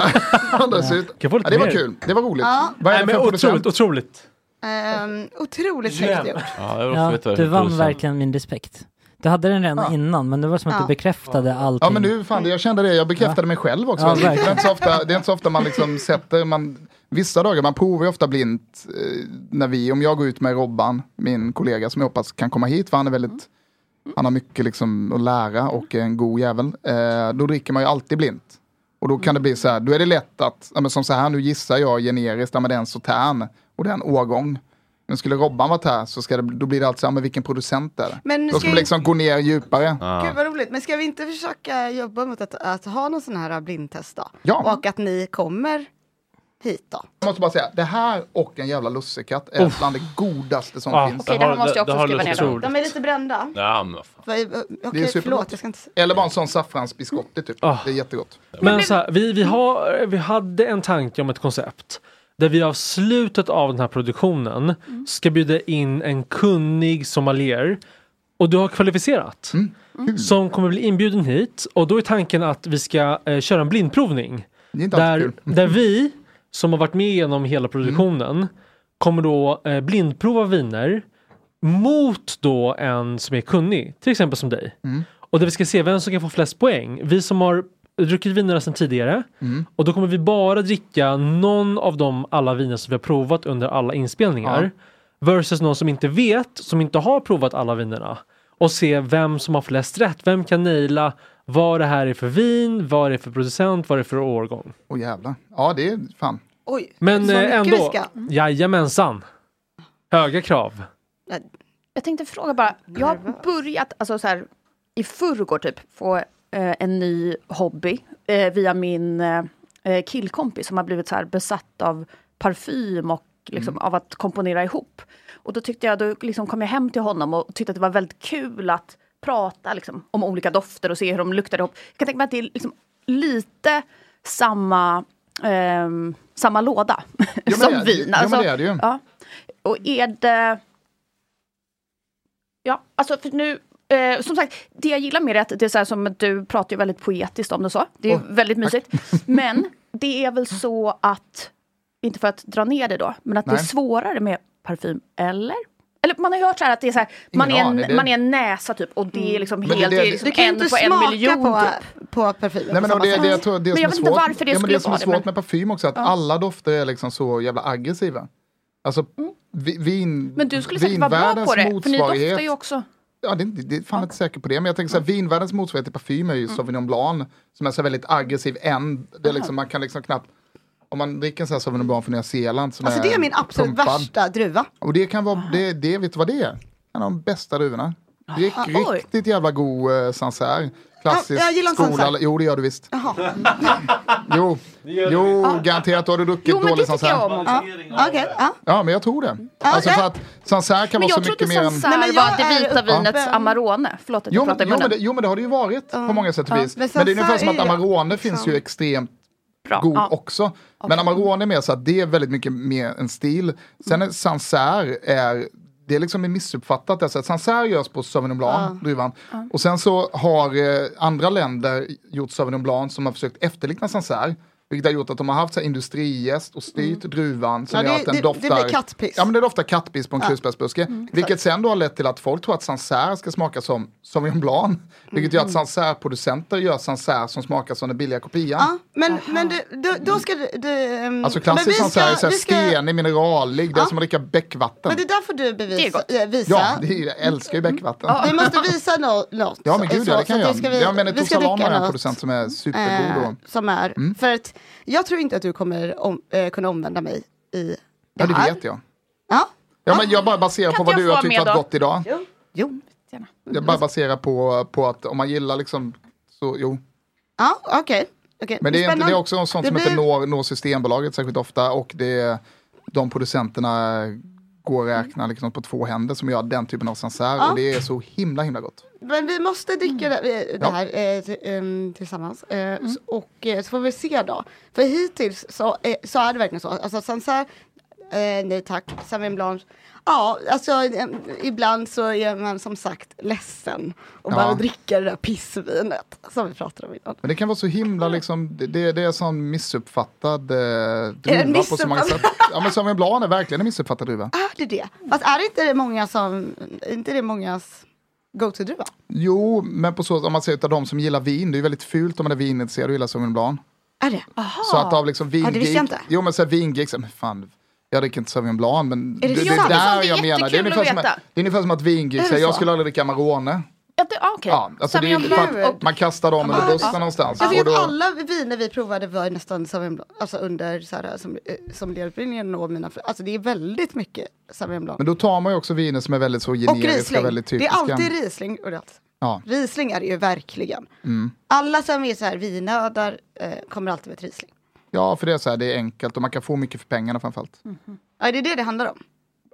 Speaker 5: jag få
Speaker 3: ja,
Speaker 5: lite
Speaker 3: det var
Speaker 5: mer?
Speaker 3: kul, det var roligt.
Speaker 4: Ja.
Speaker 3: Vad är
Speaker 5: Nej,
Speaker 3: det
Speaker 5: men
Speaker 3: för producent?
Speaker 5: otroligt, otroligt.
Speaker 4: ehm, otroligt
Speaker 5: Jävlar.
Speaker 4: sexigt gjort.
Speaker 1: Ja, jag vill också
Speaker 6: Ja,
Speaker 1: veta vad det är
Speaker 6: du
Speaker 1: för
Speaker 6: vann
Speaker 1: producent.
Speaker 6: verkligen min respekt. Du hade den redan innan, men det var som att
Speaker 4: Ja.
Speaker 6: du bekräftade allting.
Speaker 3: Ja men nu, fan, jag kände det, jag bekräftade mig själv också.
Speaker 6: Ja,
Speaker 3: det, är
Speaker 6: verkligen.
Speaker 3: inte så ofta, det är inte så ofta man liksom sätter, man, vissa dagar, man provar ju ofta blint eh, när vi, om jag går ut med Robban, min kollega som jag hoppas kan komma hit, för han är väldigt, han har mycket liksom att lära och är en god jävel, eh, då dricker man ju alltid blint. Och då kan det bli så här, då är det lätt att, ja, men som så här, nu gissar jag generiskt, ja, men det är en Sautern och det är en årgång. Men skulle Robban varit här så ska det, då blir det alltid så här, men vilken producent är det?
Speaker 4: Men nu
Speaker 3: Då
Speaker 4: ska
Speaker 3: ska man
Speaker 4: vi-
Speaker 3: liksom gå ner djupare.
Speaker 4: Gud vad roligt. Men ska vi inte försöka jobba mot att, att ha någon sån här blindtest då?
Speaker 3: Ja.
Speaker 4: Och att ni kommer hit då?
Speaker 3: Jag måste bara säga, det här och en jävla lussekatt är bland det godaste som
Speaker 5: Ja.
Speaker 3: finns.
Speaker 2: Okej, det här måste jag
Speaker 1: Det
Speaker 2: också
Speaker 1: har
Speaker 2: skriva
Speaker 1: lust-
Speaker 2: ner. då.
Speaker 5: otroligt.
Speaker 4: De är lite brända.
Speaker 1: Ja, men vad fan.
Speaker 4: Vad- Okej,
Speaker 3: supergott.
Speaker 4: förlåt. Jag ska inte...
Speaker 3: Eller bara en sån saffransbiskotti typ. Det är jättegott.
Speaker 5: Men så här, vi, vi, har, vi hade en tanke om ett koncept där vi av slutet av den här produktionen ska bjuda in en kunnig sommelier och du har kvalificerat. Som kommer bli inbjuden hit och då är tanken att vi ska eh, köra en blindprovning.
Speaker 3: Det är inte alltid
Speaker 5: Där,
Speaker 3: kul.
Speaker 5: där vi som har varit med genom hela produktionen kommer då eh, blindprova viner mot då en som är kunnig, till exempel som dig.
Speaker 3: Mm.
Speaker 5: Och där vi ska se vem som kan få flest poäng. Vi som har druckit vinerna sedan tidigare
Speaker 3: Mm.
Speaker 5: och då kommer vi bara dricka någon av de alla viner som vi har provat under alla inspelningar. Versus någon som inte vet, som inte har provat alla vinerna. Och se vem som har flest rätt. Vem kan naila vad det här är för vin, vad det är för producent, vad det är för årgång.
Speaker 3: Åh jävlar. Ja det är fan.
Speaker 4: Oj,
Speaker 5: Men
Speaker 4: så
Speaker 5: eh,
Speaker 4: mycket vi
Speaker 5: ändå,
Speaker 4: ska.
Speaker 2: Mm.
Speaker 5: jajamensan. Höga krav.
Speaker 3: Mm.
Speaker 2: Jag tänkte fråga bara, jag har börjat, alltså så här, i förrgår typ, få eh, en ny hobby eh, via min eh, eh, killkompis som har blivit så här besatt av parfym och liksom,
Speaker 3: Mm.
Speaker 2: av att komponera ihop. Och då tyckte jag, då liksom kom jag hem till honom och tyckte att det var väldigt kul att prata liksom, om olika dofter och se hur de luktade ihop. Jag kan tänka mig att det är liksom lite samma, ehm, samma låda
Speaker 3: Jo, men
Speaker 2: som
Speaker 3: det är- jo,
Speaker 2: vin. Alltså,
Speaker 3: men det är det ju.
Speaker 2: Ja. Och är det... Ja, alltså för nu... Eh, som sagt, det jag gillar med det är att det är så här som att du pratar ju väldigt poetiskt om det och så. Det är väldigt mysigt. Men det är väl så att, inte för att dra ner det då, men att det är
Speaker 3: Nej.
Speaker 2: svårare med parfym, eller? Eller man har hört så här att det är så här, man är,
Speaker 3: Ingen
Speaker 2: en,
Speaker 3: aning, det-
Speaker 2: man är en näsa typ och det är liksom
Speaker 3: det-
Speaker 2: helt, det,
Speaker 3: det-
Speaker 2: är
Speaker 4: Du
Speaker 2: liksom
Speaker 4: kan ju
Speaker 2: en
Speaker 4: inte
Speaker 2: på en
Speaker 4: smaka
Speaker 2: miljon.
Speaker 4: på,
Speaker 2: typ.
Speaker 4: på parfymen
Speaker 3: Nej, men
Speaker 4: på
Speaker 3: och det,
Speaker 4: samma
Speaker 3: det, jag
Speaker 4: sätt.
Speaker 3: tror, det
Speaker 2: Men
Speaker 3: som
Speaker 2: jag
Speaker 3: är
Speaker 2: vet inte
Speaker 3: svårt,
Speaker 2: varför det
Speaker 3: ja, men
Speaker 2: skulle
Speaker 3: det som
Speaker 2: vara
Speaker 3: är
Speaker 2: det,
Speaker 3: svårt
Speaker 2: men-
Speaker 3: med parfym också är att alla dofter är liksom så jävla aggressiva. Alltså vi- vin,
Speaker 2: Mm. Men du skulle säkert vara bra
Speaker 3: vinvärldens
Speaker 2: på det, för ni
Speaker 3: motsvarighet-
Speaker 2: doftar ju också.
Speaker 3: Ja, det, det är fan inte säker på det. Men jag tänker så här,
Speaker 2: Mm.
Speaker 3: vinvärldens motsvarighet till parfym är ju Sauvignon Blanc. Som är så här väldigt aggressiv än. Det är liksom, man kan liksom knappt... Om man dricker en sån här Sauvignon Blanc från Nya Zeeland som
Speaker 4: Alltså det är min absolut
Speaker 3: pumpad.
Speaker 4: värsta druva.
Speaker 3: Och det kan
Speaker 2: Ah.
Speaker 3: vara, det, det, vet du vad det är? En av de bästa druvorna. Det är
Speaker 2: Ah, oj.
Speaker 3: riktigt jävla god uh, Sancerre. Klassisk
Speaker 4: Ja, jag gillar inte
Speaker 3: skola.
Speaker 4: Sancerre.
Speaker 3: Jo, det gör du visst. Jo, jo garanterat har du druckit
Speaker 2: Jo, men det
Speaker 3: dålig
Speaker 2: tycker jag om.
Speaker 3: Sancerre.
Speaker 4: Ja, Okej, ja.
Speaker 3: Ja, men jag tror det. Alltså
Speaker 4: Ja,
Speaker 3: för att Sancerre
Speaker 2: Men
Speaker 3: kan vara
Speaker 2: jag
Speaker 3: så
Speaker 2: trodde
Speaker 3: mycket mer än...
Speaker 2: Sancerre
Speaker 4: Nej, men
Speaker 2: var
Speaker 4: jag
Speaker 2: det
Speaker 4: är
Speaker 2: vita
Speaker 4: uppe-
Speaker 2: vinets Amarone. Förlåt att
Speaker 3: Jo
Speaker 2: jag
Speaker 3: men,
Speaker 2: pratar i
Speaker 3: jo, men
Speaker 2: munnen.
Speaker 3: det, jo men det har det ju varit på många sätt och
Speaker 4: Ja,
Speaker 3: vis.
Speaker 4: men
Speaker 3: Men,
Speaker 4: sen
Speaker 3: det är ungefär
Speaker 4: så
Speaker 3: som att
Speaker 4: är det- liksom
Speaker 3: Amarone finns ju extremt
Speaker 2: Bra.
Speaker 3: god
Speaker 2: Ja.
Speaker 3: också. Men Amarone är mer så att det är väldigt mycket mer en stil. Sen är Sancerre är det är liksom missuppfattat. Alltså, Sancerre görs på Sauvignon Blanc, druvan. Och sen så har eh, andra länder gjort Sauvignon Blanc som har försökt efterlikna Sancerre. Vilket har gjort att de har haft så här industrigäst och styrt druvan som
Speaker 4: Mm. Ja,
Speaker 3: gör
Speaker 4: det-
Speaker 3: att den
Speaker 4: det- det
Speaker 3: doftar...
Speaker 4: blir kattpiss.
Speaker 3: Ja men det doftar kattpiss på en krusbärsbuske.
Speaker 4: Mm,
Speaker 3: vilket sen då har lett till att folk tror att Sancerre ska smaka som Sauvignon Blanc. Vilket gör att
Speaker 4: Mm.
Speaker 3: Sancerre-producenter gör Sancerre som smakar som den billiga kopian.
Speaker 4: Ja, men, men det, då, då ska du... du ehm,
Speaker 3: Alltså
Speaker 4: men
Speaker 3: klassiskt
Speaker 4: vi
Speaker 3: Sancerre är så här
Speaker 4: vi
Speaker 3: stenig, mineralig, det är
Speaker 4: Ja.
Speaker 3: som att dricka bäckvatten.
Speaker 4: Men det där får du
Speaker 2: Det är
Speaker 4: bevisa,
Speaker 2: gott.
Speaker 4: eh, visa.
Speaker 3: Ja, det är, ju- jag älskar ju bäckvatten.
Speaker 4: Vi måste visa nå- något.
Speaker 3: Ja men
Speaker 4: så-
Speaker 3: gud ja,
Speaker 4: så-
Speaker 3: det kan
Speaker 4: så
Speaker 3: jag
Speaker 4: att
Speaker 3: göra. Jag menar
Speaker 4: vi ska
Speaker 3: Tosalan
Speaker 4: dricka
Speaker 3: är en
Speaker 4: något,
Speaker 3: producent som Mm. är
Speaker 4: eh,
Speaker 3: supergod. Och,
Speaker 4: Som är, för att jag tror inte att du kommer om, eh, kunna omvända mig i det
Speaker 3: ja det
Speaker 4: här.
Speaker 3: vet jag.
Speaker 4: Ja,
Speaker 3: Ja, men jag bara baserar
Speaker 2: Kan
Speaker 3: på
Speaker 2: inte
Speaker 3: vad
Speaker 2: jag få
Speaker 3: du har
Speaker 2: vara
Speaker 3: tyckt
Speaker 2: med
Speaker 3: varit
Speaker 2: då?
Speaker 3: gott idag.
Speaker 4: jo.
Speaker 3: Jag bara baserar på, på att om man gillar liksom, så jo.
Speaker 4: Ja, okej. Okay.
Speaker 3: Men det är, inte, det är också sånt
Speaker 4: Det
Speaker 3: som inte
Speaker 4: blir-
Speaker 3: når, når Systembolaget särskilt ofta och det är, de producenterna går att räkna liksom på två händer som gör den typen av sansär
Speaker 4: Mm. Ja.
Speaker 3: och det är så himla himla gott.
Speaker 4: Men vi måste dricka det, det
Speaker 3: Ja.
Speaker 4: här eh, t- ehm, tillsammans. Eh, s- Och eh, så får vi se då. För hittills så, eh, så är det verkligen så. Alltså Sancerre, eh, nej tack. Sauvignon Blanc. Ja, alltså eh, ibland så är man som sagt ledsen. Och
Speaker 3: Ja.
Speaker 4: bara dricker det där pissvinet som vi pratade om innan.
Speaker 3: Men det kan vara så himla liksom, det- det, det är en sån missuppfattad eh, druva
Speaker 4: en
Speaker 3: på så många sätt.
Speaker 4: missuppfattad-
Speaker 3: Ja men Sauvignon Blanc är verkligen en missuppfattad druva.
Speaker 4: Är det det? Fast är det inte det många som, är inte det mångas go-to-druva?
Speaker 3: Jo, men på så om man ser utav de som gillar vin, det är ju väldigt fult om man är vinintresserad och gillar Sauvignon Blanc.
Speaker 4: Är det?
Speaker 3: Så att av liksom
Speaker 4: Ah. Ja, det visste jag inte.
Speaker 3: Jo men så här vingeeks, men fan. Jag dricker inte Sauvignon Blanc men
Speaker 4: det sant?
Speaker 2: Det är
Speaker 3: Det är
Speaker 2: jättekul
Speaker 3: ungefär
Speaker 2: att
Speaker 3: som,
Speaker 2: veta.
Speaker 3: det är ungefär som att vingeeks,
Speaker 4: Är det
Speaker 3: säger, jag
Speaker 4: så?
Speaker 3: skulle aldrig dricka Amarone.
Speaker 2: Ja, det- ah, okej.
Speaker 3: Ja, alltså det är,
Speaker 2: Sauvignon Blanc
Speaker 3: för att
Speaker 2: och-
Speaker 3: man kastar dem under bussen någonstans.
Speaker 4: Jag
Speaker 3: Och
Speaker 4: tycker att
Speaker 3: då,
Speaker 4: alla viner vi provade var nästan Sauvignon Blanc, alltså under så här, som, eh, som ledbrinjen och mina, fr- alltså det är väldigt mycket Sauvignon Blanc.
Speaker 3: men då tar man ju också viner som är väldigt så
Speaker 4: Och
Speaker 3: generiska,
Speaker 4: Riesling,
Speaker 3: väldigt
Speaker 4: det är
Speaker 3: typiska.
Speaker 4: alltid Riesling. Och det är alltid-
Speaker 3: Ja.
Speaker 4: Riesling är det ju verkligen.
Speaker 3: Mm.
Speaker 4: Alla som är så här vinödar eh, kommer alltid med ett Riesling.
Speaker 3: ja, för det är så här, det är enkelt och man kan få mycket för pengarna framförallt.
Speaker 4: Mm. Ja, det är det det handlar om.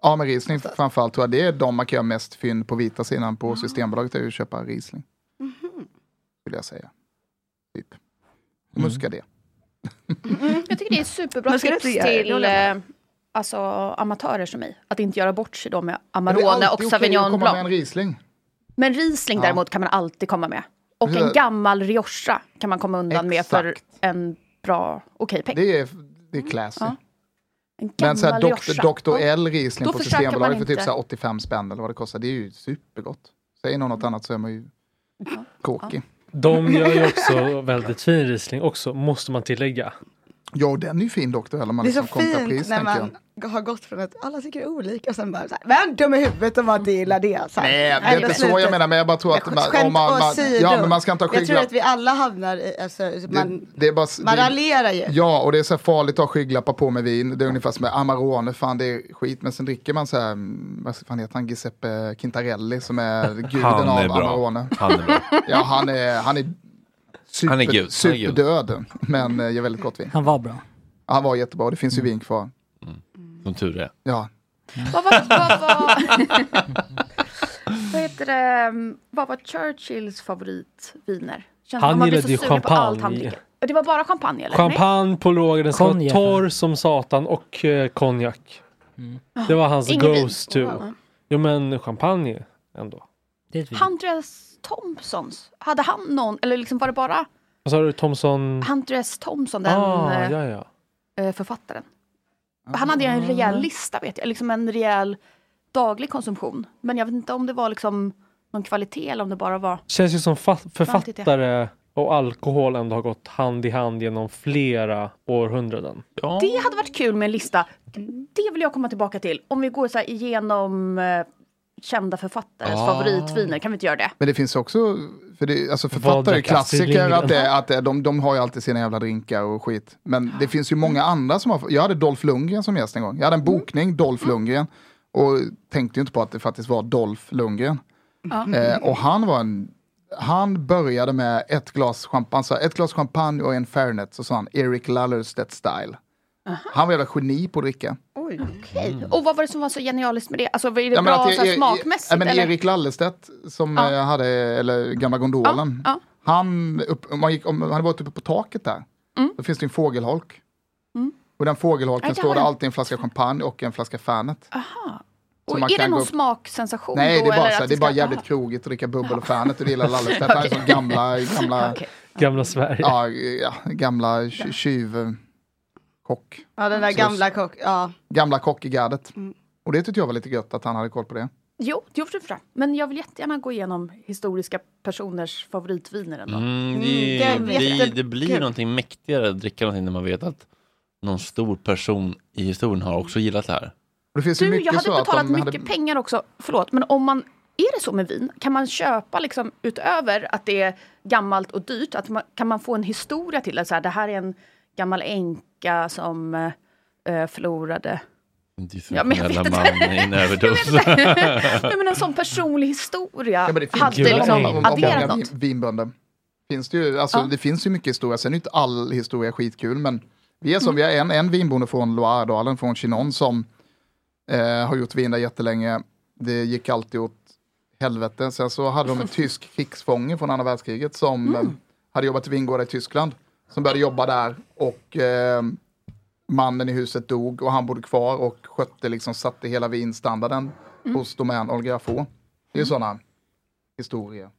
Speaker 3: Ja, men Riesling framförallt tror jag det är de man kan göra mest fynd på vita sidan
Speaker 4: Ah.
Speaker 3: på Systembolaget är ju att köpa Riesling.
Speaker 4: Mhm.
Speaker 3: Skulle jag säga. Typ.
Speaker 4: Mm.
Speaker 3: Muska det.
Speaker 2: Jag tycker det är ett superbra
Speaker 4: Men ska
Speaker 2: tips
Speaker 4: det inte göra- det
Speaker 2: till
Speaker 4: håller jag
Speaker 2: eh, alltså, amatörer som mig. Att inte göra bort sig då med
Speaker 3: Men det är
Speaker 2: Amarone och
Speaker 3: alltid okej att
Speaker 2: Sauvignon
Speaker 3: komma
Speaker 2: Blanc.
Speaker 3: med en Riesling.
Speaker 2: Men Riesling däremot kan man alltid komma med. Och
Speaker 3: Precis.
Speaker 2: en gammal Rioja kan man komma undan med för
Speaker 3: Exakt.
Speaker 2: en bra, okej peng.
Speaker 3: Det är, det är classy.
Speaker 2: En
Speaker 3: Men
Speaker 2: gammal
Speaker 3: så här
Speaker 2: Rioja.
Speaker 3: Dr.
Speaker 2: Ja.
Speaker 3: Dr. L Riesling
Speaker 2: Då
Speaker 3: på
Speaker 2: försöker man
Speaker 3: Systembolaget för typ
Speaker 2: inte.
Speaker 3: så här 85 spänn eller vad det kostar. Det är ju supergott. Säger någon något annat så är man ju kåkig.
Speaker 5: De gör ju också väldigt fin Riesling också, måste man tillägga.
Speaker 3: Ja, och den är ju fin Dr. L om man
Speaker 4: Det är så
Speaker 3: liksom kompar pris
Speaker 4: fint när
Speaker 3: tänker jag.
Speaker 4: man har gått från att alla tycker olika och sen bara så här, vem dum i huvudet om man inte gillar det? Så här.
Speaker 3: Nej, det är inte så jag menar, men jag bara tror att man,
Speaker 4: Skämt
Speaker 3: om man, man,
Speaker 4: åsido.
Speaker 3: ja, men man ska inte ha
Speaker 4: Jag tror
Speaker 3: skygglappar.
Speaker 4: att vi alla hamnar i, alltså, man,
Speaker 3: Det, det är bara,
Speaker 4: man
Speaker 3: det,
Speaker 4: raljerar ju.
Speaker 3: Ja, och det är så här farligt att ha skygglappar på med vin. Det är ungefär som med Amarone, fan det är skit. Men sen dricker man så här, mm, vad fan heter han, Giuseppe Quintarelli som är guden
Speaker 1: Han är
Speaker 3: av
Speaker 1: bra.
Speaker 3: Amarone.
Speaker 1: Han är bra.
Speaker 3: Ja, han är, han är, super,
Speaker 1: Han är gud, han är
Speaker 3: superdöd, men eh, gör väldigt gott vin.
Speaker 6: Han var bra.
Speaker 3: Han var jättebra, och det finns ju vin kvar.
Speaker 1: Som tur är.
Speaker 3: Ja,
Speaker 2: Vad var, vad var, vad heter det, um, vad var Churchills favoritviner? Känns
Speaker 5: Han
Speaker 2: som man blir
Speaker 5: gillade
Speaker 2: så
Speaker 5: ju
Speaker 2: sugen på allt han
Speaker 5: champagne.
Speaker 2: dricker. Ja, Det var bara champagne eller? Nej?
Speaker 5: Champagne på låg, den ska vara
Speaker 6: Konjak.
Speaker 5: torr som satan och eh, konjak.
Speaker 3: Mm.
Speaker 5: Det var hans
Speaker 2: Ingen vin.
Speaker 5: goes to. Jo men champagne ändå.
Speaker 6: Det är ett vin.
Speaker 2: Huntress Thompsons, hade han någon, eller liksom var det bara
Speaker 5: Vad sa du Thomson?
Speaker 2: Huntress Thompson, den
Speaker 5: Mm. Ah,
Speaker 2: eh,
Speaker 5: ja, Ah. ja.
Speaker 2: eh, författaren? Han hade ju en rejäl lista vet jag, liksom en rejäl daglig konsumtion. Men jag vet inte om det var liksom någon kvalitet eller om det bara var...
Speaker 5: Känns ju som fa-
Speaker 2: Framtid, ja.
Speaker 5: författare och alkohol ändå har gått hand i hand genom flera århundraden.
Speaker 1: Ja.
Speaker 2: Det hade varit kul med en lista. Det vill jag komma tillbaka till. Om vi går så här igenom eh, kända författares
Speaker 1: Ah.
Speaker 2: favoritviner, kan vi inte göra det?
Speaker 3: men det finns också, för det, alltså
Speaker 5: Vad
Speaker 3: författare är ju
Speaker 5: drack Astrid
Speaker 3: klassiker,
Speaker 5: Lindgren?
Speaker 3: att det, att det, de, de har ju alltid sina jävla drinkar och skit. Men det finns ju många andra som har, jag hade Dolph Lundgren som gäst en gång. Jag hade en bokning, Dolph Lundgren, och tänkte ju inte på att det faktiskt var Dolph Lundgren. Eh, och han var en, han började med ett glas champagne, så ett glas champagne och en Fernet, så sa han Eric Lallerstedt style. Han var jävla geni på att dricka.
Speaker 2: Okej. Mm. Och vad var det som var så genialiskt med det? Alltså, var det
Speaker 3: Ja, men
Speaker 2: bra
Speaker 3: att
Speaker 2: så här,
Speaker 3: Er- Er-
Speaker 2: smakmässigt?
Speaker 3: Ja, men
Speaker 2: eller?
Speaker 3: Erik Lallestedt som eh, hade, eller gamla gondolen.
Speaker 2: Ja,
Speaker 3: Han, upp, om man gick, om man hade varit uppe på taket där, då finns det en fågelholk. Och den fågelholken
Speaker 2: Mm. Ja, det
Speaker 3: står
Speaker 2: har
Speaker 3: det
Speaker 2: jag.
Speaker 3: alltid en flaska champagne och en flaska Fernet.
Speaker 2: och
Speaker 3: som man
Speaker 2: är det
Speaker 3: kan
Speaker 2: någon
Speaker 3: gå upp-
Speaker 2: smaksensation
Speaker 3: Nej,
Speaker 2: Ah, då?
Speaker 3: det är bara,
Speaker 2: eller
Speaker 3: så här,
Speaker 2: att
Speaker 3: det
Speaker 2: vi
Speaker 3: är bara
Speaker 2: ska- Ah,
Speaker 3: jävligt krogigt att dricka bubbel och Fernet och det gillar Lallestedt. Han är som gamla, gamla
Speaker 2: Okej.
Speaker 5: Gamla Sverige.
Speaker 3: Ja, ja gamla tj- tjuv... Kock.
Speaker 4: Ja, den där
Speaker 3: Så-
Speaker 4: gamla kock. Ja.
Speaker 3: Gamla kock i gardet.
Speaker 4: Mm.
Speaker 3: Och det tyckte jag var lite gött att han hade koll på det.
Speaker 2: Jo, det gjorde det. Men jag vill jättegärna gå igenom historiska personers favoritviner ändå.
Speaker 1: Mm,
Speaker 4: det
Speaker 1: det,
Speaker 4: är
Speaker 1: det, det
Speaker 4: jättekul.
Speaker 1: blir någonting mäktigare att dricka någonting när man vet att någon stor person i historien har också gillat det här.
Speaker 3: Och det finns ju
Speaker 2: Du,
Speaker 3: mycket
Speaker 2: jag
Speaker 3: så
Speaker 2: hade
Speaker 3: att de
Speaker 2: betalat mycket
Speaker 3: hade...
Speaker 2: pengar också. Förlåt, men om man... Är det så med vin? Kan man köpa, liksom, utöver att det är gammalt och dyrt, att man, kan man få en historia till det? Så här, det här är en gammal änka som eh, förlorade... Ja, men jag
Speaker 1: Dysfunktionella
Speaker 2: vet
Speaker 1: man i en
Speaker 2: Jag
Speaker 1: överdos.
Speaker 2: vet inte. Nej, men en sån personlig historia
Speaker 3: Ja, men det finns
Speaker 2: hade
Speaker 3: ju
Speaker 5: Gula
Speaker 2: liksom
Speaker 5: ägg.
Speaker 3: om- om
Speaker 2: adderat
Speaker 3: många
Speaker 2: något.
Speaker 3: vin- vinbönder. Finns det, ju, alltså,
Speaker 2: Ja.
Speaker 3: det finns ju mycket historia, sen är ju inte all historia skitkul, men vi är som,
Speaker 2: Mm.
Speaker 3: vi har en, en vinbonde från Loiredalen, från Chinon, som eh, har gjort vin där jättelänge. Det gick alltid åt helvete. Sen så hade de en tysk krigsfånge från andra världskriget som
Speaker 2: Mm.
Speaker 3: eh, hade jobbat i vingårdar i Tyskland, som började jobba där och eh, mannen i huset dog och han bodde kvar och skötte, liksom satte hela vinstandarden
Speaker 2: Mm.
Speaker 3: hos Domän Olga få. Det är ju sådana historier.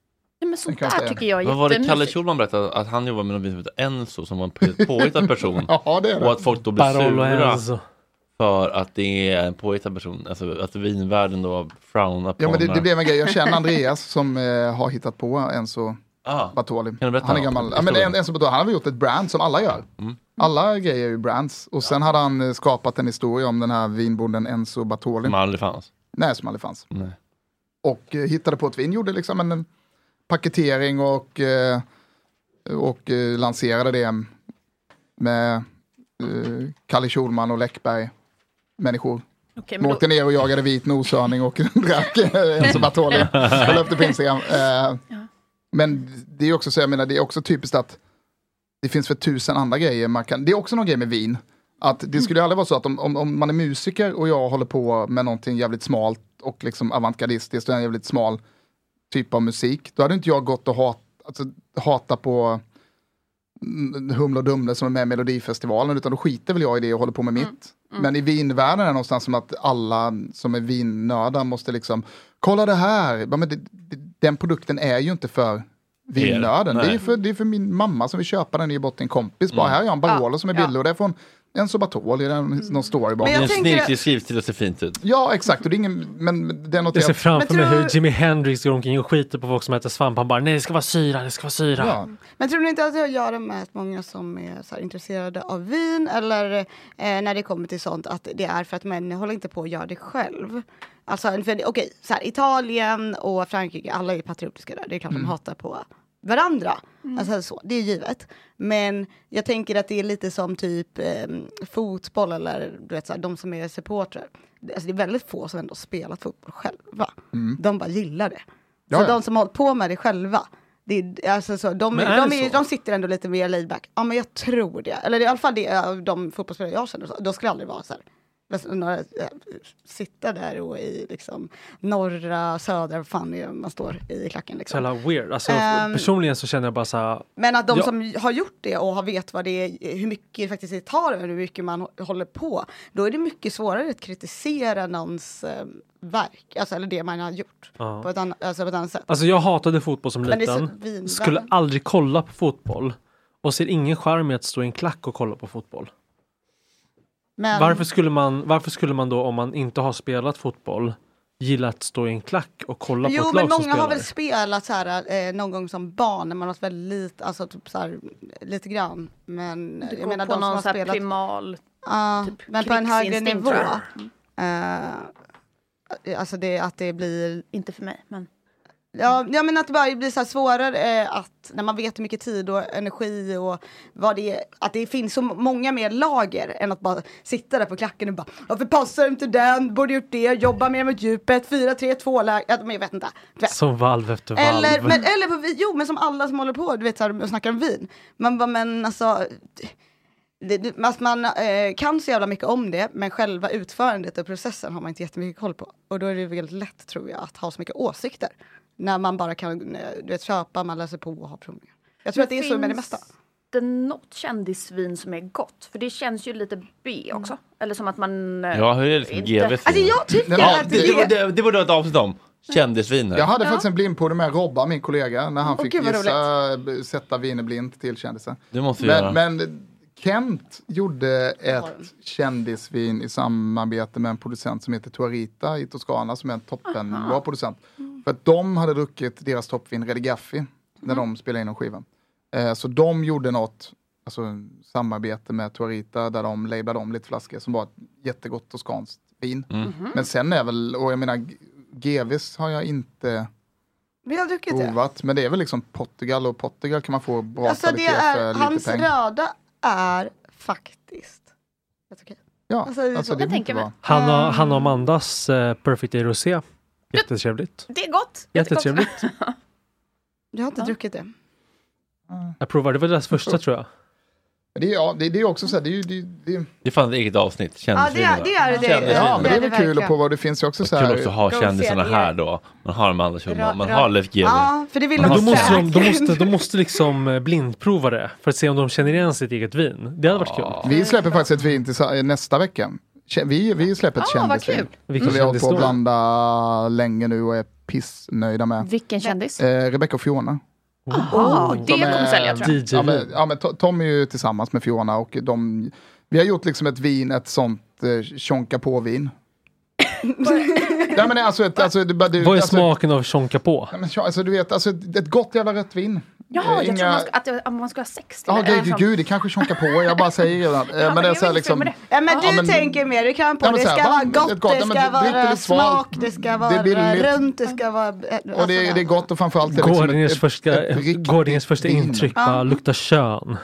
Speaker 2: Nej, men sånt
Speaker 3: kan jag
Speaker 2: där
Speaker 3: säga.
Speaker 2: tycker jag är
Speaker 1: Vad var det Kalle
Speaker 2: jättemysigt.
Speaker 1: Schulman berättade? Att han jobbade med någon som hette Enzo som var en på- påhittad person.
Speaker 3: Ja, det är
Speaker 1: Och
Speaker 3: det.
Speaker 1: att folk då blir
Speaker 5: Barolo
Speaker 1: sura
Speaker 5: Enzo.
Speaker 1: för att det är en påhittad person. Alltså att vinvärlden då frownar på
Speaker 3: Ja, men det, det
Speaker 1: honom.
Speaker 3: blev en grej. Jag känner Andreas som eh, har hittat på Enzo
Speaker 1: ah,
Speaker 3: Bartoli.
Speaker 1: du berätta
Speaker 3: han är
Speaker 1: om
Speaker 3: gammal. Ja, men
Speaker 1: historien? Mm.
Speaker 3: en- Enzo Bartoli, han har väl gjort ett brand som alla gör. Alla grejer är ju brands. Och sen hade han eh, skapat en historia om den här vinbonden Enzo Bartoli.
Speaker 1: som aldrig fanns.
Speaker 3: Nej, som aldrig fanns.
Speaker 1: Nej.
Speaker 3: Och eh, hittade på ett vin, gjorde liksom en, en paketering och, eh, och eh, lanserade det med eh, Kalle Schulman och Läckberg. Människor.
Speaker 2: Okej,
Speaker 3: De
Speaker 2: men då-
Speaker 3: åkte ner och jagade vit noshörning och drack Enzo Bartoli. Jag la upp det på Instagram. Eh, Men det är också så, jag menar, det är också typiskt att det finns för tusen andra grejer man kan, det är också någon grej med vin. Att det skulle ju aldrig vara så att om, om, om man är musiker och jag håller på med någonting jävligt smalt och liksom avantgardistiskt och en jävligt smal typ av musik, då hade inte jag gått och hat, alltså, hata på mm, Humle och Dumle som är med i Melodifestivalen, utan då skiter väl jag i det och håller på med
Speaker 4: Mm.
Speaker 3: mitt. Men i vinvärlden är det någonstans som att alla som är vinnördar måste liksom, kolla det här, ja, men det, det, den produkten är ju inte för vinnörden.
Speaker 1: Er, nej.
Speaker 3: Det är för, det är för min mamma som vill köpa den, i botten en kompis bara, här har jag en Barolo som är billig och det är från en Sobatol, det är en- någon story
Speaker 4: Mm. Men
Speaker 3: bakom.
Speaker 4: jag
Speaker 1: En
Speaker 4: tänker att-
Speaker 1: snirklig skrivstil ser fint ut.
Speaker 3: Ja, exakt, och det är ingen, men det är något
Speaker 5: Jag ser
Speaker 3: jag...
Speaker 5: framför
Speaker 4: Men
Speaker 5: mig
Speaker 4: tror-
Speaker 5: hur Jimi Hendrix går omkring och skiter på folk som äter svamp. Han bara, nej det ska vara syra, det ska vara syra.
Speaker 3: Ja.
Speaker 4: Men tror ni inte att det har att göra med att många som är så här intresserade av vin eller eh, när det kommer till sånt att det är för att män håller inte på att göra det själv? Alltså, för, okej, så här, Italien och Frankrike, alla är patriotiska där. Det är klart
Speaker 3: Mm.
Speaker 4: de hatar på varandra. Alltså så, det är givet. Men jag tänker att det är lite som typ eh, fotboll eller du vet så här, de som är supportrar. Alltså, det är väldigt få som ändå spelat fotboll själva. De bara gillar det.
Speaker 3: Mm. Ja,
Speaker 4: så
Speaker 3: ja.
Speaker 4: de som har hållit på med det själva, det är, alltså så, de,
Speaker 5: Men är
Speaker 4: de,
Speaker 5: det
Speaker 4: är,
Speaker 5: så?
Speaker 4: de sitter ändå lite mer laid back. Ja, men jag tror det. Eller det är i alla fall det eh, de fotbollsspelare jag känner. så. De skulle aldrig vara så här. Alltså, Några, eh, sitta där och i liksom norra, södra, vad fan det är man står i klacken
Speaker 5: Så
Speaker 4: liksom.
Speaker 5: jävla weird. Alltså,
Speaker 4: Ehm.
Speaker 5: personligen så känner jag bara så här,
Speaker 4: Men att de
Speaker 5: Ja.
Speaker 4: som har gjort det och har vet vad det är, hur mycket det faktiskt tar och hur mycket man hå- håller på, då är det mycket svårare att kritisera någons eh, verk, alltså, eller det man har gjort
Speaker 5: Ja.
Speaker 4: på, ett annan, alltså, på ett annat sätt.
Speaker 5: Alltså jag hatade fotboll som
Speaker 4: Men det är så
Speaker 5: liten.
Speaker 4: vinvärlden.
Speaker 5: Skulle aldrig kolla på fotboll. Och ser ingen charm i att stå i en klack och kolla på fotboll.
Speaker 4: Men,
Speaker 5: Varför skulle man, varför skulle man då om man inte har spelat fotboll gilla att stå i en klack och kolla på
Speaker 4: Jo,
Speaker 5: ett
Speaker 4: men
Speaker 5: lag som
Speaker 4: många
Speaker 5: spelar?
Speaker 4: har väl spelat så här, eh, någon gång som barn när man var väldigt liten, alltså typ så här, lite grann. Men eh,
Speaker 2: Du
Speaker 4: jag
Speaker 2: går
Speaker 4: menar
Speaker 2: på
Speaker 4: de som
Speaker 2: någon
Speaker 4: har
Speaker 2: sån här
Speaker 4: spelat,
Speaker 2: primal...
Speaker 4: Ja,
Speaker 2: typ
Speaker 4: men på en högre
Speaker 2: krigsinstinkt,
Speaker 4: nivå.
Speaker 2: tror jag.
Speaker 4: Eh, alltså det, att det blir
Speaker 2: Inte för mig, men...
Speaker 4: Ja, jag menar att det bara blir så här svårare eh, att när man vet hur mycket tid och energi och vad det är, att det finns så många mer lager än att bara sitta där på klacken och bara varför passar inte den, borde gjort det, jobba mer mot djupet, 4-3-2 läge, Ja, men jag vet inte. Du vet.
Speaker 5: Som valv efter valv.
Speaker 4: Eller, men, eller på, vi- jo men som alla som håller på du vet, så här, och snackar om vin. Man bara men alltså, det, det, att man eh, kan så jävla mycket om det men själva utförandet och processen har man inte jättemycket koll på. Och då är det väldigt lätt tror jag att ha så mycket åsikter. När man bara kan eh, du vet, köpa, man läser på och har provningar. Jag tror att det är så med det
Speaker 2: Finns
Speaker 4: mesta.
Speaker 2: det något kändisvin som är gott? För det känns ju lite B
Speaker 4: Mm.
Speaker 2: också. Eller som att man... eh,
Speaker 1: Ja, hur är det liksom
Speaker 2: Inte-
Speaker 1: GV?
Speaker 4: Alltså jag tycker
Speaker 3: Mm. Ja,
Speaker 4: att
Speaker 1: det,
Speaker 4: det,
Speaker 1: det, det borde ha ett avsnitt om. Kändisviner.
Speaker 3: Jag hade
Speaker 4: Ja.
Speaker 3: faktiskt en blindprovning med Robba, min kollega, när han
Speaker 4: Åh,
Speaker 3: fick
Speaker 4: gud, vad
Speaker 3: gissa, b- sätta viner blint till kändisen.
Speaker 1: Det måste vi göra.
Speaker 3: Men, men Kent gjorde ett kändisvin i samarbete med en producent som heter Tuarita i Toscana som är en toppenbra producent.
Speaker 4: Mm.
Speaker 3: För att de hade druckit deras toppvin Redigaffi när de spelade in den skivan. Eh, så de gjorde något, alltså en samarbete med Tuarita där de labelade om lite flaskor som var ett jättegott toscanskt vin.
Speaker 4: Mhm.
Speaker 3: Men sen är väl, och jag menar G- GVs har jag inte
Speaker 4: Vi har druckit det.
Speaker 3: provat, men det är väl liksom Portugal och Portugal kan man få bra
Speaker 4: Alltså det
Speaker 3: kvalitet
Speaker 4: är,
Speaker 3: för lite
Speaker 4: hans
Speaker 3: pengar.
Speaker 4: röda är faktiskt. Helt okej.
Speaker 3: Ja,
Speaker 4: Alltså,
Speaker 3: alltså,
Speaker 4: det är så.
Speaker 3: det
Speaker 2: Jag
Speaker 3: är
Speaker 2: tänker
Speaker 3: inte
Speaker 2: mig.
Speaker 3: bra.
Speaker 5: Han
Speaker 4: Mm.
Speaker 5: och, han och Amandas eh, Perfect Day Rosé. Jättetrevligt.
Speaker 2: Ah, Det är gott.
Speaker 5: Jättetrevligt.
Speaker 4: Jag har inte
Speaker 3: Alltså-
Speaker 2: Ja.
Speaker 4: druckit det.
Speaker 5: Jag provade, det var deras
Speaker 4: Mm.
Speaker 5: första tror jag.
Speaker 3: Men Det är, ja, det, det är också så här, det är ju... Det, det,
Speaker 1: Det är fan ett eget avsnitt.
Speaker 4: Ja det
Speaker 1: Kändisvinerna.
Speaker 4: är det. Är det.
Speaker 1: Ja, det är
Speaker 3: ja, men det är väl kul
Speaker 4: verkligen.
Speaker 3: att prova. Det finns ju också så
Speaker 1: Kul också att
Speaker 3: här...
Speaker 1: ha
Speaker 4: Go
Speaker 1: kändisarna
Speaker 4: Fed,
Speaker 1: här
Speaker 4: ja.
Speaker 1: då. Man har Amanda
Speaker 4: Ra-
Speaker 1: Schulman, man
Speaker 4: ra-
Speaker 1: har Leif GW.
Speaker 4: Ja, för det vill
Speaker 5: Men
Speaker 4: de
Speaker 5: då måste de,
Speaker 4: säkert.
Speaker 5: de, måste, de måste liksom eh, blindprova det för att se om de känner igen sitt eget vin. Det hade varit kul.
Speaker 3: Vi släpper faktiskt ett vin till, sa- nästa vecka. Kä- Vi, vi släpper ett
Speaker 2: Ah, vad
Speaker 3: kändisvin.
Speaker 2: kul.
Speaker 5: Vilken
Speaker 3: Som vi har hållit på att
Speaker 5: kändisdåre.
Speaker 3: blanda länge nu och är pissnöjda med.
Speaker 2: Vilken kändis?
Speaker 3: Eh, Rebecca och Fiona.
Speaker 2: Ah, det
Speaker 3: Oh, de är-
Speaker 2: kommer sälja tror jag.
Speaker 5: DJ.
Speaker 3: Ja, men, eh, ja, men To- Tom är ju tillsammans med Fiona och de... Vi har gjort liksom ett vin, ett sånt eh, tjonka på-vin. Nej men alltså, ett, alltså, det, det,
Speaker 5: Vad är
Speaker 3: alltså,
Speaker 5: smaken av chonka på?
Speaker 3: Nej, men, tja, alltså, du vet, alltså, ett ett gott jävla rött vin.
Speaker 2: Jaha,
Speaker 3: Eh,
Speaker 2: jag tror man Alltså, ska, att det- att man ska ha sex till
Speaker 3: Ja,
Speaker 2: det, eller
Speaker 3: gud, gud,
Speaker 2: sånt.
Speaker 3: gud, det kanske tjonkar på. Jag bara säger redan. Eh, men det är så här liksom...
Speaker 4: Ja, men
Speaker 3: Ja,
Speaker 4: du
Speaker 3: men-
Speaker 4: tänker mer, du kan på
Speaker 3: Ja, men
Speaker 4: det
Speaker 3: så
Speaker 4: ska
Speaker 3: här,
Speaker 4: vara
Speaker 3: va?
Speaker 4: gott,
Speaker 3: Ett gott,
Speaker 4: det
Speaker 3: ja,
Speaker 4: ska
Speaker 3: men drick det
Speaker 4: vara smak,
Speaker 3: lite svalt.
Speaker 4: det ska
Speaker 3: är
Speaker 4: vara
Speaker 3: billigt.
Speaker 4: runt, det ska vara... eh, alltså
Speaker 3: Och det,
Speaker 4: där.
Speaker 3: det är gott och framförallt är det liksom
Speaker 5: Gårdingens
Speaker 3: ett-
Speaker 5: första,
Speaker 3: ett riktigt
Speaker 5: Gårdingens första
Speaker 3: vin.
Speaker 5: intryck bara lukta kön.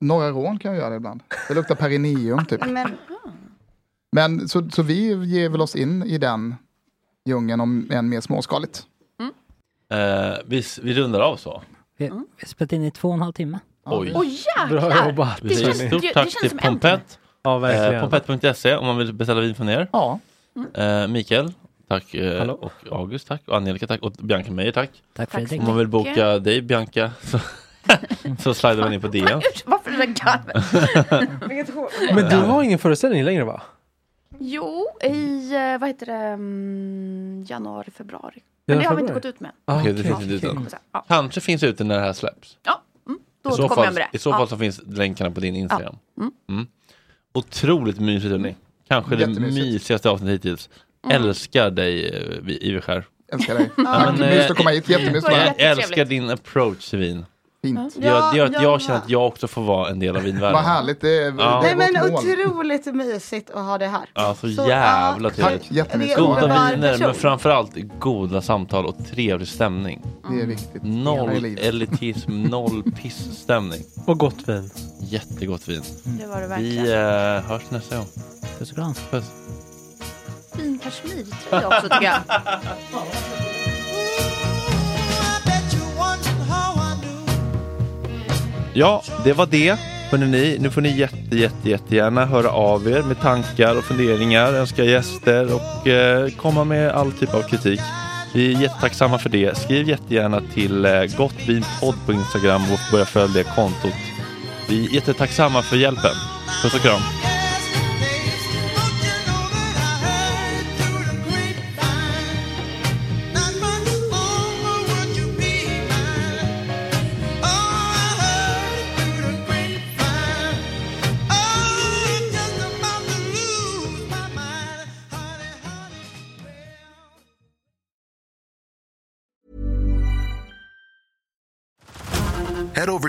Speaker 3: Norra Rån kan jag göra det ibland. Det luktar perineum typ.
Speaker 4: Men,
Speaker 3: Men så, så vi ger väl oss in i den djungeln om än mer småskaligt.
Speaker 1: Eh, vi, vi rundar av så.
Speaker 6: Vi
Speaker 4: Mm.
Speaker 6: har spelat in i två och en halv timme.
Speaker 3: Ja,
Speaker 1: Oj.
Speaker 3: det-
Speaker 2: Oj
Speaker 5: Bra
Speaker 2: jäklar!
Speaker 5: jobbat. Mm.
Speaker 1: Vi säger
Speaker 2: känns-
Speaker 1: stort
Speaker 2: det- det
Speaker 1: tack
Speaker 2: känns
Speaker 1: till
Speaker 2: som en
Speaker 1: Pompett.
Speaker 5: Ja,
Speaker 1: Eh,
Speaker 5: verkligen.
Speaker 1: Pompett.se om man vill beställa vin från er.
Speaker 3: Ja,
Speaker 1: Eh, Mikael, tack. Eh,
Speaker 5: Hallå.
Speaker 1: och August, tack. Och Angelica, tack. Och Bianca Meijer, tack.
Speaker 6: Tack
Speaker 2: Tack så
Speaker 6: Fredrik.
Speaker 1: Om man vill boka
Speaker 2: Tack.
Speaker 1: dig, Bianca, så, så slidar man in på DN.
Speaker 2: Usch, Varför är det där
Speaker 4: vilket hår.
Speaker 5: Men du har ingen föreställning längre va?
Speaker 2: Jo, i eh, vad heter det, mm, januari, februari. Men
Speaker 5: Januari,
Speaker 2: det har vi inte
Speaker 5: februari?
Speaker 2: gått ut med.
Speaker 5: Ah,
Speaker 1: Okej, det
Speaker 5: okej.
Speaker 1: finns inte ut än.
Speaker 2: Så här, Ja,
Speaker 1: Kanske finns ute när det här släpps.
Speaker 2: ja mm, då
Speaker 1: I så,
Speaker 2: återkommer jag
Speaker 1: fall,
Speaker 2: med det.
Speaker 1: I så
Speaker 2: Ja.
Speaker 1: fall så finns länkarna på din Instagram. Mm. Otroligt mysigt hörni. Kanske det
Speaker 3: Jättemysigt.
Speaker 1: mysigaste avsnittet hittills.
Speaker 2: Mm.
Speaker 1: Älskar dig eh, vi- Iveskär.
Speaker 3: älskar dig.
Speaker 1: Ja, men,
Speaker 3: Mysigt
Speaker 1: eh,
Speaker 3: att komma hit, jättemysigt att vara
Speaker 2: var
Speaker 1: Jag
Speaker 3: här.
Speaker 2: jättetrevligt.
Speaker 1: älskar din approach till vin.
Speaker 3: Fint.
Speaker 1: Det gör, det gör att
Speaker 4: Ja,
Speaker 1: jag
Speaker 4: jag
Speaker 1: känner att jag också får vara en del av
Speaker 3: Vad
Speaker 1: vinvärlden.
Speaker 3: härligt, det är,
Speaker 1: Ja.
Speaker 3: det
Speaker 4: Nej
Speaker 3: är
Speaker 4: men
Speaker 3: vårt mål.
Speaker 4: otroligt mysigt att ha det här.
Speaker 1: Ja, så
Speaker 4: Så,
Speaker 1: jävla
Speaker 4: ja,
Speaker 1: trevligt.
Speaker 3: Tack, jättemysigt att
Speaker 4: Goda
Speaker 3: vara
Speaker 1: Goda
Speaker 3: här.
Speaker 4: underbar
Speaker 1: viner,
Speaker 4: person.
Speaker 1: men framförallt goda samtal och trevlig stämning.
Speaker 3: Det är viktigt.
Speaker 1: Noll
Speaker 3: livet.
Speaker 1: elitism, noll pissstämning.
Speaker 5: Och gott vin.
Speaker 1: Jättegott vin.
Speaker 2: Det var det
Speaker 1: Vi
Speaker 2: verkligen.
Speaker 1: eh, hörs nästa gång.
Speaker 6: Puss och kram.
Speaker 1: Puss.
Speaker 2: Fin kashmirtröja också tycker jag.
Speaker 1: Ja, det var det. Hörrni, ni, nu får ni jätte, jätte, jättegärna höra av er med tankar och funderingar, önska gäster och eh, komma med all typ av kritik. Vi är jättetacksamma för det. Skriv jättegärna till eh, gottvinpodd på Instagram och börja följa det kontot. Vi är jättetacksamma för hjälpen. Puss och kram.
Speaker 7: Head over